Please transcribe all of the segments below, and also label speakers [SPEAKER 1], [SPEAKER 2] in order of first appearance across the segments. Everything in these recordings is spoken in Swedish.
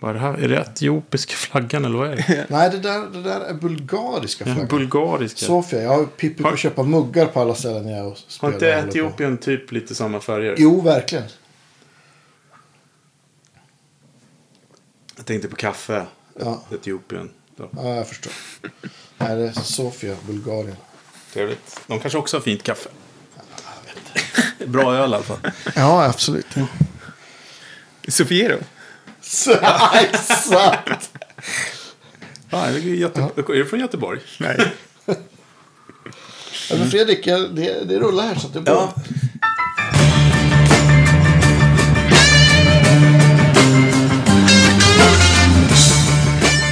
[SPEAKER 1] Vad är det här? Är det etiopiska flaggan eller vad är det?
[SPEAKER 2] Nej, det där, det där är bulgariska
[SPEAKER 1] Ja,
[SPEAKER 2] flaggan.
[SPEAKER 1] Mm, Bulgariska.
[SPEAKER 2] Sofia, jag har Pippi på
[SPEAKER 1] Har-
[SPEAKER 2] att köpa muggar på alla ställen jag
[SPEAKER 1] Har
[SPEAKER 2] spelar.
[SPEAKER 1] inte
[SPEAKER 2] och håller på.
[SPEAKER 1] Etiopien typ lite samma färger?
[SPEAKER 2] Jo, verkligen.
[SPEAKER 1] Jag tänkte på kaffe.
[SPEAKER 2] Ja.
[SPEAKER 1] Etiopien. Ja.
[SPEAKER 2] Ja, jag förstår. Nej, det är Sofia, Bulgarien.
[SPEAKER 1] Trevligt. De kanske också har fint kaffe. Bra öl i alla fall.
[SPEAKER 2] Ja, absolut.
[SPEAKER 3] Sofiero?
[SPEAKER 2] Exakt!
[SPEAKER 1] Ja, det är, Göte- är du från Göteborg?
[SPEAKER 3] Nej.
[SPEAKER 2] Ja, men Fredrik, jag- det, det rullar här så att det är bra.
[SPEAKER 1] Ja.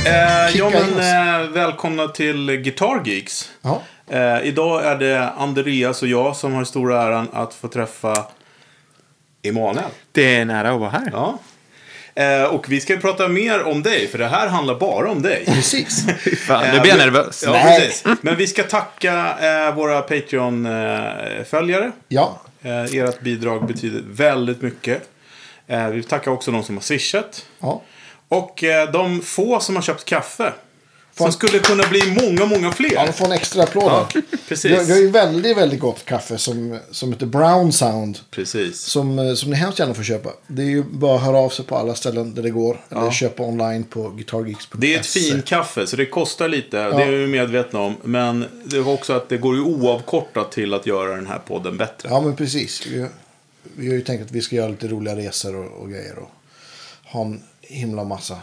[SPEAKER 1] Eh, ja,
[SPEAKER 2] Kicka in
[SPEAKER 1] men, eh, välkomna till Guitar Geeks.
[SPEAKER 2] Ja.
[SPEAKER 1] Eh, idag är det Andreas och jag som har stora äran att få träffa Emanuel.
[SPEAKER 3] Det är nära att vara här.
[SPEAKER 1] Ja. Eh, och vi ska prata mer om dig, för det här handlar bara om dig.
[SPEAKER 2] Precis.
[SPEAKER 3] Fan, nu blir jag
[SPEAKER 1] Eh, vi-
[SPEAKER 3] nervös.
[SPEAKER 1] Ja,
[SPEAKER 2] Nej.
[SPEAKER 1] precis. Men vi ska tacka eh, våra Patreon-följare.
[SPEAKER 2] Ja,
[SPEAKER 1] Eh, ert bidrag betyder väldigt mycket. Eh, vi tackar också de som har swishat.
[SPEAKER 2] ja.
[SPEAKER 1] Och eh, de få som har köpt kaffe. Som
[SPEAKER 2] Fan.
[SPEAKER 1] skulle kunna bli många, många
[SPEAKER 2] Han
[SPEAKER 1] fler.
[SPEAKER 2] får en extra applåd
[SPEAKER 1] Ja,
[SPEAKER 2] här. Vi har,
[SPEAKER 1] precis.
[SPEAKER 2] vi har ju väldigt, väldigt gott kaffe som, som heter Brown Sound.
[SPEAKER 1] Precis.
[SPEAKER 2] Som, eh, som ni hemskt gärna får köpa. Det är ju bara att höra av sig på alla ställen där det går. Eller köpa online på guitargeeks.se.
[SPEAKER 1] Det är ett fint kaffe, så det kostar lite. Det är vi medvetna om. Men det är också att det går ju oavkortat till att göra den här podden bättre.
[SPEAKER 2] Ja, men precis. Vi, vi har ju tänkt att vi ska göra lite roliga resor och, och grejer. Och ha en himla massa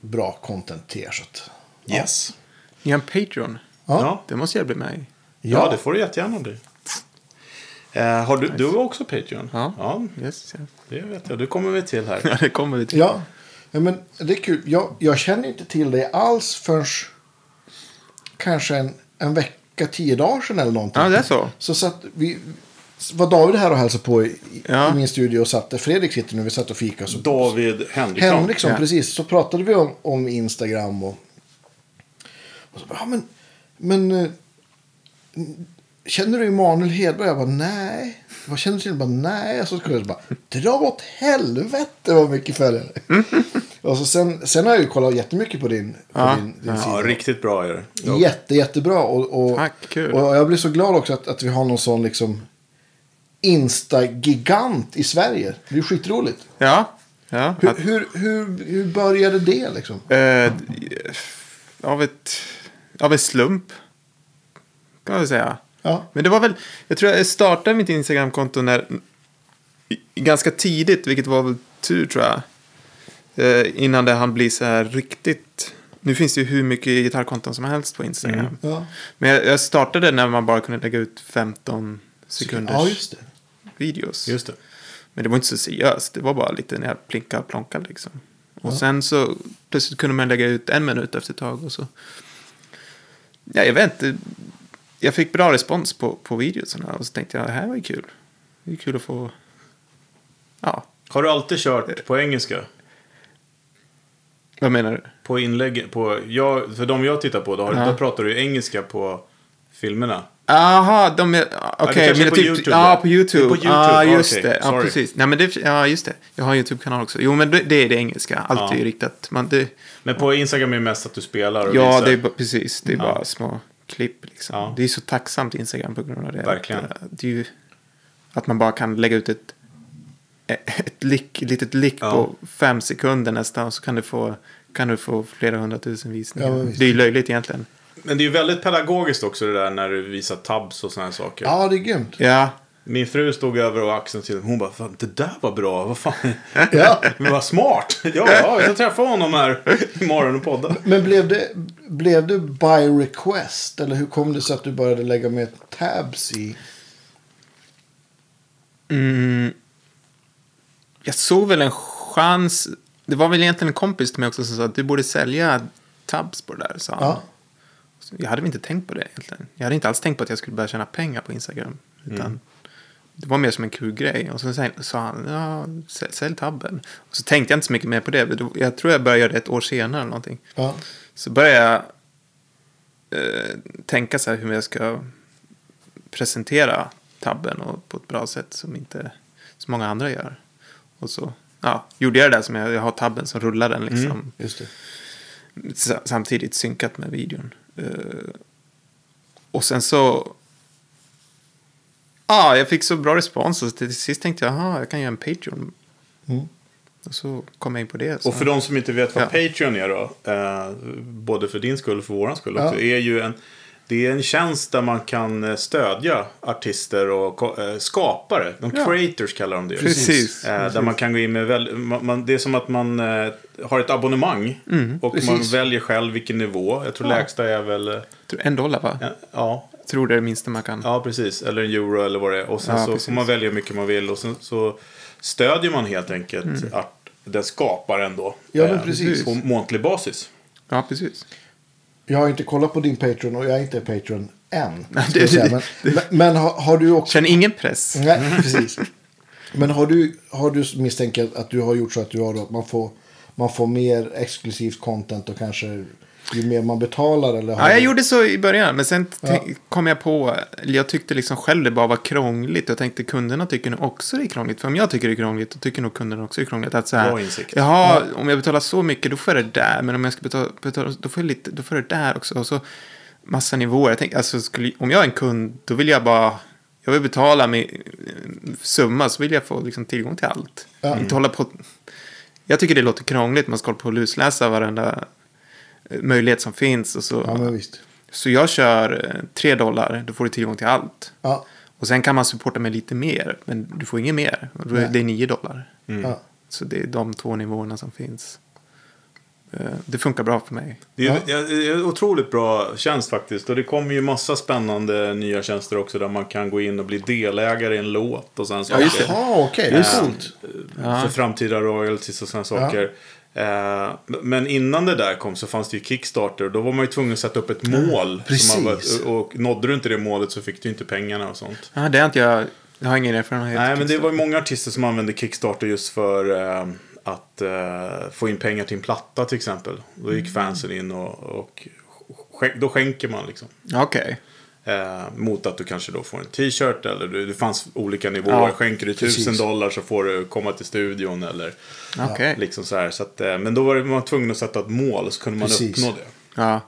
[SPEAKER 2] bra content till er. Så att,
[SPEAKER 1] Yes.
[SPEAKER 3] Ni har en Patreon?
[SPEAKER 2] Ja.
[SPEAKER 1] Ja.
[SPEAKER 3] Det måste jag bli med i.
[SPEAKER 1] Ja, det får du jättegärna bli. Eh, har du, du har också Patreon?
[SPEAKER 3] Ja. Yes, yes.
[SPEAKER 1] det vet jag. Det kommer vi till här.
[SPEAKER 3] Ja, det kommer vi till.
[SPEAKER 2] ja. ja, men det är kul. Jag, jag känner inte till dig alls förrän kanske en, en vecka, tio dagar sedan eller någonting.
[SPEAKER 3] Ja, det är så.
[SPEAKER 2] Så satt vi... Var David här och hälsade på i,
[SPEAKER 3] Ja.
[SPEAKER 2] i min studio och satt där Fredrik sitter nu. Vi satt och fikade. Så
[SPEAKER 1] David Henriksson.
[SPEAKER 2] Henriksson,
[SPEAKER 3] Ja.
[SPEAKER 2] precis. Så pratade vi om, om Instagram och... och så, bara, ja, men, men... eh, Känner du Emanuel Hedberg? Jag bara, nej. Vad känner du till? Jag bara, nej. Och så skulle jag bara, dra åt helvete vad mycket följare. och så sen, sen har jag ju kollat jättemycket på din, på
[SPEAKER 3] Ja.
[SPEAKER 2] din, din
[SPEAKER 1] Ja,
[SPEAKER 2] sida.
[SPEAKER 1] riktigt bra är det. Ja.
[SPEAKER 2] Jätte, jättebra. Och, och,
[SPEAKER 3] Tack, kul.
[SPEAKER 2] och jag blir så glad också att, att vi har någon sån liksom Insta-gigant i Sverige. Det är ju skitroligt.
[SPEAKER 3] Ja. ja.
[SPEAKER 2] Hur,
[SPEAKER 3] Att,
[SPEAKER 2] hur, hur, hur började det liksom?
[SPEAKER 3] eh, av, ett, av en slump. Kan man väl säga.
[SPEAKER 2] Ja.
[SPEAKER 3] Men det var väl, jag tror jag startade mitt Instagramkonto när, i- ganska tidigt, vilket var väl tur tror jag. Eh, innan det han bli så här riktigt, nu finns det ju hur mycket gitarrkonton som helst på Instagram.
[SPEAKER 2] Mm. Ja.
[SPEAKER 3] Men jag, jag startade när man bara kunde lägga ut 15 sekunders
[SPEAKER 2] Ja, just det.
[SPEAKER 3] videos.
[SPEAKER 1] Just det.
[SPEAKER 3] Men det var inte så seriöst, det var bara lite när jag plinkade och plonkade liksom. Och sen så plötsligt kunde man lägga ut en minut efter ett tag och så. Ja, jag vet inte. Jag fick bra respons på, på videosarna och så tänkte jag det här var ju kul. Det är kul att få... Ja,
[SPEAKER 1] Har du alltid kört på engelska?
[SPEAKER 3] vad menar du?
[SPEAKER 1] På inlägg? På, jag, för de jag tittar på, då, har,
[SPEAKER 3] Ja.
[SPEAKER 1] då pratar du ju engelska på filmerna.
[SPEAKER 3] Aha, de är... Okej,
[SPEAKER 1] kanske
[SPEAKER 3] men
[SPEAKER 1] är på
[SPEAKER 3] typ,
[SPEAKER 1] YouTube,
[SPEAKER 3] Ja,
[SPEAKER 1] va?
[SPEAKER 3] på YouTube.
[SPEAKER 1] Det är på YouTube,
[SPEAKER 3] Ja,
[SPEAKER 1] ah,
[SPEAKER 3] just
[SPEAKER 1] okej,
[SPEAKER 3] det. Ja,
[SPEAKER 1] sorry.
[SPEAKER 3] precis. Nej, men det, ja, just det. Jag har en YouTube-kanal också. Jo, men det, det är det engelska. Allt är ju riktat. Man, det,
[SPEAKER 1] Men på Instagram är det mest att du spelar och
[SPEAKER 3] Ja,
[SPEAKER 1] visar.
[SPEAKER 3] det är, ba- precis. Det är bara små klipp. Liksom.
[SPEAKER 1] Ja.
[SPEAKER 3] Det är så tacksamt Instagram på grund av det.
[SPEAKER 1] Verkligen.
[SPEAKER 3] Att, eh, det är ju, att man bara kan lägga ut ett, eh, ett, lick, ett litet lick
[SPEAKER 1] Ja.
[SPEAKER 3] på fem sekunder nästan. Och så kan du få, kan du få flera hundratusen visningar.
[SPEAKER 2] Ja, men visst.
[SPEAKER 3] det är ju löjligt egentligen.
[SPEAKER 1] Men det är ju väldigt pedagogiskt också det där när du visar tabs och sådana saker.
[SPEAKER 2] Ja, det är grymt.
[SPEAKER 3] Ja,
[SPEAKER 1] Min fru stod över och axeln till Hon bara, fan, det där var bra. Vad fan.
[SPEAKER 2] Ja.
[SPEAKER 1] Men vad smart. Ja, ja, jag ska träffa honom här imorgon och podda.
[SPEAKER 2] Men blev det, blev det by request? Eller hur kom det sig att du började lägga med tabs i?
[SPEAKER 3] Mm. jag såg väl en chans. Det var väl egentligen en kompis till mig också som sa att du borde sälja tabs på det där. Sa han.
[SPEAKER 2] Ja.
[SPEAKER 3] Jag hade väl inte tänkt på det egentligen. Jag hade inte alls tänkt på att jag skulle börja tjäna pengar på Instagram. Utan Det var mer som en kul grej. Och så sen sa han, ja, sälj, sälj tabben. Och så tänkte jag inte så mycket mer på det. Men då- Jag tror jag började göra det ett år senare eller någonting.
[SPEAKER 2] Ja.
[SPEAKER 3] Så började jag eh, tänka så här hur jag ska presentera tabben och på ett bra sätt som inte så många andra gör. Och så, ja, gjorde jag det där som jag, jag har tabben som rullar den liksom.
[SPEAKER 2] Just det.
[SPEAKER 3] sa- samtidigt synkat med videon. Eh, och sen så... Ja, ah, jag fick så bra respons och till sist tänkte jag, jaha, jag kan göra en Patreon.
[SPEAKER 2] Mm.
[SPEAKER 3] Och så kom jag in på det. Så.
[SPEAKER 1] Och för de som inte vet vad
[SPEAKER 3] Mm. Ja.
[SPEAKER 1] Patreon är då, eh, både för din skull och för våran skull
[SPEAKER 2] Ja.
[SPEAKER 1] också, är ju en, det är en tjänst där man kan eh, stödja artister och ko- eh, skapare. De
[SPEAKER 3] Ja.
[SPEAKER 1] creators kallar de det. ju.
[SPEAKER 3] Precis. Precis.
[SPEAKER 1] Eh, där man kan gå in med, väl, man, man, det är som att man eh, har ett abonnemang
[SPEAKER 3] Mm.
[SPEAKER 1] och man
[SPEAKER 2] precis.
[SPEAKER 1] väljer själv vilken nivå. Jag tror lägsta är väl, eh,
[SPEAKER 3] Tror- En dollar va?
[SPEAKER 1] ja,
[SPEAKER 3] Tror det är det minsta man kan.
[SPEAKER 1] Ja, precis. Eller en euro eller vad det är. Och sen
[SPEAKER 3] Ja,
[SPEAKER 1] så
[SPEAKER 3] precis.
[SPEAKER 1] får man välja hur mycket man vill. Och sen så stödjer man helt enkelt att den skapar ändå.
[SPEAKER 2] Mm. Ja, men
[SPEAKER 1] eh,
[SPEAKER 2] precis.
[SPEAKER 1] På månatlig basis.
[SPEAKER 3] Ja, precis.
[SPEAKER 2] Jag har inte kollat på din Patreon och jag är inte Patreon än. ska
[SPEAKER 3] det- Mm.
[SPEAKER 2] jag säga. men men, men har, har du också...
[SPEAKER 3] Känner ingen press.
[SPEAKER 2] Nej, precis. Men har du, har du misstänker att du har gjort så att du har då, att man får, man får mer exklusivt content och kanske ju mer man betalar eller har
[SPEAKER 3] Ja, jag
[SPEAKER 2] du-
[SPEAKER 3] gjorde så i början, men sen t-
[SPEAKER 2] Ja.
[SPEAKER 3] kom jag på, eller jag tyckte liksom själv det bara var krångligt. Jag tänkte kunderna tycker nog också det är krångligt. För om jag tycker det är krångligt, då tycker nog kunderna också det är krångligt. Att så
[SPEAKER 1] Bra
[SPEAKER 3] här,
[SPEAKER 1] insikt.
[SPEAKER 3] jaha, om jag betalar så mycket, då får jag det där. Men om jag ska betala, betala då, får jag lite, då får jag det där också. Och så massa nivåer. Jag tänkte, alltså, skulle, om jag är en kund, då vill jag bara, jag vill betala med eh, summa, så vill jag få liksom, tillgång till allt.
[SPEAKER 2] Ja.
[SPEAKER 3] Inte hålla på, jag tycker det låter krångligt, man ska hålla på och lusläsa varenda eh, möjlighet som finns. Och så,
[SPEAKER 2] Ja, men visst.
[SPEAKER 3] så jag kör 3 dollar, då får du tillgång till allt.
[SPEAKER 2] Ja,
[SPEAKER 3] Och sen kan man supporta med lite mer, men du får inget mer. Och då är-
[SPEAKER 2] Nej.
[SPEAKER 3] Det är 9 dollar.
[SPEAKER 2] ja.
[SPEAKER 3] Så det är de två nivåerna som finns. Eh, Det funkar bra för mig.
[SPEAKER 1] Det är ja. en otroligt bra tjänst faktiskt. Och det kommer ju massa spännande nya tjänster också. Där man kan gå in och bli delägare i en låt. Och sen så
[SPEAKER 2] Jaha, okej. Det är coolt.
[SPEAKER 1] För framtida royalties och sådana saker. Eh, Men innan det där kom så fanns det ju Kickstarter. och Då var man ju tvungen att sätta upp ett mål.
[SPEAKER 2] Precis.
[SPEAKER 1] som man var- och nådde du inte det målet så fick du inte pengarna och sånt.
[SPEAKER 3] Ah, det har inte jag, jag har ingen erfarenhet.
[SPEAKER 1] Nej, men det var ju många artister som använde Kickstarter just för eh, att eh, få in pengar till en platta till exempel. Då gick fansen in och, och skänk, då skänker man liksom.
[SPEAKER 3] Okej.
[SPEAKER 1] Eh, mot att du kanske då får en t-shirt eller du, det fanns olika nivåer.
[SPEAKER 3] Ja,
[SPEAKER 1] Skänker du
[SPEAKER 2] precis.
[SPEAKER 1] tusen dollar så får du komma till studion eller
[SPEAKER 3] Okej.
[SPEAKER 1] liksom så här. Så att, eh, men då var det- man var tvungen att sätta ett mål så kunde man
[SPEAKER 2] Precis.
[SPEAKER 1] uppnå det.
[SPEAKER 3] Ja.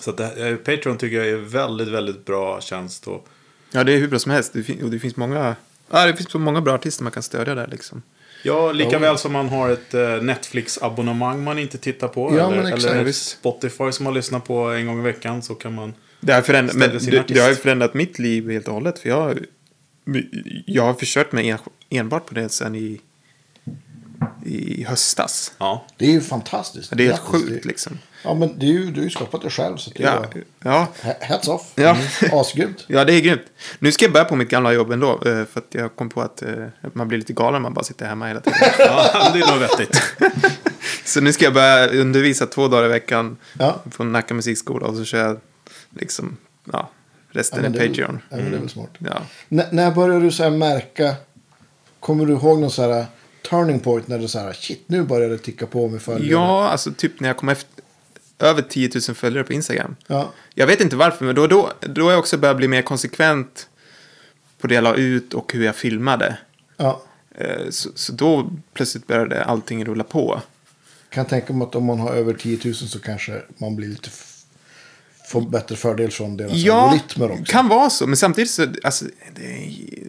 [SPEAKER 1] Så att det, här- eh, Patreon tycker jag är väldigt, väldigt bra tjänst. Och,
[SPEAKER 3] ja, det är hur bra som helst. Det, fin- och det finns många... Ja, det finns så många bra artister man kan stödja där liksom.
[SPEAKER 1] Ja, lika
[SPEAKER 2] Ja.
[SPEAKER 1] väl som man har ett eh, Netflix-abonnemang man inte tittar på.
[SPEAKER 2] Ja, men
[SPEAKER 1] eller,
[SPEAKER 2] exakt.
[SPEAKER 1] eller ett
[SPEAKER 2] Visst.
[SPEAKER 1] Spotify som man lyssnar på en gång i veckan. Så kan man...
[SPEAKER 3] Det har, förändrat, men
[SPEAKER 1] Ställde sin
[SPEAKER 3] det,
[SPEAKER 1] artist.
[SPEAKER 3] det har ju förändrat mitt liv helt och hållet. För jag, jag har försökt mig en, enbart på det sen i, i höstas.
[SPEAKER 1] Ja.
[SPEAKER 2] Det är ju fantastiskt.
[SPEAKER 3] Det är helt
[SPEAKER 2] Grattis,
[SPEAKER 3] sjukt
[SPEAKER 2] det-
[SPEAKER 3] liksom.
[SPEAKER 2] Ja, men det är ju, du har ju skapat det själv. Så det är
[SPEAKER 3] Ja,
[SPEAKER 2] bara-
[SPEAKER 3] ja,
[SPEAKER 2] he- Hats off.
[SPEAKER 3] Ja.
[SPEAKER 2] Mm. Asgrymt.
[SPEAKER 3] ja, det är grymt. Nu ska jag börja på mitt gamla jobb ändå. eh, För att jag kom på att eh, att man blir lite galen om man bara sitter hemma hela tiden.
[SPEAKER 1] ja, det är nog vettigt.
[SPEAKER 3] Så nu ska jag börja undervisa två dagar i veckan
[SPEAKER 2] Ja.
[SPEAKER 3] på Nacka musikskola. Och så kör jag liksom, ja, resten
[SPEAKER 2] men
[SPEAKER 3] är
[SPEAKER 2] det är väl-
[SPEAKER 3] Patreon. Mm.
[SPEAKER 2] Ja, men det är väl smart.
[SPEAKER 3] Ja.
[SPEAKER 2] N- när börjar du så här märka? Kommer du ihåg någon så här uh, turning point när du så här shit nu börjar det ticka på med följare?
[SPEAKER 3] ja, alltså typ när jag kom efter, över 10 000 följare på Instagram.
[SPEAKER 2] ja.
[SPEAKER 3] Jag vet inte varför, men då, då, då har jag också börjat bli mer konsekvent på det jag la ut och hur jag filmade.
[SPEAKER 2] Ja.
[SPEAKER 3] Eh, Så, så då plötsligt började allting rulla på.
[SPEAKER 2] Kan tänka mig att om man har över 10 000 så kanske man blir lite f- får bättre fördel från deras
[SPEAKER 3] Ja,
[SPEAKER 2] algoritmer också.
[SPEAKER 3] kan vara så, men samtidigt så, alltså, det, är-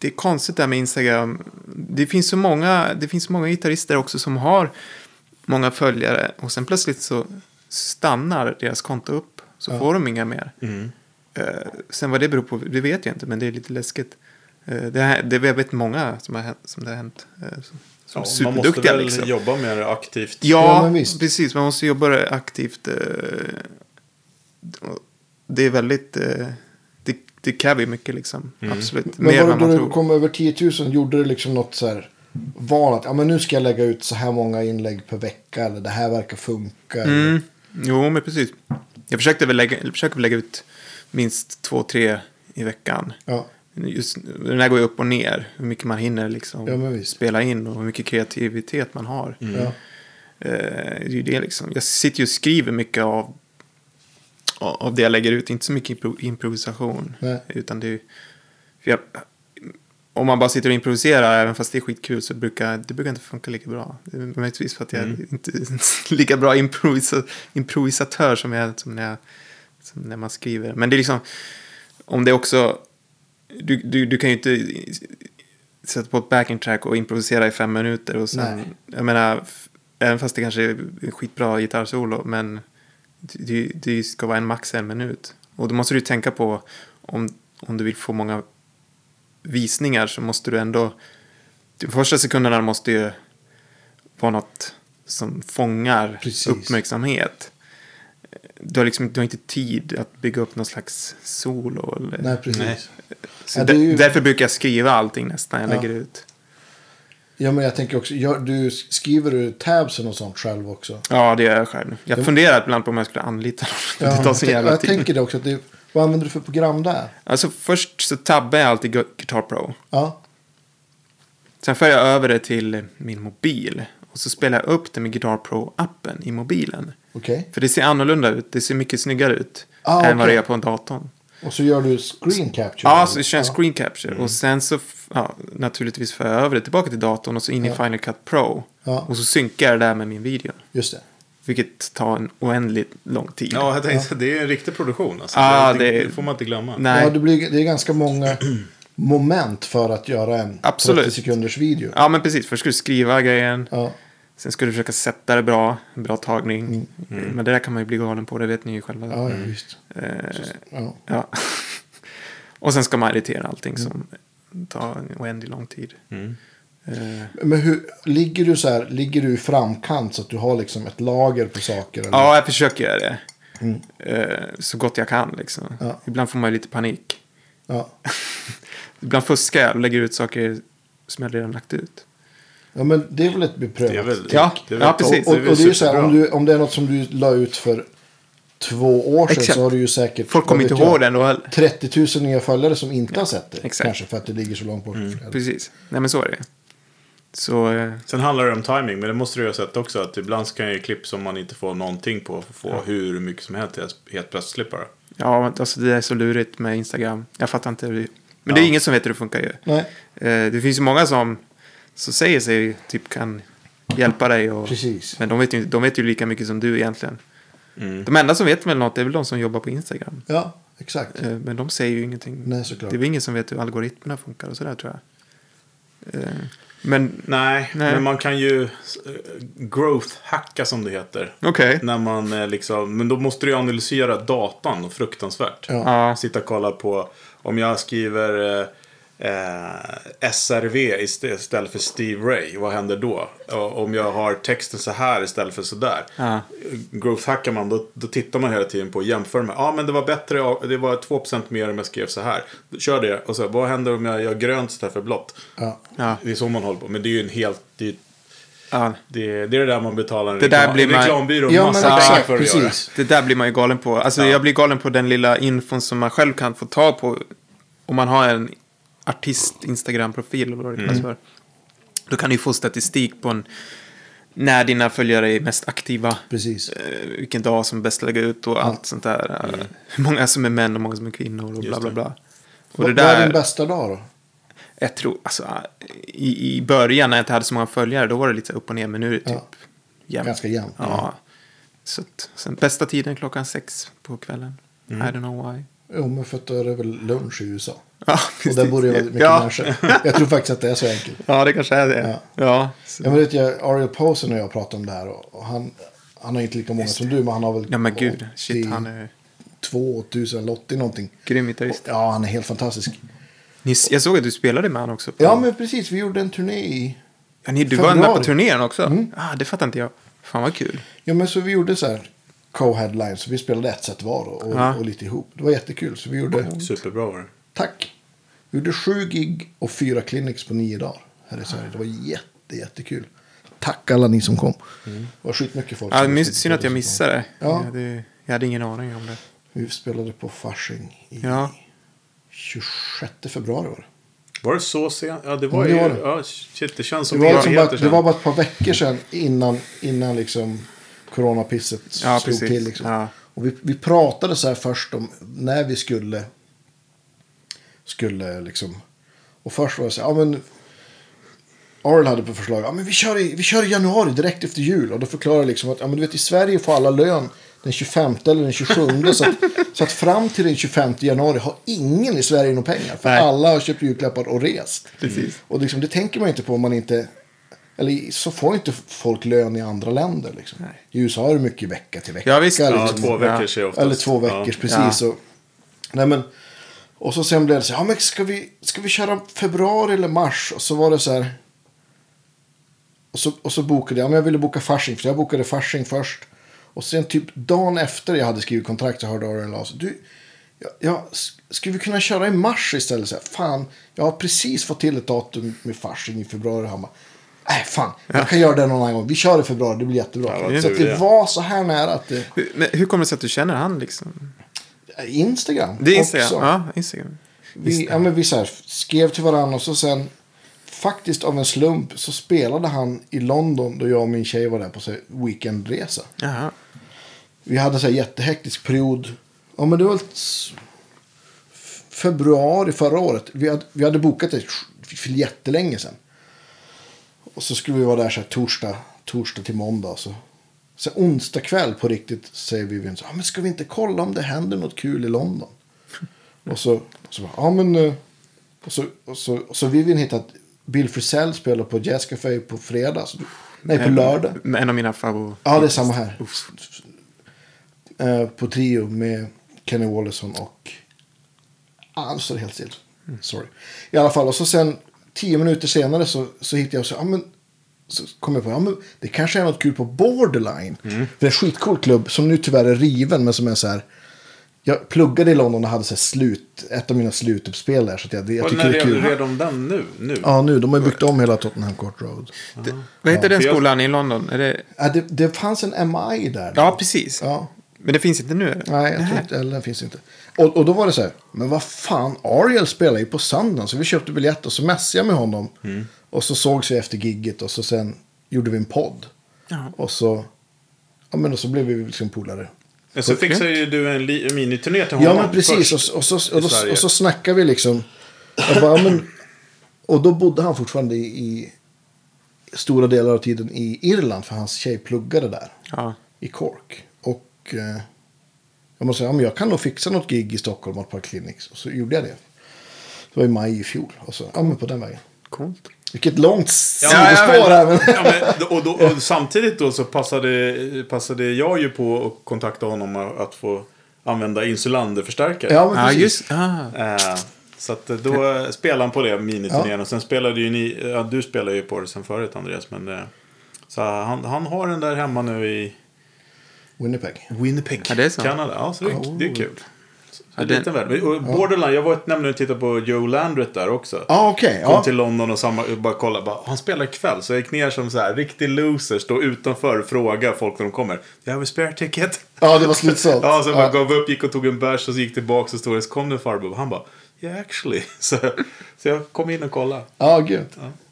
[SPEAKER 3] det är konstigt det här med Instagram. Det finns så många, det finns så många gitarrister också som har många följare och sen plötsligt så stannar deras konto upp. Så får de inga mer.
[SPEAKER 1] Mm.
[SPEAKER 3] Eh, sen vad det beror på, det vet jag inte, men det är lite läskigt. Eh, det, här, det, jag vet många som, har, hänt- som det har hänt. eh, som som
[SPEAKER 1] Ja, man måste
[SPEAKER 3] superduktiga
[SPEAKER 1] väl
[SPEAKER 3] liksom.
[SPEAKER 1] jobba mer aktivt.
[SPEAKER 2] Ja,
[SPEAKER 3] Ja,
[SPEAKER 2] men visst.
[SPEAKER 3] precis. Man måste jobba aktivt. eh, och Det är väldigt... eh, Det, det kräver ju mycket liksom. Absolut.
[SPEAKER 2] Men
[SPEAKER 3] Mer
[SPEAKER 2] var
[SPEAKER 3] än
[SPEAKER 2] det
[SPEAKER 3] man
[SPEAKER 2] då du
[SPEAKER 3] tror.
[SPEAKER 2] kom över 10 000? Gjorde du liksom något så här val att ja, men nu ska jag lägga ut så här många inlägg per vecka eller det här verkar funka? eller-
[SPEAKER 3] Mm. Jo, men precis. Jag försökte väl lägga, eller försöker väl lägga ut minst två, tre i veckan.
[SPEAKER 2] Ja.
[SPEAKER 3] Just, den här går ju upp och ner. Hur mycket man hinner liksom
[SPEAKER 2] Ja, men visst.
[SPEAKER 3] spela in och hur mycket kreativitet man har.
[SPEAKER 2] Ja.
[SPEAKER 3] Eh, det är ju det liksom. Jag sitter ju och skriver mycket av, av det jag lägger ut. Inte så mycket impro, improvisation.
[SPEAKER 2] Nej.
[SPEAKER 3] Utan det är, för jag, om man bara sitter och improviserar, även fast det är skitkul, så brukar det brukar inte funka lika bra. Det är Möjligtvis för att jag inte är lika bra improvisa, improvisatör som jag är som när, jag, som när man skriver. Men det är liksom, om det också, du, du, du kan ju inte sätta på ett backing track och improvisera i fem minuter och sen,
[SPEAKER 2] Nej.
[SPEAKER 3] jag menar, f- även fast det kanske är en skitbra gitarrsolo, men det, det ska vara en max en minut. Och då måste du ju tänka på om, om du vill få många visningar så måste du ändå... De första sekunderna måste ju vara något som fångar
[SPEAKER 2] Precis.
[SPEAKER 3] uppmärksamhet. Du har liksom du har inte tid att bygga upp någon slags solo. Eller,
[SPEAKER 2] Nej, precis.
[SPEAKER 1] Nej.
[SPEAKER 3] Så
[SPEAKER 2] Ja, det är
[SPEAKER 3] där-
[SPEAKER 2] ju-
[SPEAKER 3] Därför brukar jag skriva allting nästan jag
[SPEAKER 2] Ja.
[SPEAKER 3] lägger ut.
[SPEAKER 2] Ja, men jag tänker också, gör, du skriver du tabsen och sånt själv också?
[SPEAKER 3] Ja, det gör jag själv. nu. Jag
[SPEAKER 2] Jo.
[SPEAKER 3] funderar ibland på om jag skulle anlita någon. det tar
[SPEAKER 2] jag,
[SPEAKER 3] så
[SPEAKER 2] tänk-
[SPEAKER 3] jävla
[SPEAKER 2] jag
[SPEAKER 3] tid.
[SPEAKER 2] tänker det också. Att det, vad använder du för program där?
[SPEAKER 3] Alltså först så tabbar jag alltid Gu- Guitar Pro.
[SPEAKER 2] Ja,
[SPEAKER 3] Sen för jag över det till min mobil. Och så spelar jag upp det med Guitar Pro-appen i mobilen.
[SPEAKER 2] okej.
[SPEAKER 3] För det ser annorlunda ut. Det ser mycket snyggare ut.
[SPEAKER 2] Ah,
[SPEAKER 3] än
[SPEAKER 2] okej.
[SPEAKER 3] vad det är på en datorn.
[SPEAKER 2] Och så gör du screen capture?
[SPEAKER 3] Ja, så det känns
[SPEAKER 2] Ja. Mm.
[SPEAKER 3] screen capture. Och sen så f- ja, naturligtvis för jag över det tillbaka till datorn och så in i Final Cut Pro.
[SPEAKER 2] Ja.
[SPEAKER 3] Och så synkar jag det där med min video.
[SPEAKER 2] Just det.
[SPEAKER 3] Vilket tar en oändligt lång tid.
[SPEAKER 1] Ja, jag tänkte det är en riktig produktion. Alltså.
[SPEAKER 3] Ah,
[SPEAKER 1] det,
[SPEAKER 3] det-
[SPEAKER 1] det får man inte glömma.
[SPEAKER 3] Nej.
[SPEAKER 2] Ja, det, blir, det är ganska många moment för att göra en
[SPEAKER 3] Absolut.
[SPEAKER 2] 30 sekunders video.
[SPEAKER 3] Ja, men precis. Först skulle du skriva grejen.
[SPEAKER 2] Ja.
[SPEAKER 3] Sen skulle du försöka sätta det bra. En bra tagning. Men det där kan man ju bli galen på. Det vet ni ju själva.
[SPEAKER 2] Mm. Ja, visst.
[SPEAKER 3] Eh,
[SPEAKER 2] Ja.
[SPEAKER 3] Ja. Och sen ska man editera allting
[SPEAKER 2] Mm.
[SPEAKER 3] som tar en oändlig lång tid. Eh,
[SPEAKER 2] Men hur, ligger du så här, ligger du i framkant så att du har liksom ett lager på saker? Eller?
[SPEAKER 3] ja, jag försöker göra det. Eh, så gott jag kan liksom.
[SPEAKER 2] Mm. Ja.
[SPEAKER 3] Ibland får man ju lite panik.
[SPEAKER 2] Ja.
[SPEAKER 3] Ibland fuskar jag och lägger ut saker som jag redan lagt ut.
[SPEAKER 2] ja, men det är väl ett beprövat?
[SPEAKER 1] Det är väl,
[SPEAKER 3] Ja,
[SPEAKER 1] det är
[SPEAKER 3] ja, precis.
[SPEAKER 2] Och, och, och det är ju så här,
[SPEAKER 1] superbra.
[SPEAKER 2] om, du, om det är något som du la ut för två år sedan
[SPEAKER 3] Exakt.
[SPEAKER 2] så har du ju säkert...
[SPEAKER 3] Folk
[SPEAKER 2] vad
[SPEAKER 3] kommer
[SPEAKER 2] vet
[SPEAKER 3] inte
[SPEAKER 2] jag,
[SPEAKER 3] ihåg det ändå heller.
[SPEAKER 2] 30 000 nya följare som inte har sett det.
[SPEAKER 3] exakt.
[SPEAKER 2] Kanske för att det ligger så långt bort. Mm.
[SPEAKER 3] Precis. Nej, men så är det. Så, eh,
[SPEAKER 1] Sen handlar det om timing, men det måste du ju ha sett också. Att ibland kan ju klipp som man inte får någonting på få hur mycket som helst helt plötsligt bara.
[SPEAKER 3] ja, alltså det är så lurigt med Instagram. Jag fattar inte. hur det- Men det är
[SPEAKER 1] Ja.
[SPEAKER 3] ingen som vet hur det funkar ju.
[SPEAKER 2] Nej,
[SPEAKER 3] Eh, det finns ju många som, som säger sig typ kan hjälpa dig. Och,
[SPEAKER 2] precis.
[SPEAKER 3] Men de vet, ju, inte- de vet ju lika mycket som du egentligen. De enda som vet väl något är väl de som jobbar på Instagram.
[SPEAKER 2] Ja, exakt.
[SPEAKER 3] Eh, Men de säger ju ingenting.
[SPEAKER 2] Nej, såklart.
[SPEAKER 3] Det är väl ingen som vet hur algoritmerna funkar och sådär tror jag. Eh, Men
[SPEAKER 1] Nej,
[SPEAKER 3] Nej.
[SPEAKER 1] men man kan ju eh, growth-hacka som det heter.
[SPEAKER 3] okej.
[SPEAKER 1] När man eh, liksom, men då måste du ju analysera datan fruktansvärt.
[SPEAKER 3] Ja.
[SPEAKER 1] Sitta och kolla på om jag skriver eh, eh, SRV ist- istället för Steve Ray, vad händer då? Och om jag har texten så här istället för så där.
[SPEAKER 3] Ja.
[SPEAKER 1] Growth hackar man, då, då tittar man hela tiden på och jämför med. Ja, men det var bättre, av- det var 2% mer om jag skrev så här. Kör det och så, vad händer om jag gör grönt istället för blått?
[SPEAKER 2] Ja.
[SPEAKER 3] Ja.
[SPEAKER 1] Det är så man håller på, men det är ju en helt... Det, är-
[SPEAKER 3] Ja.
[SPEAKER 1] det, är- det är det där man betalar en
[SPEAKER 3] Det där
[SPEAKER 1] reklam-
[SPEAKER 3] blir
[SPEAKER 1] en
[SPEAKER 3] man-
[SPEAKER 1] reklambyrå
[SPEAKER 2] Ja, men
[SPEAKER 1] massa pengar
[SPEAKER 2] exakt,
[SPEAKER 1] för att göra.
[SPEAKER 2] precis.
[SPEAKER 3] Det där blir man ju galen på. Alltså jag blir galen på den lilla infon som man själv kan få ta på. Om man har en artist-instagram-profil eller vad det
[SPEAKER 2] Mm.
[SPEAKER 3] kallas för. Då kan du ju få statistik på en, när dina följare är mest aktiva.
[SPEAKER 2] Precis.
[SPEAKER 3] Eh, vilken dag som är bäst att lägga ut och allt sånt där.
[SPEAKER 2] Mm.
[SPEAKER 3] Eh, Hur många som är män och många som är kvinnor och bla
[SPEAKER 1] Just
[SPEAKER 3] bla
[SPEAKER 1] det.
[SPEAKER 3] bla. Och
[SPEAKER 2] Vad
[SPEAKER 3] det
[SPEAKER 2] vad är din
[SPEAKER 3] där,
[SPEAKER 2] bästa dag då?
[SPEAKER 3] jag tror, alltså, i, i början när jag inte hade så många följare, då var det lite upp och ner, men nu är det typ
[SPEAKER 2] Ja.
[SPEAKER 3] jämnt.
[SPEAKER 2] Ganska jämnt,
[SPEAKER 3] Ja.
[SPEAKER 2] ja.
[SPEAKER 3] Så att, sen, bästa tiden är klockan sex på kvällen.
[SPEAKER 2] Mm.
[SPEAKER 3] I don't know why.
[SPEAKER 2] Jo, men för att då är det väl lunch i USA.
[SPEAKER 3] Ja,
[SPEAKER 2] Och där bor det väldigt mycket
[SPEAKER 3] ja.
[SPEAKER 2] människor. Jag tror faktiskt att det är så enkelt.
[SPEAKER 3] Ja, det kanske är det. Ja. Så-
[SPEAKER 2] Jag vet, jag, Ariel Posen och jag pratade om det här. Och och han, han har inte lika många som du, men han har väl...
[SPEAKER 3] Ja, men gud. Shit, han är
[SPEAKER 2] 2000 eller 80 någonting.
[SPEAKER 3] grym gitarrist.
[SPEAKER 2] Ja, han är helt fantastisk.
[SPEAKER 3] Ni- Jag såg att du spelade med honom också. På,
[SPEAKER 2] Ja, men precis. Vi gjorde en turné i...
[SPEAKER 3] Ja, ni, du var med på
[SPEAKER 2] februari. Mm.
[SPEAKER 3] turnén också? Ah, det fattar inte jag. Fan vad kul.
[SPEAKER 2] Ja, men så vi gjorde så här co-headlines. Vi spelade ett set var och,
[SPEAKER 3] Ja.
[SPEAKER 2] och lite ihop. Det var jättekul. Så vi gjorde...
[SPEAKER 1] Superbra var det.
[SPEAKER 2] Tack! Vi gjorde sju gig och fyra clinics på nio dagar här i Sverige. Det var jätte, jättekul. Tack alla ni som kom. Det var skitmycket folk.
[SPEAKER 3] Mm. Ja,
[SPEAKER 2] som
[SPEAKER 3] miss-
[SPEAKER 2] lyssnade på
[SPEAKER 3] synd att
[SPEAKER 2] det
[SPEAKER 3] jag
[SPEAKER 2] som
[SPEAKER 3] missade det.
[SPEAKER 2] Ja.
[SPEAKER 3] Jag, hade, jag hade ingen aning om det.
[SPEAKER 2] kom. Vi spelade på Fasching i
[SPEAKER 3] Ja.
[SPEAKER 2] 26 februari var det.
[SPEAKER 1] Var det så sent? Ja, det var
[SPEAKER 2] Ja,
[SPEAKER 1] ju...
[SPEAKER 2] det var det.
[SPEAKER 1] Ja, shit, det känns som
[SPEAKER 2] Det var, liksom bara,
[SPEAKER 1] evigheter
[SPEAKER 2] det
[SPEAKER 1] sedan.
[SPEAKER 2] var bara ett par veckor sedan innan, innan liksom coronapisset
[SPEAKER 3] Ja,
[SPEAKER 2] slog
[SPEAKER 3] precis.
[SPEAKER 2] till. Liksom.
[SPEAKER 3] Ja.
[SPEAKER 2] Och vi, vi pratade så här först om när vi skulle, skulle liksom, Och först var det så här, ja men... Arl hade på förslag, ja men vi kör, i, vi kör i januari direkt efter jul. Och då förklarar jag liksom att, ja men du vet i Sverige får alla lön den 25 eller den 27. så, att, så att fram till den 25 januari har ingen i Sverige några pengar. För
[SPEAKER 3] Nej.
[SPEAKER 2] alla har köpt julklappar och rest.
[SPEAKER 3] Precis.
[SPEAKER 2] Och liksom, det tänker man inte på om man inte... Eller så får inte folk lön i andra länder. Liksom.
[SPEAKER 3] Nej.
[SPEAKER 2] I USA är det mycket vecka till vecka.
[SPEAKER 3] Ja, visst.
[SPEAKER 2] liksom.
[SPEAKER 1] Ja, två veckor ser jag oftast.
[SPEAKER 2] Eller två veckor,
[SPEAKER 1] Ja.
[SPEAKER 2] precis. Och, nej, men, och så sen blev det så här, ja, men ska, vi, ska vi köra februari eller mars? Och så var det så här. Och så, och så bokade jag, ja, men jag ville boka Fasching, för jag bokade Fasching först. Och sen typ dagen efter jag hade skrivit kontrakt så hörde Arian Larsson, du, ja, ja, s- skulle vi kunna köra i mars istället? Så här, fan, jag har precis fått till ett datum med Fasching i februari. Han bara, nej fan, jag kan göra det någon annan gång. Vi kör i februari, det blir jättebra.
[SPEAKER 1] Ja, vad
[SPEAKER 2] så
[SPEAKER 1] tur
[SPEAKER 2] att det
[SPEAKER 1] det.
[SPEAKER 2] var så här nära att det...
[SPEAKER 3] Hur, men hur kommer det sig att du känner han liksom?
[SPEAKER 2] Instagram.
[SPEAKER 3] Det är Instagram.
[SPEAKER 2] också.
[SPEAKER 3] Ja, Instagram.
[SPEAKER 2] Vi, ja, men vi så här, skrev till varandra och så sen faktiskt av en slump så spelade han i London då jag och min tjej var där på så här, weekendresa.
[SPEAKER 3] Jaha.
[SPEAKER 2] Vi hade så här jättehektisk period. Ja men det var ett s- f- februari förra året. Vi hade, vi hade bokat det för jättelänge sedan. Och så skulle vi vara där så här torsdag, torsdag till måndag. Så, så här, onsdag kväll på riktigt säger Vivian så här, "Ja, men ska vi inte kolla om det händer något kul i London? Och så, så bara, ja men. eh." Och så, och så, och så Vivian hittade att Bill Frisell spelar på Jazzcafé på fredag. Så, nej på lördag.
[SPEAKER 3] En, Eh, en av mina favorit.
[SPEAKER 2] Ja, det är samma här. Eh, på trio med Kenny Wallison och... Ah, nu står det helt still. Sorry. I alla fall, och så sen tio minuter senare så, så hittade jag och så, ja, men, så kom jag på, ja men det kanske är något kul på Borderline. För det är en skitcool klubb som nu tyvärr är riven men som är så här. Jag pluggade i London och hade så här slut, ett av mina slutuppspel där. Så att jag, jag
[SPEAKER 1] Och
[SPEAKER 2] tycker
[SPEAKER 1] när
[SPEAKER 2] det är
[SPEAKER 1] rev,
[SPEAKER 2] kul.
[SPEAKER 1] rev de den nu? nu?
[SPEAKER 2] Ja, nu. De har ju byggt om hela Tottenham Court Road.
[SPEAKER 3] Det, vad heter den
[SPEAKER 1] för jag-
[SPEAKER 3] skolan i London? Är det...
[SPEAKER 2] Ja, det, det fanns en MI där.
[SPEAKER 3] Ja, precis.
[SPEAKER 2] Ja.
[SPEAKER 3] Men det finns inte nu? Eller?
[SPEAKER 2] Nej, jag tror inte, eller den finns inte. Och, och då var det så här, men vad fan, Ariel spelar ju på Sundance. Så vi köpte biljett och så messade jag med honom.
[SPEAKER 1] Mm.
[SPEAKER 2] Och så sågs vi efter gigget och så sen gjorde vi en podd.
[SPEAKER 3] Ja.
[SPEAKER 2] Och så, ja men och så blev vi liksom polare.
[SPEAKER 1] Men så fixar ju du en li- en miniturné till honom
[SPEAKER 2] Ja, men precis.
[SPEAKER 1] först.
[SPEAKER 2] Och, så- och, så, och,
[SPEAKER 1] i
[SPEAKER 2] då,
[SPEAKER 1] Sverige.
[SPEAKER 2] och så snackade vi liksom. Jag bara, ja, men, och då bodde han fortfarande i, i stora delar av tiden i Irland. För hans tjej pluggade där
[SPEAKER 3] Ja.
[SPEAKER 2] i Cork. Och eh, jag måste säga, ja, men jag kan nog fixa något gig i Stockholm och Park Clinics. Och så gjorde jag det. Det var i maj i fjol. Och så, ja men på den vägen.
[SPEAKER 3] Coolt.
[SPEAKER 2] Vilket långt
[SPEAKER 1] Ja,
[SPEAKER 2] sidospår
[SPEAKER 1] ja, men-
[SPEAKER 2] här. Men...
[SPEAKER 1] ja, men, och, då, och samtidigt då så passade, passade jag ju på att kontakta honom att få använda insulanderförstärkare.
[SPEAKER 2] Ja, men
[SPEAKER 3] Ja,
[SPEAKER 2] precis.
[SPEAKER 3] just ah.
[SPEAKER 1] Eh, så att då eh, spelade han på det miniturnén. Och sen spelade ju ni, ja, du spelade ju på det sen förut Andreas. Men, eh, så han, han har den där hemma nu i
[SPEAKER 2] Winnipeg.
[SPEAKER 1] Winnipeg,
[SPEAKER 3] Ja, det är så.
[SPEAKER 1] Kanada. Ja, så det, det är kul. Så det är
[SPEAKER 3] den-
[SPEAKER 1] liten värld. Och Borderline, jag var nämligen och tittade på Joe Landret där också.
[SPEAKER 2] Ja, okej.
[SPEAKER 1] Kom
[SPEAKER 2] ja.
[SPEAKER 1] till London och samma, bara kolla, bara, han spelar ikväll. Så jag gick ner som så här, riktig loser, stå utanför och fråga folk när de kommer. Do you have a spare ticket?
[SPEAKER 2] ja, det var slutsålt.
[SPEAKER 1] Ja, så jag
[SPEAKER 2] ja.
[SPEAKER 1] bara gav upp, gick och tog en bärs och så gick tillbaka och stod det, så kom det en farbror. Han bara, yeah actually. Så, så jag kom in och kollade.
[SPEAKER 2] ja, gud.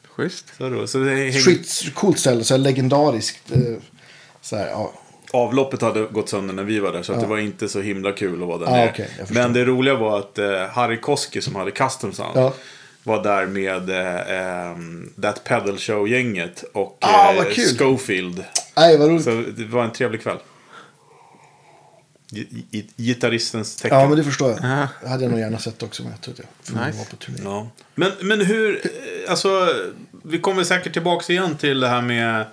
[SPEAKER 3] Schysst.
[SPEAKER 1] Så, då, så det hängde,
[SPEAKER 2] Skitcoolt ställe, så här legendariskt. eh, Så här, ja.
[SPEAKER 1] Avloppet hade gått sönder när vi var där så att det var inte så himla kul att vara där
[SPEAKER 2] Ja,
[SPEAKER 1] nere.
[SPEAKER 2] Ah, okej, jag förstår.
[SPEAKER 1] Men det roliga var att eh, Harry Koski som hade Custom Sound
[SPEAKER 2] Ja.
[SPEAKER 1] var där med eh, ehm, That Pedal Show-gänget och
[SPEAKER 2] Ah,
[SPEAKER 1] eh,
[SPEAKER 2] vad kul.
[SPEAKER 1] Schofield.
[SPEAKER 2] Nej, vad roligt.
[SPEAKER 1] Så det var en trevlig kväll. Gi- gi- Gitarristens tecken.
[SPEAKER 2] Ja, men det förstår jag.
[SPEAKER 3] Ja.
[SPEAKER 2] Det hade jag nog gärna sett också, men jag tror att jag förmodligen
[SPEAKER 3] Nice.
[SPEAKER 2] var på turné.
[SPEAKER 1] Ja. Men, men hur, eh, alltså, vi kommer säkert tillbaka igen till det här med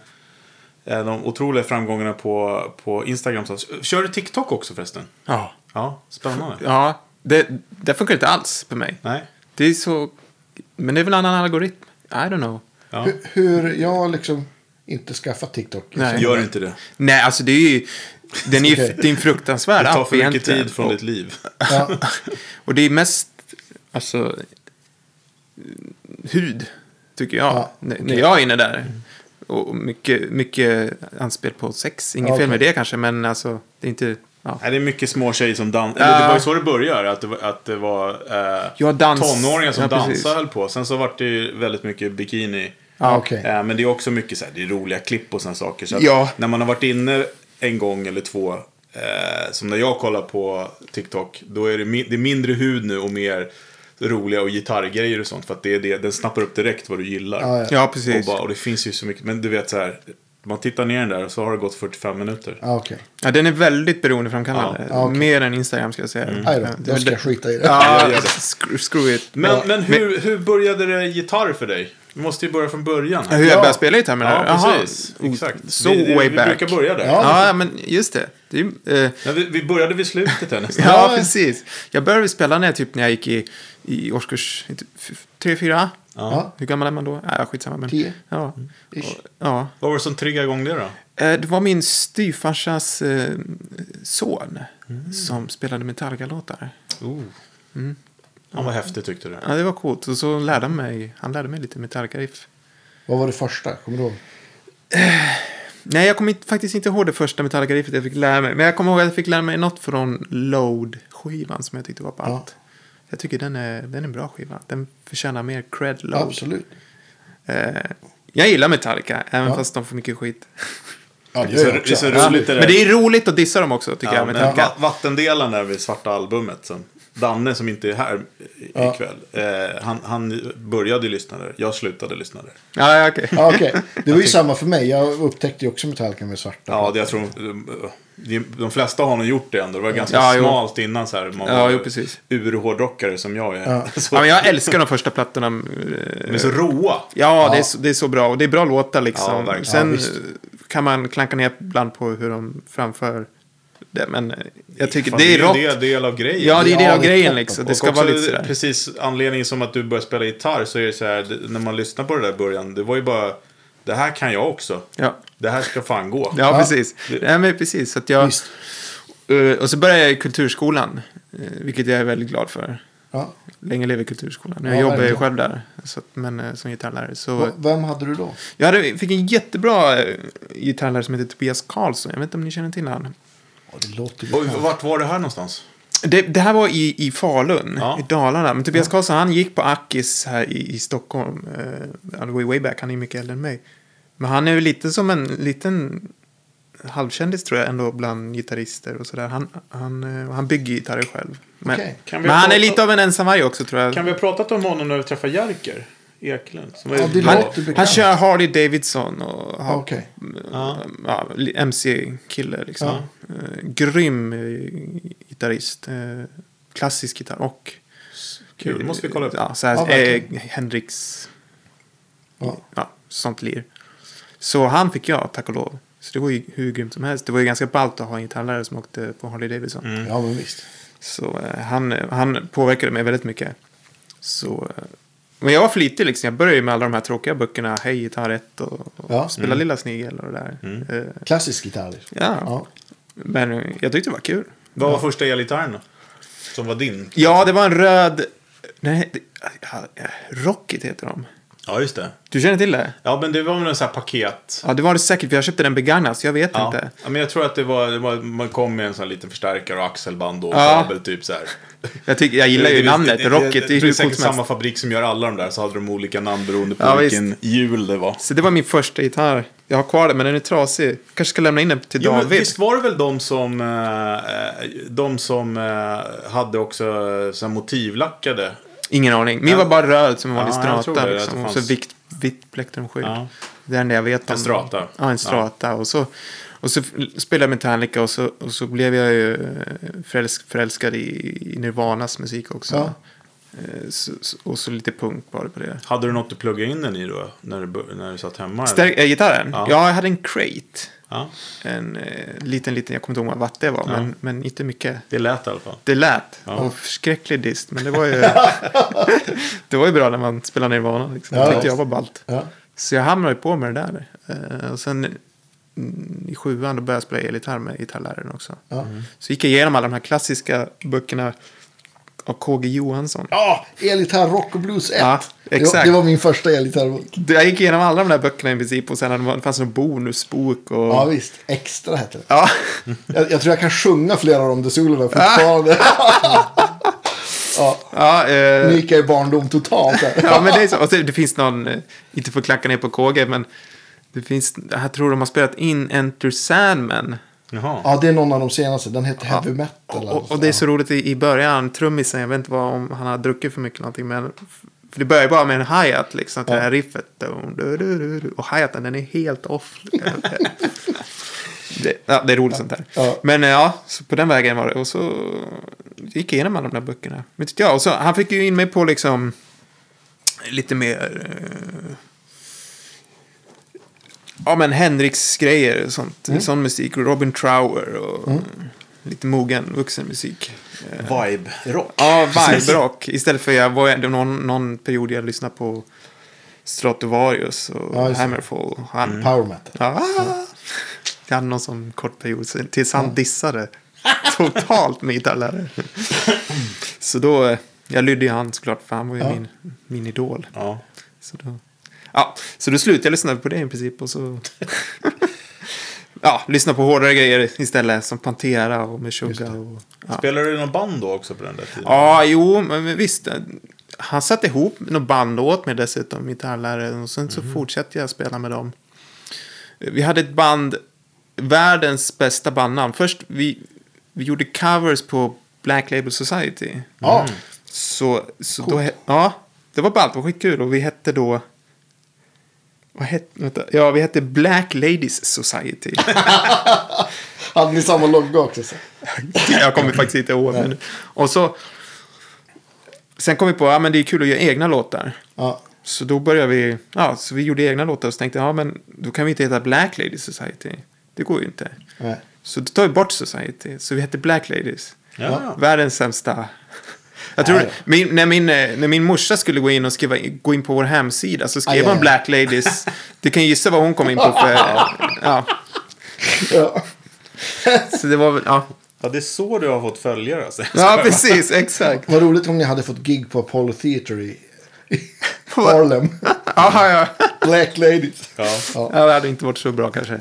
[SPEAKER 1] eh, de otroliga framgångarna på, på Instagram. Så- Kör du TikTok också förresten?
[SPEAKER 3] Ja.
[SPEAKER 1] Ja, spännande.
[SPEAKER 3] Ja, det, det funkar inte alls för mig.
[SPEAKER 1] Nej.
[SPEAKER 3] Det är så... Men det är väl en annan algoritm? I don't know.
[SPEAKER 1] Ja.
[SPEAKER 2] Hur, hur jag har liksom inte skaffat TikTok. Liksom.
[SPEAKER 3] Nej.
[SPEAKER 1] Gör inte det.
[SPEAKER 3] Nej, alltså det är ju... Den är ju det är en fruktansvärd
[SPEAKER 1] Det tar
[SPEAKER 3] app
[SPEAKER 1] för mycket
[SPEAKER 3] egentligen.
[SPEAKER 1] tid från ditt liv.
[SPEAKER 2] Ja.
[SPEAKER 3] Och det är mest, alltså, hud, tycker jag.
[SPEAKER 2] Ja,
[SPEAKER 3] N- När
[SPEAKER 2] okej.
[SPEAKER 3] jag är inne där. Och mycket, mycket anspel på sex. Inget
[SPEAKER 2] Ja,
[SPEAKER 3] fel med
[SPEAKER 2] okej.
[SPEAKER 3] det kanske, men alltså, det är inte... Ja,
[SPEAKER 1] Nej, det är mycket små tjejer som dansar. Det var
[SPEAKER 3] Ja.
[SPEAKER 1] ju så det började. Att det var, att det var eh,
[SPEAKER 3] Ja, dans-
[SPEAKER 1] tonåringar som
[SPEAKER 3] Ja, precis.
[SPEAKER 1] dansade och höll på. Sen så var det ju väldigt mycket bikini.
[SPEAKER 2] Ja, okej.
[SPEAKER 1] Eh, men det är också mycket så här, det är roliga klipp och sådana saker. Så att
[SPEAKER 3] Ja.
[SPEAKER 1] När man har varit inne en gång eller två. Eh, som när jag kollar på TikTok. Då är det, mi- det är mindre hud nu och mer roliga och gitarrgrejer och sånt. För att det är det, den snappar upp direkt vad du gillar.
[SPEAKER 2] Ja, ja.
[SPEAKER 3] Ja,
[SPEAKER 1] Och,
[SPEAKER 3] precis.
[SPEAKER 1] bara, och det finns ju så mycket, men du vet så här. Man tittar ner den där och så har det gått 45 minuter.
[SPEAKER 2] Ah, Okej.
[SPEAKER 3] Ja, den är väldigt beroendeframkallande.
[SPEAKER 2] Ja, okej. Mm.
[SPEAKER 3] Mer än Instagram ska jag säga.
[SPEAKER 2] Aj då,
[SPEAKER 3] Ja, det-
[SPEAKER 2] då ska jag skita i det.
[SPEAKER 1] Mm. Ja,
[SPEAKER 3] Ja,
[SPEAKER 1] gör det.
[SPEAKER 3] sc- screw it.
[SPEAKER 1] Men,
[SPEAKER 3] Ja.
[SPEAKER 1] men, hur, hur började det gitarr för dig? Vi måste ju börja från början.
[SPEAKER 3] Hur
[SPEAKER 1] Här.
[SPEAKER 3] jag
[SPEAKER 2] Ja.
[SPEAKER 3] började spela gitarr menar
[SPEAKER 1] Ja,
[SPEAKER 3] du? Jaha.
[SPEAKER 1] precis. Exakt.
[SPEAKER 3] Så
[SPEAKER 1] vi, vi,
[SPEAKER 3] way
[SPEAKER 1] vi
[SPEAKER 3] back.
[SPEAKER 1] brukar börja där.
[SPEAKER 2] Ja.
[SPEAKER 3] Ja, men just det. det är, ju, eh,
[SPEAKER 1] Men vi, vi började vid slutet här nästan.
[SPEAKER 3] ja,
[SPEAKER 2] Ja.
[SPEAKER 3] precis. Jag började spela när jag, typ, när jag gick i, i typ årskurs 3, 4.
[SPEAKER 1] Ja.
[SPEAKER 3] Hur gammal är man då? Nej, skitsamma. Men,
[SPEAKER 2] Tio.
[SPEAKER 3] Ja.
[SPEAKER 2] Ish.
[SPEAKER 3] Och- ja.
[SPEAKER 1] Vad var det som triggade igång det då?
[SPEAKER 3] Eh, Det var min styvfarsas eh, son som spelade metallgalåtar.
[SPEAKER 1] Ja, vad häftigt tyckte du.
[SPEAKER 3] Ja, det var coolt. Och så lärde han mig, han lärde mig lite metallgriff.
[SPEAKER 2] Vad var det första? Kommer du ihåg?
[SPEAKER 3] Nej, jag kommer inte, faktiskt inte ihåg det första metallgriffet jag fick lära mig. Men jag kommer ihåg att jag fick lära mig något från Load-skivan som jag tyckte var ballt. Jag tycker den är, den är en bra skiva. Den förtjänar mer cred, Load.
[SPEAKER 2] Absolut.
[SPEAKER 3] Eh, jag gillar Metallica, även
[SPEAKER 2] Ja.
[SPEAKER 3] fast de får mycket skit.
[SPEAKER 2] Ja,
[SPEAKER 1] Det är så- det är så
[SPEAKER 2] Ja.
[SPEAKER 1] roligt det där.
[SPEAKER 3] Men det är roligt att dissa dem också, tycker
[SPEAKER 1] Ja,
[SPEAKER 3] jag.
[SPEAKER 1] men
[SPEAKER 3] Metallica.
[SPEAKER 1] va- vattendelen där vid svarta albumet. Som Danne som inte är här i-
[SPEAKER 2] Ja.
[SPEAKER 1] ikväll. Eh, han, han började ju lyssna där. Jag slutade lyssna där.
[SPEAKER 3] Ja, ja, okej.
[SPEAKER 2] Ja, okej. Det var ju samma för mig. Jag upptäckte ju också Metallica med svarta.
[SPEAKER 1] Ja, det jag tror de, de flesta har nog gjort det ändå. Det var ganska
[SPEAKER 3] Ja, jo.
[SPEAKER 1] smalt innan så här. Man
[SPEAKER 3] Ja,
[SPEAKER 1] var
[SPEAKER 3] jo, precis.
[SPEAKER 1] urhårdrockare som jag är.
[SPEAKER 2] Ja.
[SPEAKER 1] Så,
[SPEAKER 3] Ja, men jag älskar de första plattorna. eh,
[SPEAKER 1] De är så råa.
[SPEAKER 3] Ja, Det, är
[SPEAKER 2] Ja.
[SPEAKER 3] så, det är så bra. Och det är bra låtar
[SPEAKER 1] Ja,
[SPEAKER 3] liksom.
[SPEAKER 1] verkligen.
[SPEAKER 3] Sen
[SPEAKER 2] Ja, visst.
[SPEAKER 3] eh, kan man klanka ner ibland på hur de framför det. Men eh, jag tycker
[SPEAKER 1] Fan,
[SPEAKER 3] det är
[SPEAKER 1] ju
[SPEAKER 3] rått.
[SPEAKER 1] en del, del av grejen.
[SPEAKER 3] Ja, det är
[SPEAKER 2] Ja,
[SPEAKER 3] det av
[SPEAKER 2] det är
[SPEAKER 3] grejen
[SPEAKER 2] toppen.
[SPEAKER 3] liksom. Det
[SPEAKER 1] Och
[SPEAKER 3] ska
[SPEAKER 1] också
[SPEAKER 3] vara lite sådär.
[SPEAKER 1] precis anledningen som att du började spela gitarr så är det så här. det- När man lyssnar på det där i början. Det var ju bara. Det här kan jag också.
[SPEAKER 3] Ja.
[SPEAKER 1] Det här ska fan gå.
[SPEAKER 3] Ja,
[SPEAKER 2] Ja.
[SPEAKER 3] precis. Nej, men precis. Så att jag,
[SPEAKER 2] Visst.
[SPEAKER 3] Eh, och så började jag i kulturskolan, eh, vilket jag är väldigt glad för.
[SPEAKER 2] Ja.
[SPEAKER 3] Länge lever kulturskolan. Jag
[SPEAKER 2] Ja,
[SPEAKER 3] jobbar ju
[SPEAKER 2] verkligen.
[SPEAKER 3] själv där, så att, men eh, som gitarrlärare. Så,
[SPEAKER 2] V- Vem hade du då?
[SPEAKER 3] Jag hade, fick en jättebra eh, gitarrlärare som heter Tobias Karlsson. Jag vet inte om ni känner till honom.
[SPEAKER 2] Ja, det låter ju...
[SPEAKER 1] Och vart var det här någonstans?
[SPEAKER 3] Det, det här var i, i Falun,
[SPEAKER 1] Ja.
[SPEAKER 3] i Dalarna. Men Tobias Karlsson, han gick på Akis här i, i Stockholm. Eh, han går ju way back, han är mycket äldre än mig. Men han är ju lite som en liten halvkändis tror jag ändå bland gitarrister och sådär. Han, han, eh, han bygger gitarrer själv. Men,
[SPEAKER 2] Okej.
[SPEAKER 1] Kan vi
[SPEAKER 3] men han är
[SPEAKER 1] prata-
[SPEAKER 3] lite av en ensamvarg också tror jag.
[SPEAKER 1] Kan vi ha pratat om honom när vi träffar Jerker Eklund? Som är
[SPEAKER 2] Ja, det
[SPEAKER 1] bra.
[SPEAKER 2] låter bekant.
[SPEAKER 3] Han kör Harley Davidson och har eh,
[SPEAKER 2] Okej.
[SPEAKER 1] Ja.
[SPEAKER 3] ja, MC-kille liksom. Eh, grym eh, gitarrist. Eh, klassisk gitarr och...
[SPEAKER 1] Kul, det måste vi kolla upp.
[SPEAKER 3] Ja, så här,
[SPEAKER 2] Ja,
[SPEAKER 3] eh,
[SPEAKER 2] verkligen.
[SPEAKER 3] Hendrix,
[SPEAKER 2] Ja.
[SPEAKER 3] ja, sånt lir. Så han fick jag, tack och lov. Så det var ju hur grymt som helst. Det var ju ganska ballt att ha en gitarrlärare som åkte på Harley Davidson.
[SPEAKER 1] Mm.
[SPEAKER 2] ja, men visst.
[SPEAKER 3] Så eh, han, han påverkade mig väldigt mycket. Så, eh, men jag var flitig liksom. Jag började ju med alla de här tråkiga böckerna. Hej gitarr 1 och, och
[SPEAKER 1] mm.
[SPEAKER 2] Ja.
[SPEAKER 3] Spela lilla snigel och det där. Eh,
[SPEAKER 2] Klassisk gitarr. liksom.
[SPEAKER 3] Ja.
[SPEAKER 2] Ja.
[SPEAKER 3] Men eh, jag tyckte det var kul.
[SPEAKER 1] Vad var första elgitarren då? Som var din?
[SPEAKER 3] Ja, det var en röd... Nej, det, ja, Rocket heter de.
[SPEAKER 1] Ja, just det.
[SPEAKER 3] Du känner till det?
[SPEAKER 1] Ja, men det var väl en sån här paket.
[SPEAKER 3] Ja, det var det säkert. För jag köpte den begagnad, så jag vet
[SPEAKER 1] Ja.
[SPEAKER 3] inte.
[SPEAKER 1] ja, men jag tror att det var, det var man kom med en sån här liten förstärkare och axelband och
[SPEAKER 3] Ja.
[SPEAKER 1] kabel typ så här.
[SPEAKER 3] Jag, tycker, jag gillar
[SPEAKER 1] Eh, Det-
[SPEAKER 3] ju
[SPEAKER 1] det-
[SPEAKER 3] namnet.
[SPEAKER 1] det- det-
[SPEAKER 3] Rocket, det, är
[SPEAKER 1] det
[SPEAKER 3] ju
[SPEAKER 1] är
[SPEAKER 3] hur
[SPEAKER 1] säkert
[SPEAKER 3] coolt som helst.
[SPEAKER 1] samma fabrik som gör alla de där, så hade de olika namn beroende på
[SPEAKER 3] Ja,
[SPEAKER 1] vilken hjul det var.
[SPEAKER 3] Så det var min första gitarr. Jag har kvar den, men den är trasig. kanske ska lämna in den till
[SPEAKER 1] Jo, men
[SPEAKER 3] David.
[SPEAKER 1] visst var det väl de som, eh, de som eh, hade också eh, så här motivlackade?
[SPEAKER 3] Ingen aning. Min var bara röd som en vanlig
[SPEAKER 1] Ja, jag tror
[SPEAKER 3] strata.
[SPEAKER 1] det, att
[SPEAKER 3] liksom.
[SPEAKER 1] det
[SPEAKER 3] Och så
[SPEAKER 1] fanns-
[SPEAKER 3] vitt, vitt plektrumskydd.
[SPEAKER 1] Ja.
[SPEAKER 3] Det är den jag vet om.
[SPEAKER 1] En strata.
[SPEAKER 3] Ja, en strata. Och så, och så spelade jag Metallica och så, och så blev jag ju eh, förälsk, förälskad i, i Nirvanas musik också.
[SPEAKER 2] Ja.
[SPEAKER 3] Eh, Så, så- och så lite punk var det på det.
[SPEAKER 1] Hade du något att plugga in den i då? När du, bör- när du satt hemma? eller?
[SPEAKER 3] Stärk, äh, gitarren?
[SPEAKER 1] Ja.
[SPEAKER 3] Ja. ja, jag hade en crate.
[SPEAKER 1] Ja,
[SPEAKER 3] En eh, liten, liten, jag kommer inte ihåg vad det var, men, men inte mycket.
[SPEAKER 1] det lät i alla fall.
[SPEAKER 3] Det lät.
[SPEAKER 1] Ja.
[SPEAKER 3] Och förskräcklig dist. Men det var ju... det var ju bra när man spelade Nirvana. Liksom.
[SPEAKER 2] Ja,
[SPEAKER 3] det
[SPEAKER 2] visst.
[SPEAKER 3] tyckte jag var ballt.
[SPEAKER 2] Ja.
[SPEAKER 3] Så jag hamnade ju på med det där. Eh, och sen mm, i sjuan då började jag spela elgitarr med gitarrläraren också.
[SPEAKER 2] Ja.
[SPEAKER 3] Så gick jag igenom alla de här klassiska böckerna av KG Johansson.
[SPEAKER 2] Ja, elgitarr, rock och blues 1.
[SPEAKER 3] Ja,
[SPEAKER 2] Det,
[SPEAKER 3] exakt.
[SPEAKER 2] var, det var min första elgitarrbok.
[SPEAKER 3] Jag gick igenom alla de där böckerna i princip och sen hade man- det fanns det en bonusbok och...
[SPEAKER 2] Ja,
[SPEAKER 1] Mm.
[SPEAKER 2] visst. Extra hette det.
[SPEAKER 3] Ja.
[SPEAKER 2] Jag, jag tror jag kan sjunga flera av de där solorna fortfarande. ja.
[SPEAKER 3] Ja, eh,
[SPEAKER 2] Nu gick jag i barndom totalt. Där.
[SPEAKER 3] Ja, men det är så. Och så, det finns någon, eh, inte för att klacka ner på KG, men det finns, jag tror de har spelat in Enter Sandman.
[SPEAKER 1] Jaha.
[SPEAKER 2] Ja, det är någon av de senaste. Den heter Heavy Metal. alltså.
[SPEAKER 3] Och,
[SPEAKER 2] eller något
[SPEAKER 3] och, och det är
[SPEAKER 2] sånt.
[SPEAKER 3] så roligt i, i början, trummisen, jag vet inte vad, om han har druckit för mycket eller någonting. Men, för det börjar ju bara med en hi-hat liksom, till det här riffet. Dun, du, du, du, du. Och hi-haten den är helt off. det, ja, det är roligt sånt här.
[SPEAKER 2] Ja.
[SPEAKER 3] Men eh, ja, så på den vägen var det. Och så gick jag igenom alla de där böckerna. Men tyckte jag, och så, han fick ju in mig på liksom lite mer... Eh, ja, men Henriks grejer och sånt. Sån musik. Och Robin Trower och eh, lite mogen vuxenmusik. Eh,
[SPEAKER 1] Vibe-rock.
[SPEAKER 3] Ja, vibe-rock. Istället för jag var, det var någon, någon period jag lyssnade på Stratovarius och
[SPEAKER 2] Ja, just det. Mm.
[SPEAKER 3] Hammerfall. Han,
[SPEAKER 2] Power Metal.
[SPEAKER 3] Ah! Jag hade någon sån kort period sen- tills han dissade totalt min gitarrlärare. Så då, eh, jag lydde ju han såklart för han var ju
[SPEAKER 2] Ja.
[SPEAKER 3] min, min idol.
[SPEAKER 1] Ja.
[SPEAKER 3] Så då, ja, så då slutade jag lyssna på det i princip och så... ja, lyssna på hårdare grejer istället som Pantera och Meshuggah och... Ja.
[SPEAKER 1] Spelade du någon band då också på den där tiden?
[SPEAKER 3] Ja, jo, men visst. Han satte ihop något band åt mig dessutom, gitarrläraren. Och sen så fortsatte jag spela med dem. Vi hade ett band, världens bästa bandnamn. Först, vi, vi gjorde covers på Black Label Society.
[SPEAKER 2] Ja.
[SPEAKER 3] Mm. Så, så då, he- ja, det var ballt, det var skitkul. Och vi hette då... Vad hette, vänta, ja, vi hette Black Ladies Society.
[SPEAKER 2] Hade ni samma logga också? Så?
[SPEAKER 3] Jag kommer faktiskt inte ihåg. Men, och så... Sen kom vi på att ja, men det är kul att göra egna låtar.
[SPEAKER 2] Ja.
[SPEAKER 3] Så då började vi... Ja, så vi gjorde egna låtar och så tänkte jag, ja men då kan vi inte heta Black Ladies Society. Det går ju inte.
[SPEAKER 2] Nej.
[SPEAKER 3] Så då tar vi bort Society. Så vi hette Black Ladies.
[SPEAKER 1] Ja.
[SPEAKER 3] Världens sämsta... Jag tror,
[SPEAKER 2] Nej.
[SPEAKER 3] min, när, min, eh, när min morsa skulle gå in och skriva, gå in på vår hemsida så skrev
[SPEAKER 2] Aj, aj,
[SPEAKER 3] hon
[SPEAKER 2] aj.
[SPEAKER 3] Black Ladies. Du kan gissa vad hon kom in på för... ja,
[SPEAKER 2] Ja.
[SPEAKER 3] så det var väl... Ja,
[SPEAKER 1] ja, det är så du har fått följare alltså.
[SPEAKER 3] ja precis. Exakt.
[SPEAKER 2] Vad roligt om ni hade fått gig på Apollo Theater i i
[SPEAKER 3] Vad?
[SPEAKER 2] Harlem.
[SPEAKER 3] Ja, ja.
[SPEAKER 2] Black Ladies.
[SPEAKER 1] Ja.
[SPEAKER 3] ja, det hade inte varit så bra kanske.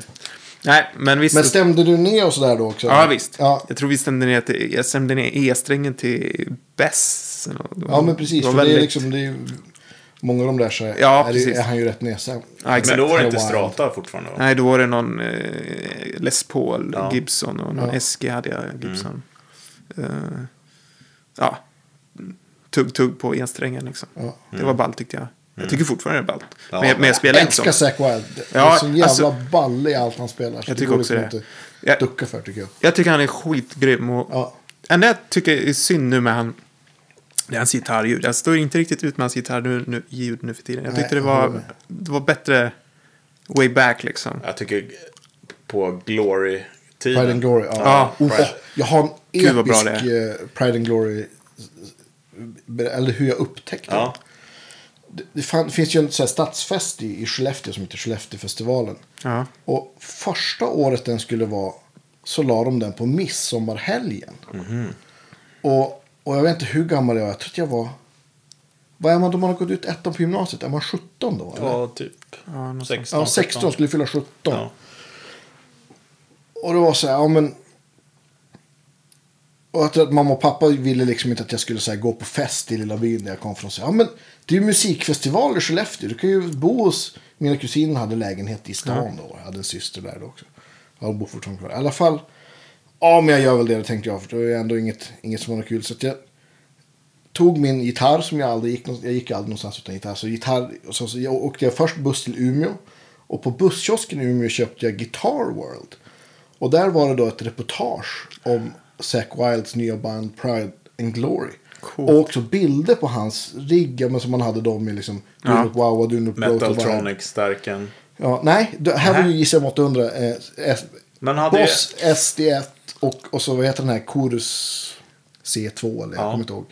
[SPEAKER 3] Nej, men visst.
[SPEAKER 2] Men stämde du ner och sådär då också?
[SPEAKER 3] Ja, visst.
[SPEAKER 2] Ja,
[SPEAKER 3] Jag tror vi stämde ner, till, jag stämde ner E-strängen till Bess. eller något. Det var-
[SPEAKER 2] ja men precis.
[SPEAKER 3] det var
[SPEAKER 2] för det är
[SPEAKER 3] väldigt-
[SPEAKER 2] liksom, det är, ju- många av de där så är,
[SPEAKER 3] Ja,
[SPEAKER 2] är, det,
[SPEAKER 3] precis.
[SPEAKER 2] är han ju rätt nedstämd.
[SPEAKER 3] Ja, exakt.
[SPEAKER 1] Men då var det inte
[SPEAKER 2] Wild.
[SPEAKER 1] Strata fortfarande? va?
[SPEAKER 3] Nej, då var det någon eh, Les Paul,
[SPEAKER 1] Ja. Mm.
[SPEAKER 3] Gibson och någon
[SPEAKER 2] Ja.
[SPEAKER 3] SG hade jag, Gibson. Eh, ja, tugg-tugg på E-strängen liksom.
[SPEAKER 2] Ja.
[SPEAKER 3] Det var ballt tyckte jag. Jag tycker fortfarande det är ballt.
[SPEAKER 1] Mm. Ja.
[SPEAKER 3] Men, jag- men jag
[SPEAKER 2] Jag
[SPEAKER 3] spelar inte
[SPEAKER 2] älskar
[SPEAKER 3] som.
[SPEAKER 2] Zack Wild. Ja,
[SPEAKER 3] Ja,
[SPEAKER 2] är så jävla
[SPEAKER 3] alltså-
[SPEAKER 2] ball i allt han spelar. så
[SPEAKER 3] Jag
[SPEAKER 2] går
[SPEAKER 3] tycker också
[SPEAKER 2] liksom
[SPEAKER 3] det.
[SPEAKER 2] inte att
[SPEAKER 3] Jag,
[SPEAKER 2] ducka för tycker jag.
[SPEAKER 3] jag tycker han är skitgrym. Och,
[SPEAKER 2] Ja.
[SPEAKER 3] enda jag tycker är synd nu med han, det är hans gitarrljud. Jag står inte riktigt ut med hans gitarr nu, nu, ljud nu för tiden. Jag
[SPEAKER 2] Nej,
[SPEAKER 3] tyckte det,
[SPEAKER 2] jag håller
[SPEAKER 3] var,
[SPEAKER 2] med.
[SPEAKER 3] det var bättre way back liksom.
[SPEAKER 1] Jag tycker på
[SPEAKER 2] Pride and
[SPEAKER 1] Glory-tiden.
[SPEAKER 2] Glory. Ja.
[SPEAKER 3] Ja,
[SPEAKER 2] Åh,
[SPEAKER 1] Pride.
[SPEAKER 2] jag har en
[SPEAKER 3] Gud, vad bra
[SPEAKER 2] episk eh, Pride and Glory. eh, Eller hur jag upptäckte den.
[SPEAKER 1] Ja.
[SPEAKER 2] det. Det fan, finns ju en så här stadsfest i, i Skellefteå som heter Skelleftefestivalen.
[SPEAKER 3] Ja.
[SPEAKER 2] Och första året den skulle vara så la de den på midsommarhelgen. Och, och jag vet inte hur gammal jag var. Jag tror att jag var... Vad är man då man har gått ut ettan på gymnasiet? Är man 17 då? Eller?
[SPEAKER 1] Ja, typ.
[SPEAKER 3] Ja, något
[SPEAKER 1] 16.
[SPEAKER 2] Ja, 16 skulle fylla 17.
[SPEAKER 1] Ja.
[SPEAKER 2] Och det var så här, ja men... Och att, att mamma och pappa ville liksom inte att jag skulle så här, gå på fest i lilla byn där jag kom från. Så, här, ja men det är ju musikfestival i Skellefteå. Du kan ju bo hos... Mina kusiner hade lägenhet i stan då. Jag hade en syster där då också. Ja, hon bor fortfarande kvar. I alla fall. Ja men jag gör väl det då, tänkte jag. För det var ju ändå inget, inget som var något kul. Så att jag tog min gitarr som jag aldrig gick någonstans. Jag gick aldrig någonstans utan gitarr. Så gitarr och så, så jag åkte jag först buss till Umeå. Och på busskiosken i Umeå köpte jag Guitar World. Och där var det då ett reportage om Zack Wilds nya band Pride and Glory.
[SPEAKER 3] Coolt.
[SPEAKER 2] Och också bilder på hans riggar men som man hade dem i liksom. Du
[SPEAKER 3] Ja.
[SPEAKER 2] ja. wow, du upp
[SPEAKER 1] Metaltronic-stärken.
[SPEAKER 2] Ja, nej, det- här var ju JCM 800. Eh, S,
[SPEAKER 1] Men hade ju-
[SPEAKER 2] Boss SD1 och, och så vad heter den här Chorus C2 eller jag
[SPEAKER 1] Ja.
[SPEAKER 2] kommer inte ihåg.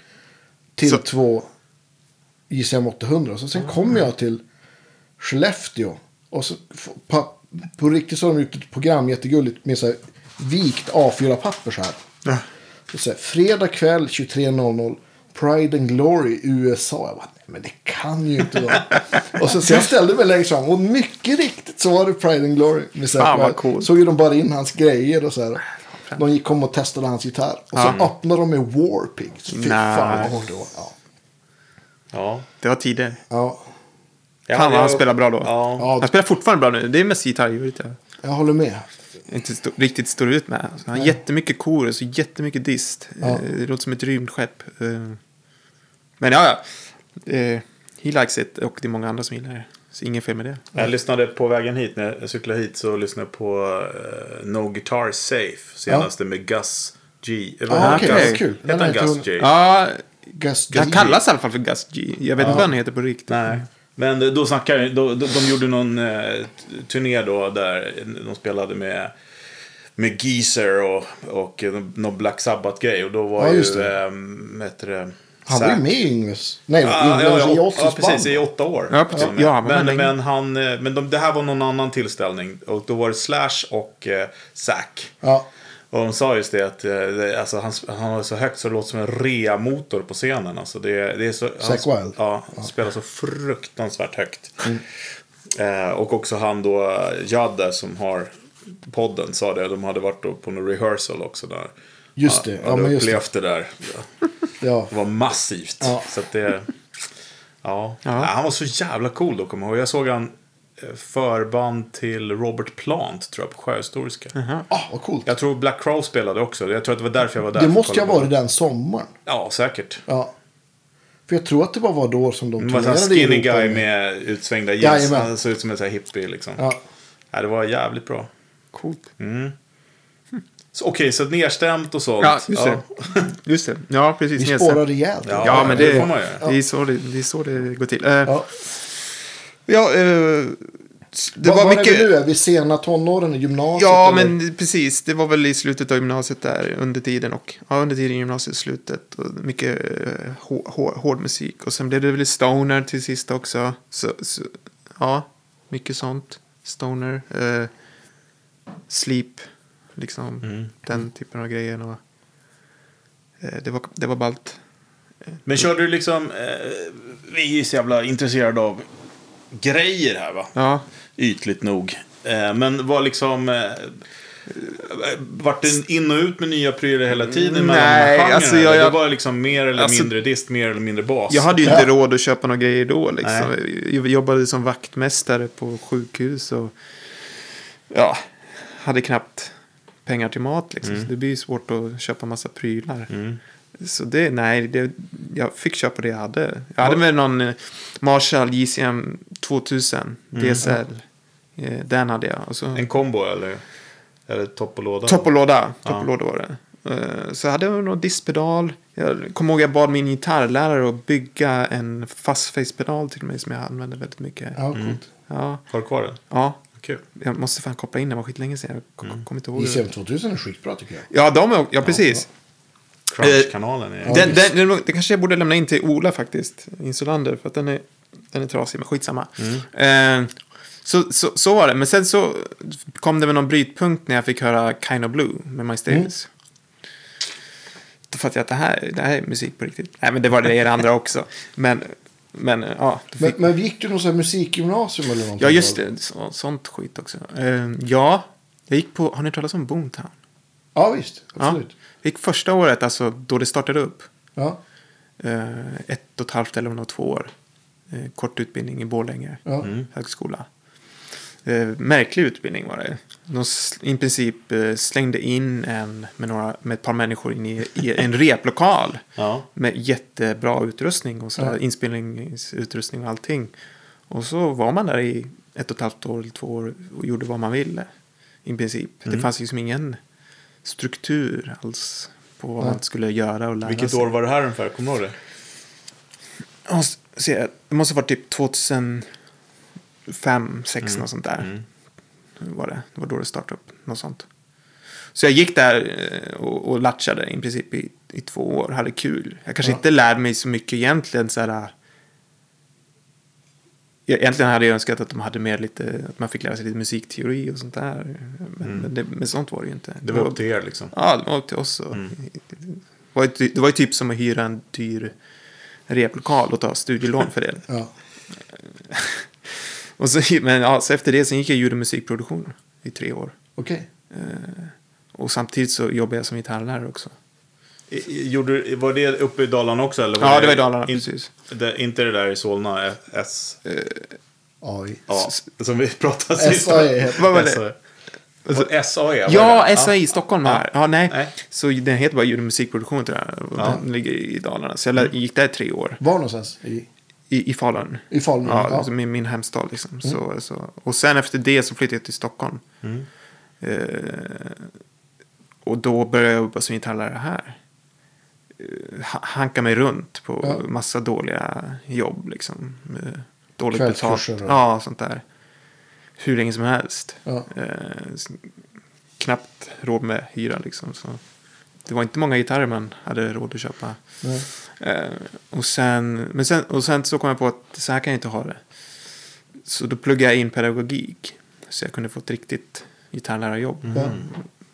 [SPEAKER 2] Till
[SPEAKER 3] Så-
[SPEAKER 2] två JCM 800. Så sen kom jag till Skellefteå. Och så f- pa, på riktigt så har de gjort ett program jättegulligt med så här vikt A4-papper så här.
[SPEAKER 3] Ja.
[SPEAKER 2] Och så här, fredag kväll 23.00 Pride and Glory USA. Jag bara, nej men det kan ju inte vara. och så, så jag ställde mig längst fram och mycket riktigt så var det Pride and Glory. Med så här,
[SPEAKER 3] Fan, vad
[SPEAKER 2] jag
[SPEAKER 3] coolt.
[SPEAKER 2] Såg ju de bara in hans grejer och så här. De gick om och testade hans gitarr. Och så öppnade de med War Pigs. Fy fan vad
[SPEAKER 3] Nej.
[SPEAKER 2] hårt det var. Ja.
[SPEAKER 1] Ja.
[SPEAKER 3] Det var tider.
[SPEAKER 2] Ja.
[SPEAKER 1] Ja,
[SPEAKER 3] Fan vad
[SPEAKER 1] jag-
[SPEAKER 3] han spelar bra då.
[SPEAKER 1] Ja.
[SPEAKER 2] Ja.
[SPEAKER 3] Han spelar fortfarande bra nu. Det är mest gitarrljudet. Ja.
[SPEAKER 2] Jag håller med.
[SPEAKER 3] Inte stå, riktigt står ut med. Så han har jättemycket korus och jättemycket dist.
[SPEAKER 2] Ja.
[SPEAKER 3] Eh, Det låter som ett rymdskepp. Eh, Men ja, ja. Eh, He likes it och det är många andra som gillar det. Så inget fel med det.
[SPEAKER 1] Jag lyssnade på vägen hit, när jag cyklade hit, så lyssnade jag på eh, No Guitar Safe. Senaste med Gus G. Eller vad heter
[SPEAKER 2] Ah, okej,
[SPEAKER 1] han?
[SPEAKER 2] det är kul. Den
[SPEAKER 1] Heter han
[SPEAKER 2] har jag
[SPEAKER 1] Gus
[SPEAKER 2] inte
[SPEAKER 1] G?
[SPEAKER 3] Ja,
[SPEAKER 2] Gus G.
[SPEAKER 3] han kallas i alla fall för Gus G. Jag vet inte vad han heter på riktigt.
[SPEAKER 1] Nej. Men eh, då snackade då, då, de gjorde någon eh, turné då där eh, de spelade med, med Geezer och, och eh, någon Black Sabbath-grej. Och då var
[SPEAKER 2] Ja,
[SPEAKER 1] ju,
[SPEAKER 2] just det.
[SPEAKER 1] ehm, vad heter det?
[SPEAKER 2] Han var ju
[SPEAKER 1] Zac-
[SPEAKER 2] med i Yngves. Nej,
[SPEAKER 1] Ja,
[SPEAKER 2] Yngves
[SPEAKER 1] ja, ja,
[SPEAKER 2] i
[SPEAKER 1] åt- ja,
[SPEAKER 2] Ossis
[SPEAKER 1] precis. I
[SPEAKER 2] band.
[SPEAKER 1] åtta år.
[SPEAKER 3] Ja, precis.
[SPEAKER 1] Till och med.
[SPEAKER 3] Ja, han var med
[SPEAKER 1] men
[SPEAKER 3] länge.
[SPEAKER 1] men, han, eh, men de, det här var någon annan tillställning. Och då var det Slash och eh, Zack.
[SPEAKER 2] Ja.
[SPEAKER 1] Och de sa just det att eh, det, alltså, han, han har så högt så det låter som en reamotor på scenen. Alltså, det, det är så, han,
[SPEAKER 2] Zack Wilde?
[SPEAKER 1] Ja, han spelar så fruktansvärt högt.
[SPEAKER 2] Mm.
[SPEAKER 1] Eh, och också han då, Judd där som har podden sa det. De hade varit då på någon rehearsal också där.
[SPEAKER 2] Just det, ja,
[SPEAKER 1] hade
[SPEAKER 2] men just
[SPEAKER 1] upplevt det där.
[SPEAKER 2] Ja.
[SPEAKER 1] Det var massivt.
[SPEAKER 2] Ja.
[SPEAKER 1] Så att det, ja. Nej, Han var så jävla cool då, kommer jag ihåg. Jag såg han eh, förband till Robert Plant, tror jag, på Sjöhistoriska.
[SPEAKER 2] Ah, vad coolt.
[SPEAKER 1] Jag tror Black Crow spelade också. Jag tror att det var därför jag var där.
[SPEAKER 2] Det
[SPEAKER 1] för att
[SPEAKER 2] måste ju
[SPEAKER 1] kolla
[SPEAKER 2] ha
[SPEAKER 1] på
[SPEAKER 2] varit den sommaren.
[SPEAKER 1] det. Ja, säkert.
[SPEAKER 2] Ja. För jag tror att det bara var då som de
[SPEAKER 1] Det var en sån här skinny guy med utsvängda jeans.
[SPEAKER 2] Jajamän.
[SPEAKER 1] Han såg ut som en sån här hippie liksom.
[SPEAKER 2] Ja.
[SPEAKER 1] Nej, det var jävligt bra.
[SPEAKER 3] Coolt.
[SPEAKER 1] Så, Okej, så nerstämt och sånt.
[SPEAKER 3] Ja, just det. Just det. Ja, precis.
[SPEAKER 2] Vi
[SPEAKER 3] Nielsen.
[SPEAKER 2] spårar rejält.
[SPEAKER 1] Ja.
[SPEAKER 3] Ja, men det,
[SPEAKER 1] det får man göra.
[SPEAKER 3] det, är så det, det är så det går till. Eh,
[SPEAKER 2] Ja.
[SPEAKER 3] ja, eh, det
[SPEAKER 2] Var,
[SPEAKER 3] var
[SPEAKER 2] var är
[SPEAKER 3] mycket...
[SPEAKER 2] vi nu? Är vi sena tonåren i gymnasiet?
[SPEAKER 3] Ja,
[SPEAKER 2] eller?
[SPEAKER 3] men precis. Det var väl i slutet av gymnasiet där, under tiden och ja, under tiden i gymnasiet, slutet och mycket eh, hår, hår, hård musik. Och sen blev det väl stoner till sist också. Så, så ja, mycket sånt. Stoner, eh, sleep, liksom den typen av grejer. Och, eh, det var, det var ballt.
[SPEAKER 1] Men körde du liksom... Eh, vi är ju så jävla intresserade av grejer här va?
[SPEAKER 3] Ja,
[SPEAKER 1] Ytligt nog. Eh, men var liksom... Eh, vart det in och ut med nya prylar hela tiden? mellan de här
[SPEAKER 3] Nej,
[SPEAKER 1] genrerna?
[SPEAKER 3] alltså, jag-
[SPEAKER 1] Eller Det
[SPEAKER 3] jag-
[SPEAKER 1] var liksom mer eller
[SPEAKER 3] Alltså-
[SPEAKER 1] mindre dist, mer eller mindre bas.
[SPEAKER 3] Jag hade ju inte råd att köpa några grejer då. Liksom. Jag jobbade som vaktmästare på sjukhus och ja, hade knappt pengar till mat. Liksom. Så det blir ju svårt att köpa massa prylar. Så det, nej, det, jag fick köpa det jag hade. Jag hade med någon eh, Marshall JCM 2000 DSL. Eh, Den hade jag. Och så,
[SPEAKER 1] En kombo eller? Eller topp och låda?
[SPEAKER 3] Topp och låda. Topp och låda var det. Eh, Så jag hade jag någon diskpedal. Jag kommer ihåg jag bad min gitarrlärare att bygga en fastface-pedal till mig som jag använde väldigt mycket.
[SPEAKER 2] Ja, coolt.
[SPEAKER 3] Ja,
[SPEAKER 1] Har du kvar den?
[SPEAKER 3] ja.
[SPEAKER 1] Kul.
[SPEAKER 3] Jag måste fan koppla in den, det var skitlänge sedan. Jag kom- kommer inte
[SPEAKER 1] Mm.
[SPEAKER 3] ihåg. det.
[SPEAKER 2] ICM 2000 är skitbra tycker jag.
[SPEAKER 3] Ja, de är, Mm. ja precis.
[SPEAKER 1] Crunch-kanalen är...
[SPEAKER 3] Den, den, den, det kanske jag borde lämna in till Ola faktiskt, Insulander, för att den är, den är trasig, men skitsamma.
[SPEAKER 2] Mm.
[SPEAKER 3] Eh, så, så, så var det, men sen så kom det väl någon brytpunkt när jag fick höra Kind of Blue med Miles Davis.
[SPEAKER 2] Mm.
[SPEAKER 3] Då fattade jag att det här, det här är musik på riktigt. Nej, men det var det i det andra också. Men, men eh, ja. då
[SPEAKER 2] Men,
[SPEAKER 3] fick-
[SPEAKER 2] men gick du någon sån här musikgymnasium eller någonting?
[SPEAKER 3] Ja, just det. Så, sånt skit också. Eh, ja, jag gick på, har ni hört talas om Boomtown?
[SPEAKER 2] Ja, visst.
[SPEAKER 3] Ja,
[SPEAKER 2] Absolut.
[SPEAKER 3] jag gick första året, alltså då det startade upp.
[SPEAKER 2] Ja.
[SPEAKER 3] eh, ett och ett halvt eller nog två år. Eh, kort utbildning i Borlänge
[SPEAKER 2] Ja.
[SPEAKER 1] Mm.
[SPEAKER 3] högskola. Eh, märklig utbildning var det. De s- i princip eh, slängde in en med, några, med ett par människor in i, i en replokal.
[SPEAKER 1] Ja.
[SPEAKER 3] Med jättebra utrustning och sådär, inspelningsutrustning och allting. Och så var man där i ett och ett halvt år eller två år och gjorde vad man ville. I princip.
[SPEAKER 1] Mm.
[SPEAKER 3] Det fanns liksom ingen struktur alls på vad man skulle göra och lära
[SPEAKER 1] Vilket
[SPEAKER 3] sig.
[SPEAKER 1] år var det här ungefär? Kommer du ihåg det?
[SPEAKER 3] Jag måste se, det måste ha varit typ 2005,
[SPEAKER 1] Mm.
[SPEAKER 3] 2006 något sånt där. Var det. det var då det startade upp, något sånt. Så jag gick där eh, och, och latchade i princip i, i två år, hade kul. Jag kanske inte lärde mig så mycket egentligen. Så här, eh, jag, egentligen hade jag önskat att de hade mer lite, att man fick lära sig lite musikteori och sånt där. Men, men, det, men sånt var det ju inte.
[SPEAKER 1] Mm. Det var upp till er liksom.
[SPEAKER 3] Ja, det var upp till oss. och- Det, var ju, ty- det var ju typ som att hyra en dyr replokal och ta studielån för det.
[SPEAKER 2] Ja.
[SPEAKER 3] och så, men ja, så efter det sen gick jag ljud och musikproduktion i tre år. Eh,
[SPEAKER 2] Okej.
[SPEAKER 3] Och samtidigt så jobbade jag som gitarrlärare också.
[SPEAKER 1] I- i- Gjorde, var det uppe i Dalarna också? Eller var
[SPEAKER 3] Ja, det var i Dalarna,
[SPEAKER 1] in-
[SPEAKER 3] precis.
[SPEAKER 1] Det, inte det där i Solna, eh, S...
[SPEAKER 2] AI.
[SPEAKER 1] Ja, som vi pratade
[SPEAKER 2] SAE heter
[SPEAKER 3] Vad var E det? Alltså-
[SPEAKER 1] SAE. E. Och SAE? var
[SPEAKER 3] Ja, E.
[SPEAKER 1] det?
[SPEAKER 3] SAI i Stockholm här. Ja, nej.
[SPEAKER 1] Nej.
[SPEAKER 3] Så den heter bara ljud och musikproduktion tror jag. Och
[SPEAKER 1] Ja.
[SPEAKER 3] Den ligger i Dalarna. Så jag lär- gick där tre år.
[SPEAKER 2] Var någonstans? I,
[SPEAKER 3] I, i Falun.
[SPEAKER 2] i Falun?
[SPEAKER 3] Ja, alltså Min, min hemstad liksom. Så, så. Och sen efter det så flyttade jag till Stockholm.
[SPEAKER 2] Mm.
[SPEAKER 3] Eh, och då började jag jobba som gitarrlärare här. Eh, ha- hanka mig runt på
[SPEAKER 2] Ja.
[SPEAKER 3] massa dåliga jobb liksom. Eh, dåligt betalt.
[SPEAKER 2] Kvällskurser och-
[SPEAKER 3] Ja, sånt där. Hur länge som helst.
[SPEAKER 2] Ja.
[SPEAKER 3] Eh, s- knappt råd med hyra liksom. Så. Det var inte många gitarrer man hade råd att köpa.
[SPEAKER 2] Nej.
[SPEAKER 3] Eh, och, sen, men sen, och sen så kom jag på att så här kan jag inte ha det. Så då pluggade jag in pedagogik. Så jag kunde få ett riktigt gitarrlärarjobb.
[SPEAKER 2] Mm.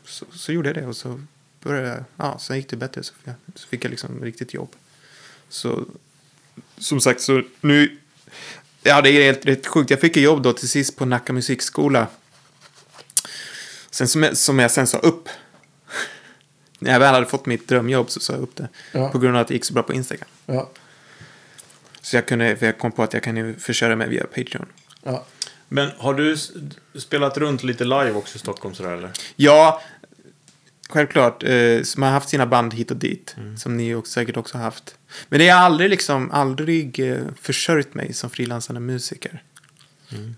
[SPEAKER 3] Så, så gjorde jag det och så började jag. Ja, sen gick det bättre. Så fick jag, så fick jag liksom riktigt jobb. Så som sagt så nu. Ja, det är helt rätt sjukt. Jag fick ett jobb då till sist på Nacka musikskola. Sen som jag, som jag sen sa upp. När jag väl hade fått mitt drömjobb så sa jag upp det.
[SPEAKER 2] Ja.
[SPEAKER 3] På grund av att det gick så bra på Instagram.
[SPEAKER 2] Ja.
[SPEAKER 3] Så jag, kunde, för jag kom på att jag kan ju försörja mig via Patreon.
[SPEAKER 2] Ja.
[SPEAKER 1] Men har du s- spelat runt lite live också i Stockholm sådär eller?
[SPEAKER 3] Ja, självklart. Eh, så man har haft sina band hit och dit.
[SPEAKER 1] Mm.
[SPEAKER 3] Som ni också, säkert också har haft. Men det har aldrig, liksom, aldrig eh, försörjt mig som frilansande musiker.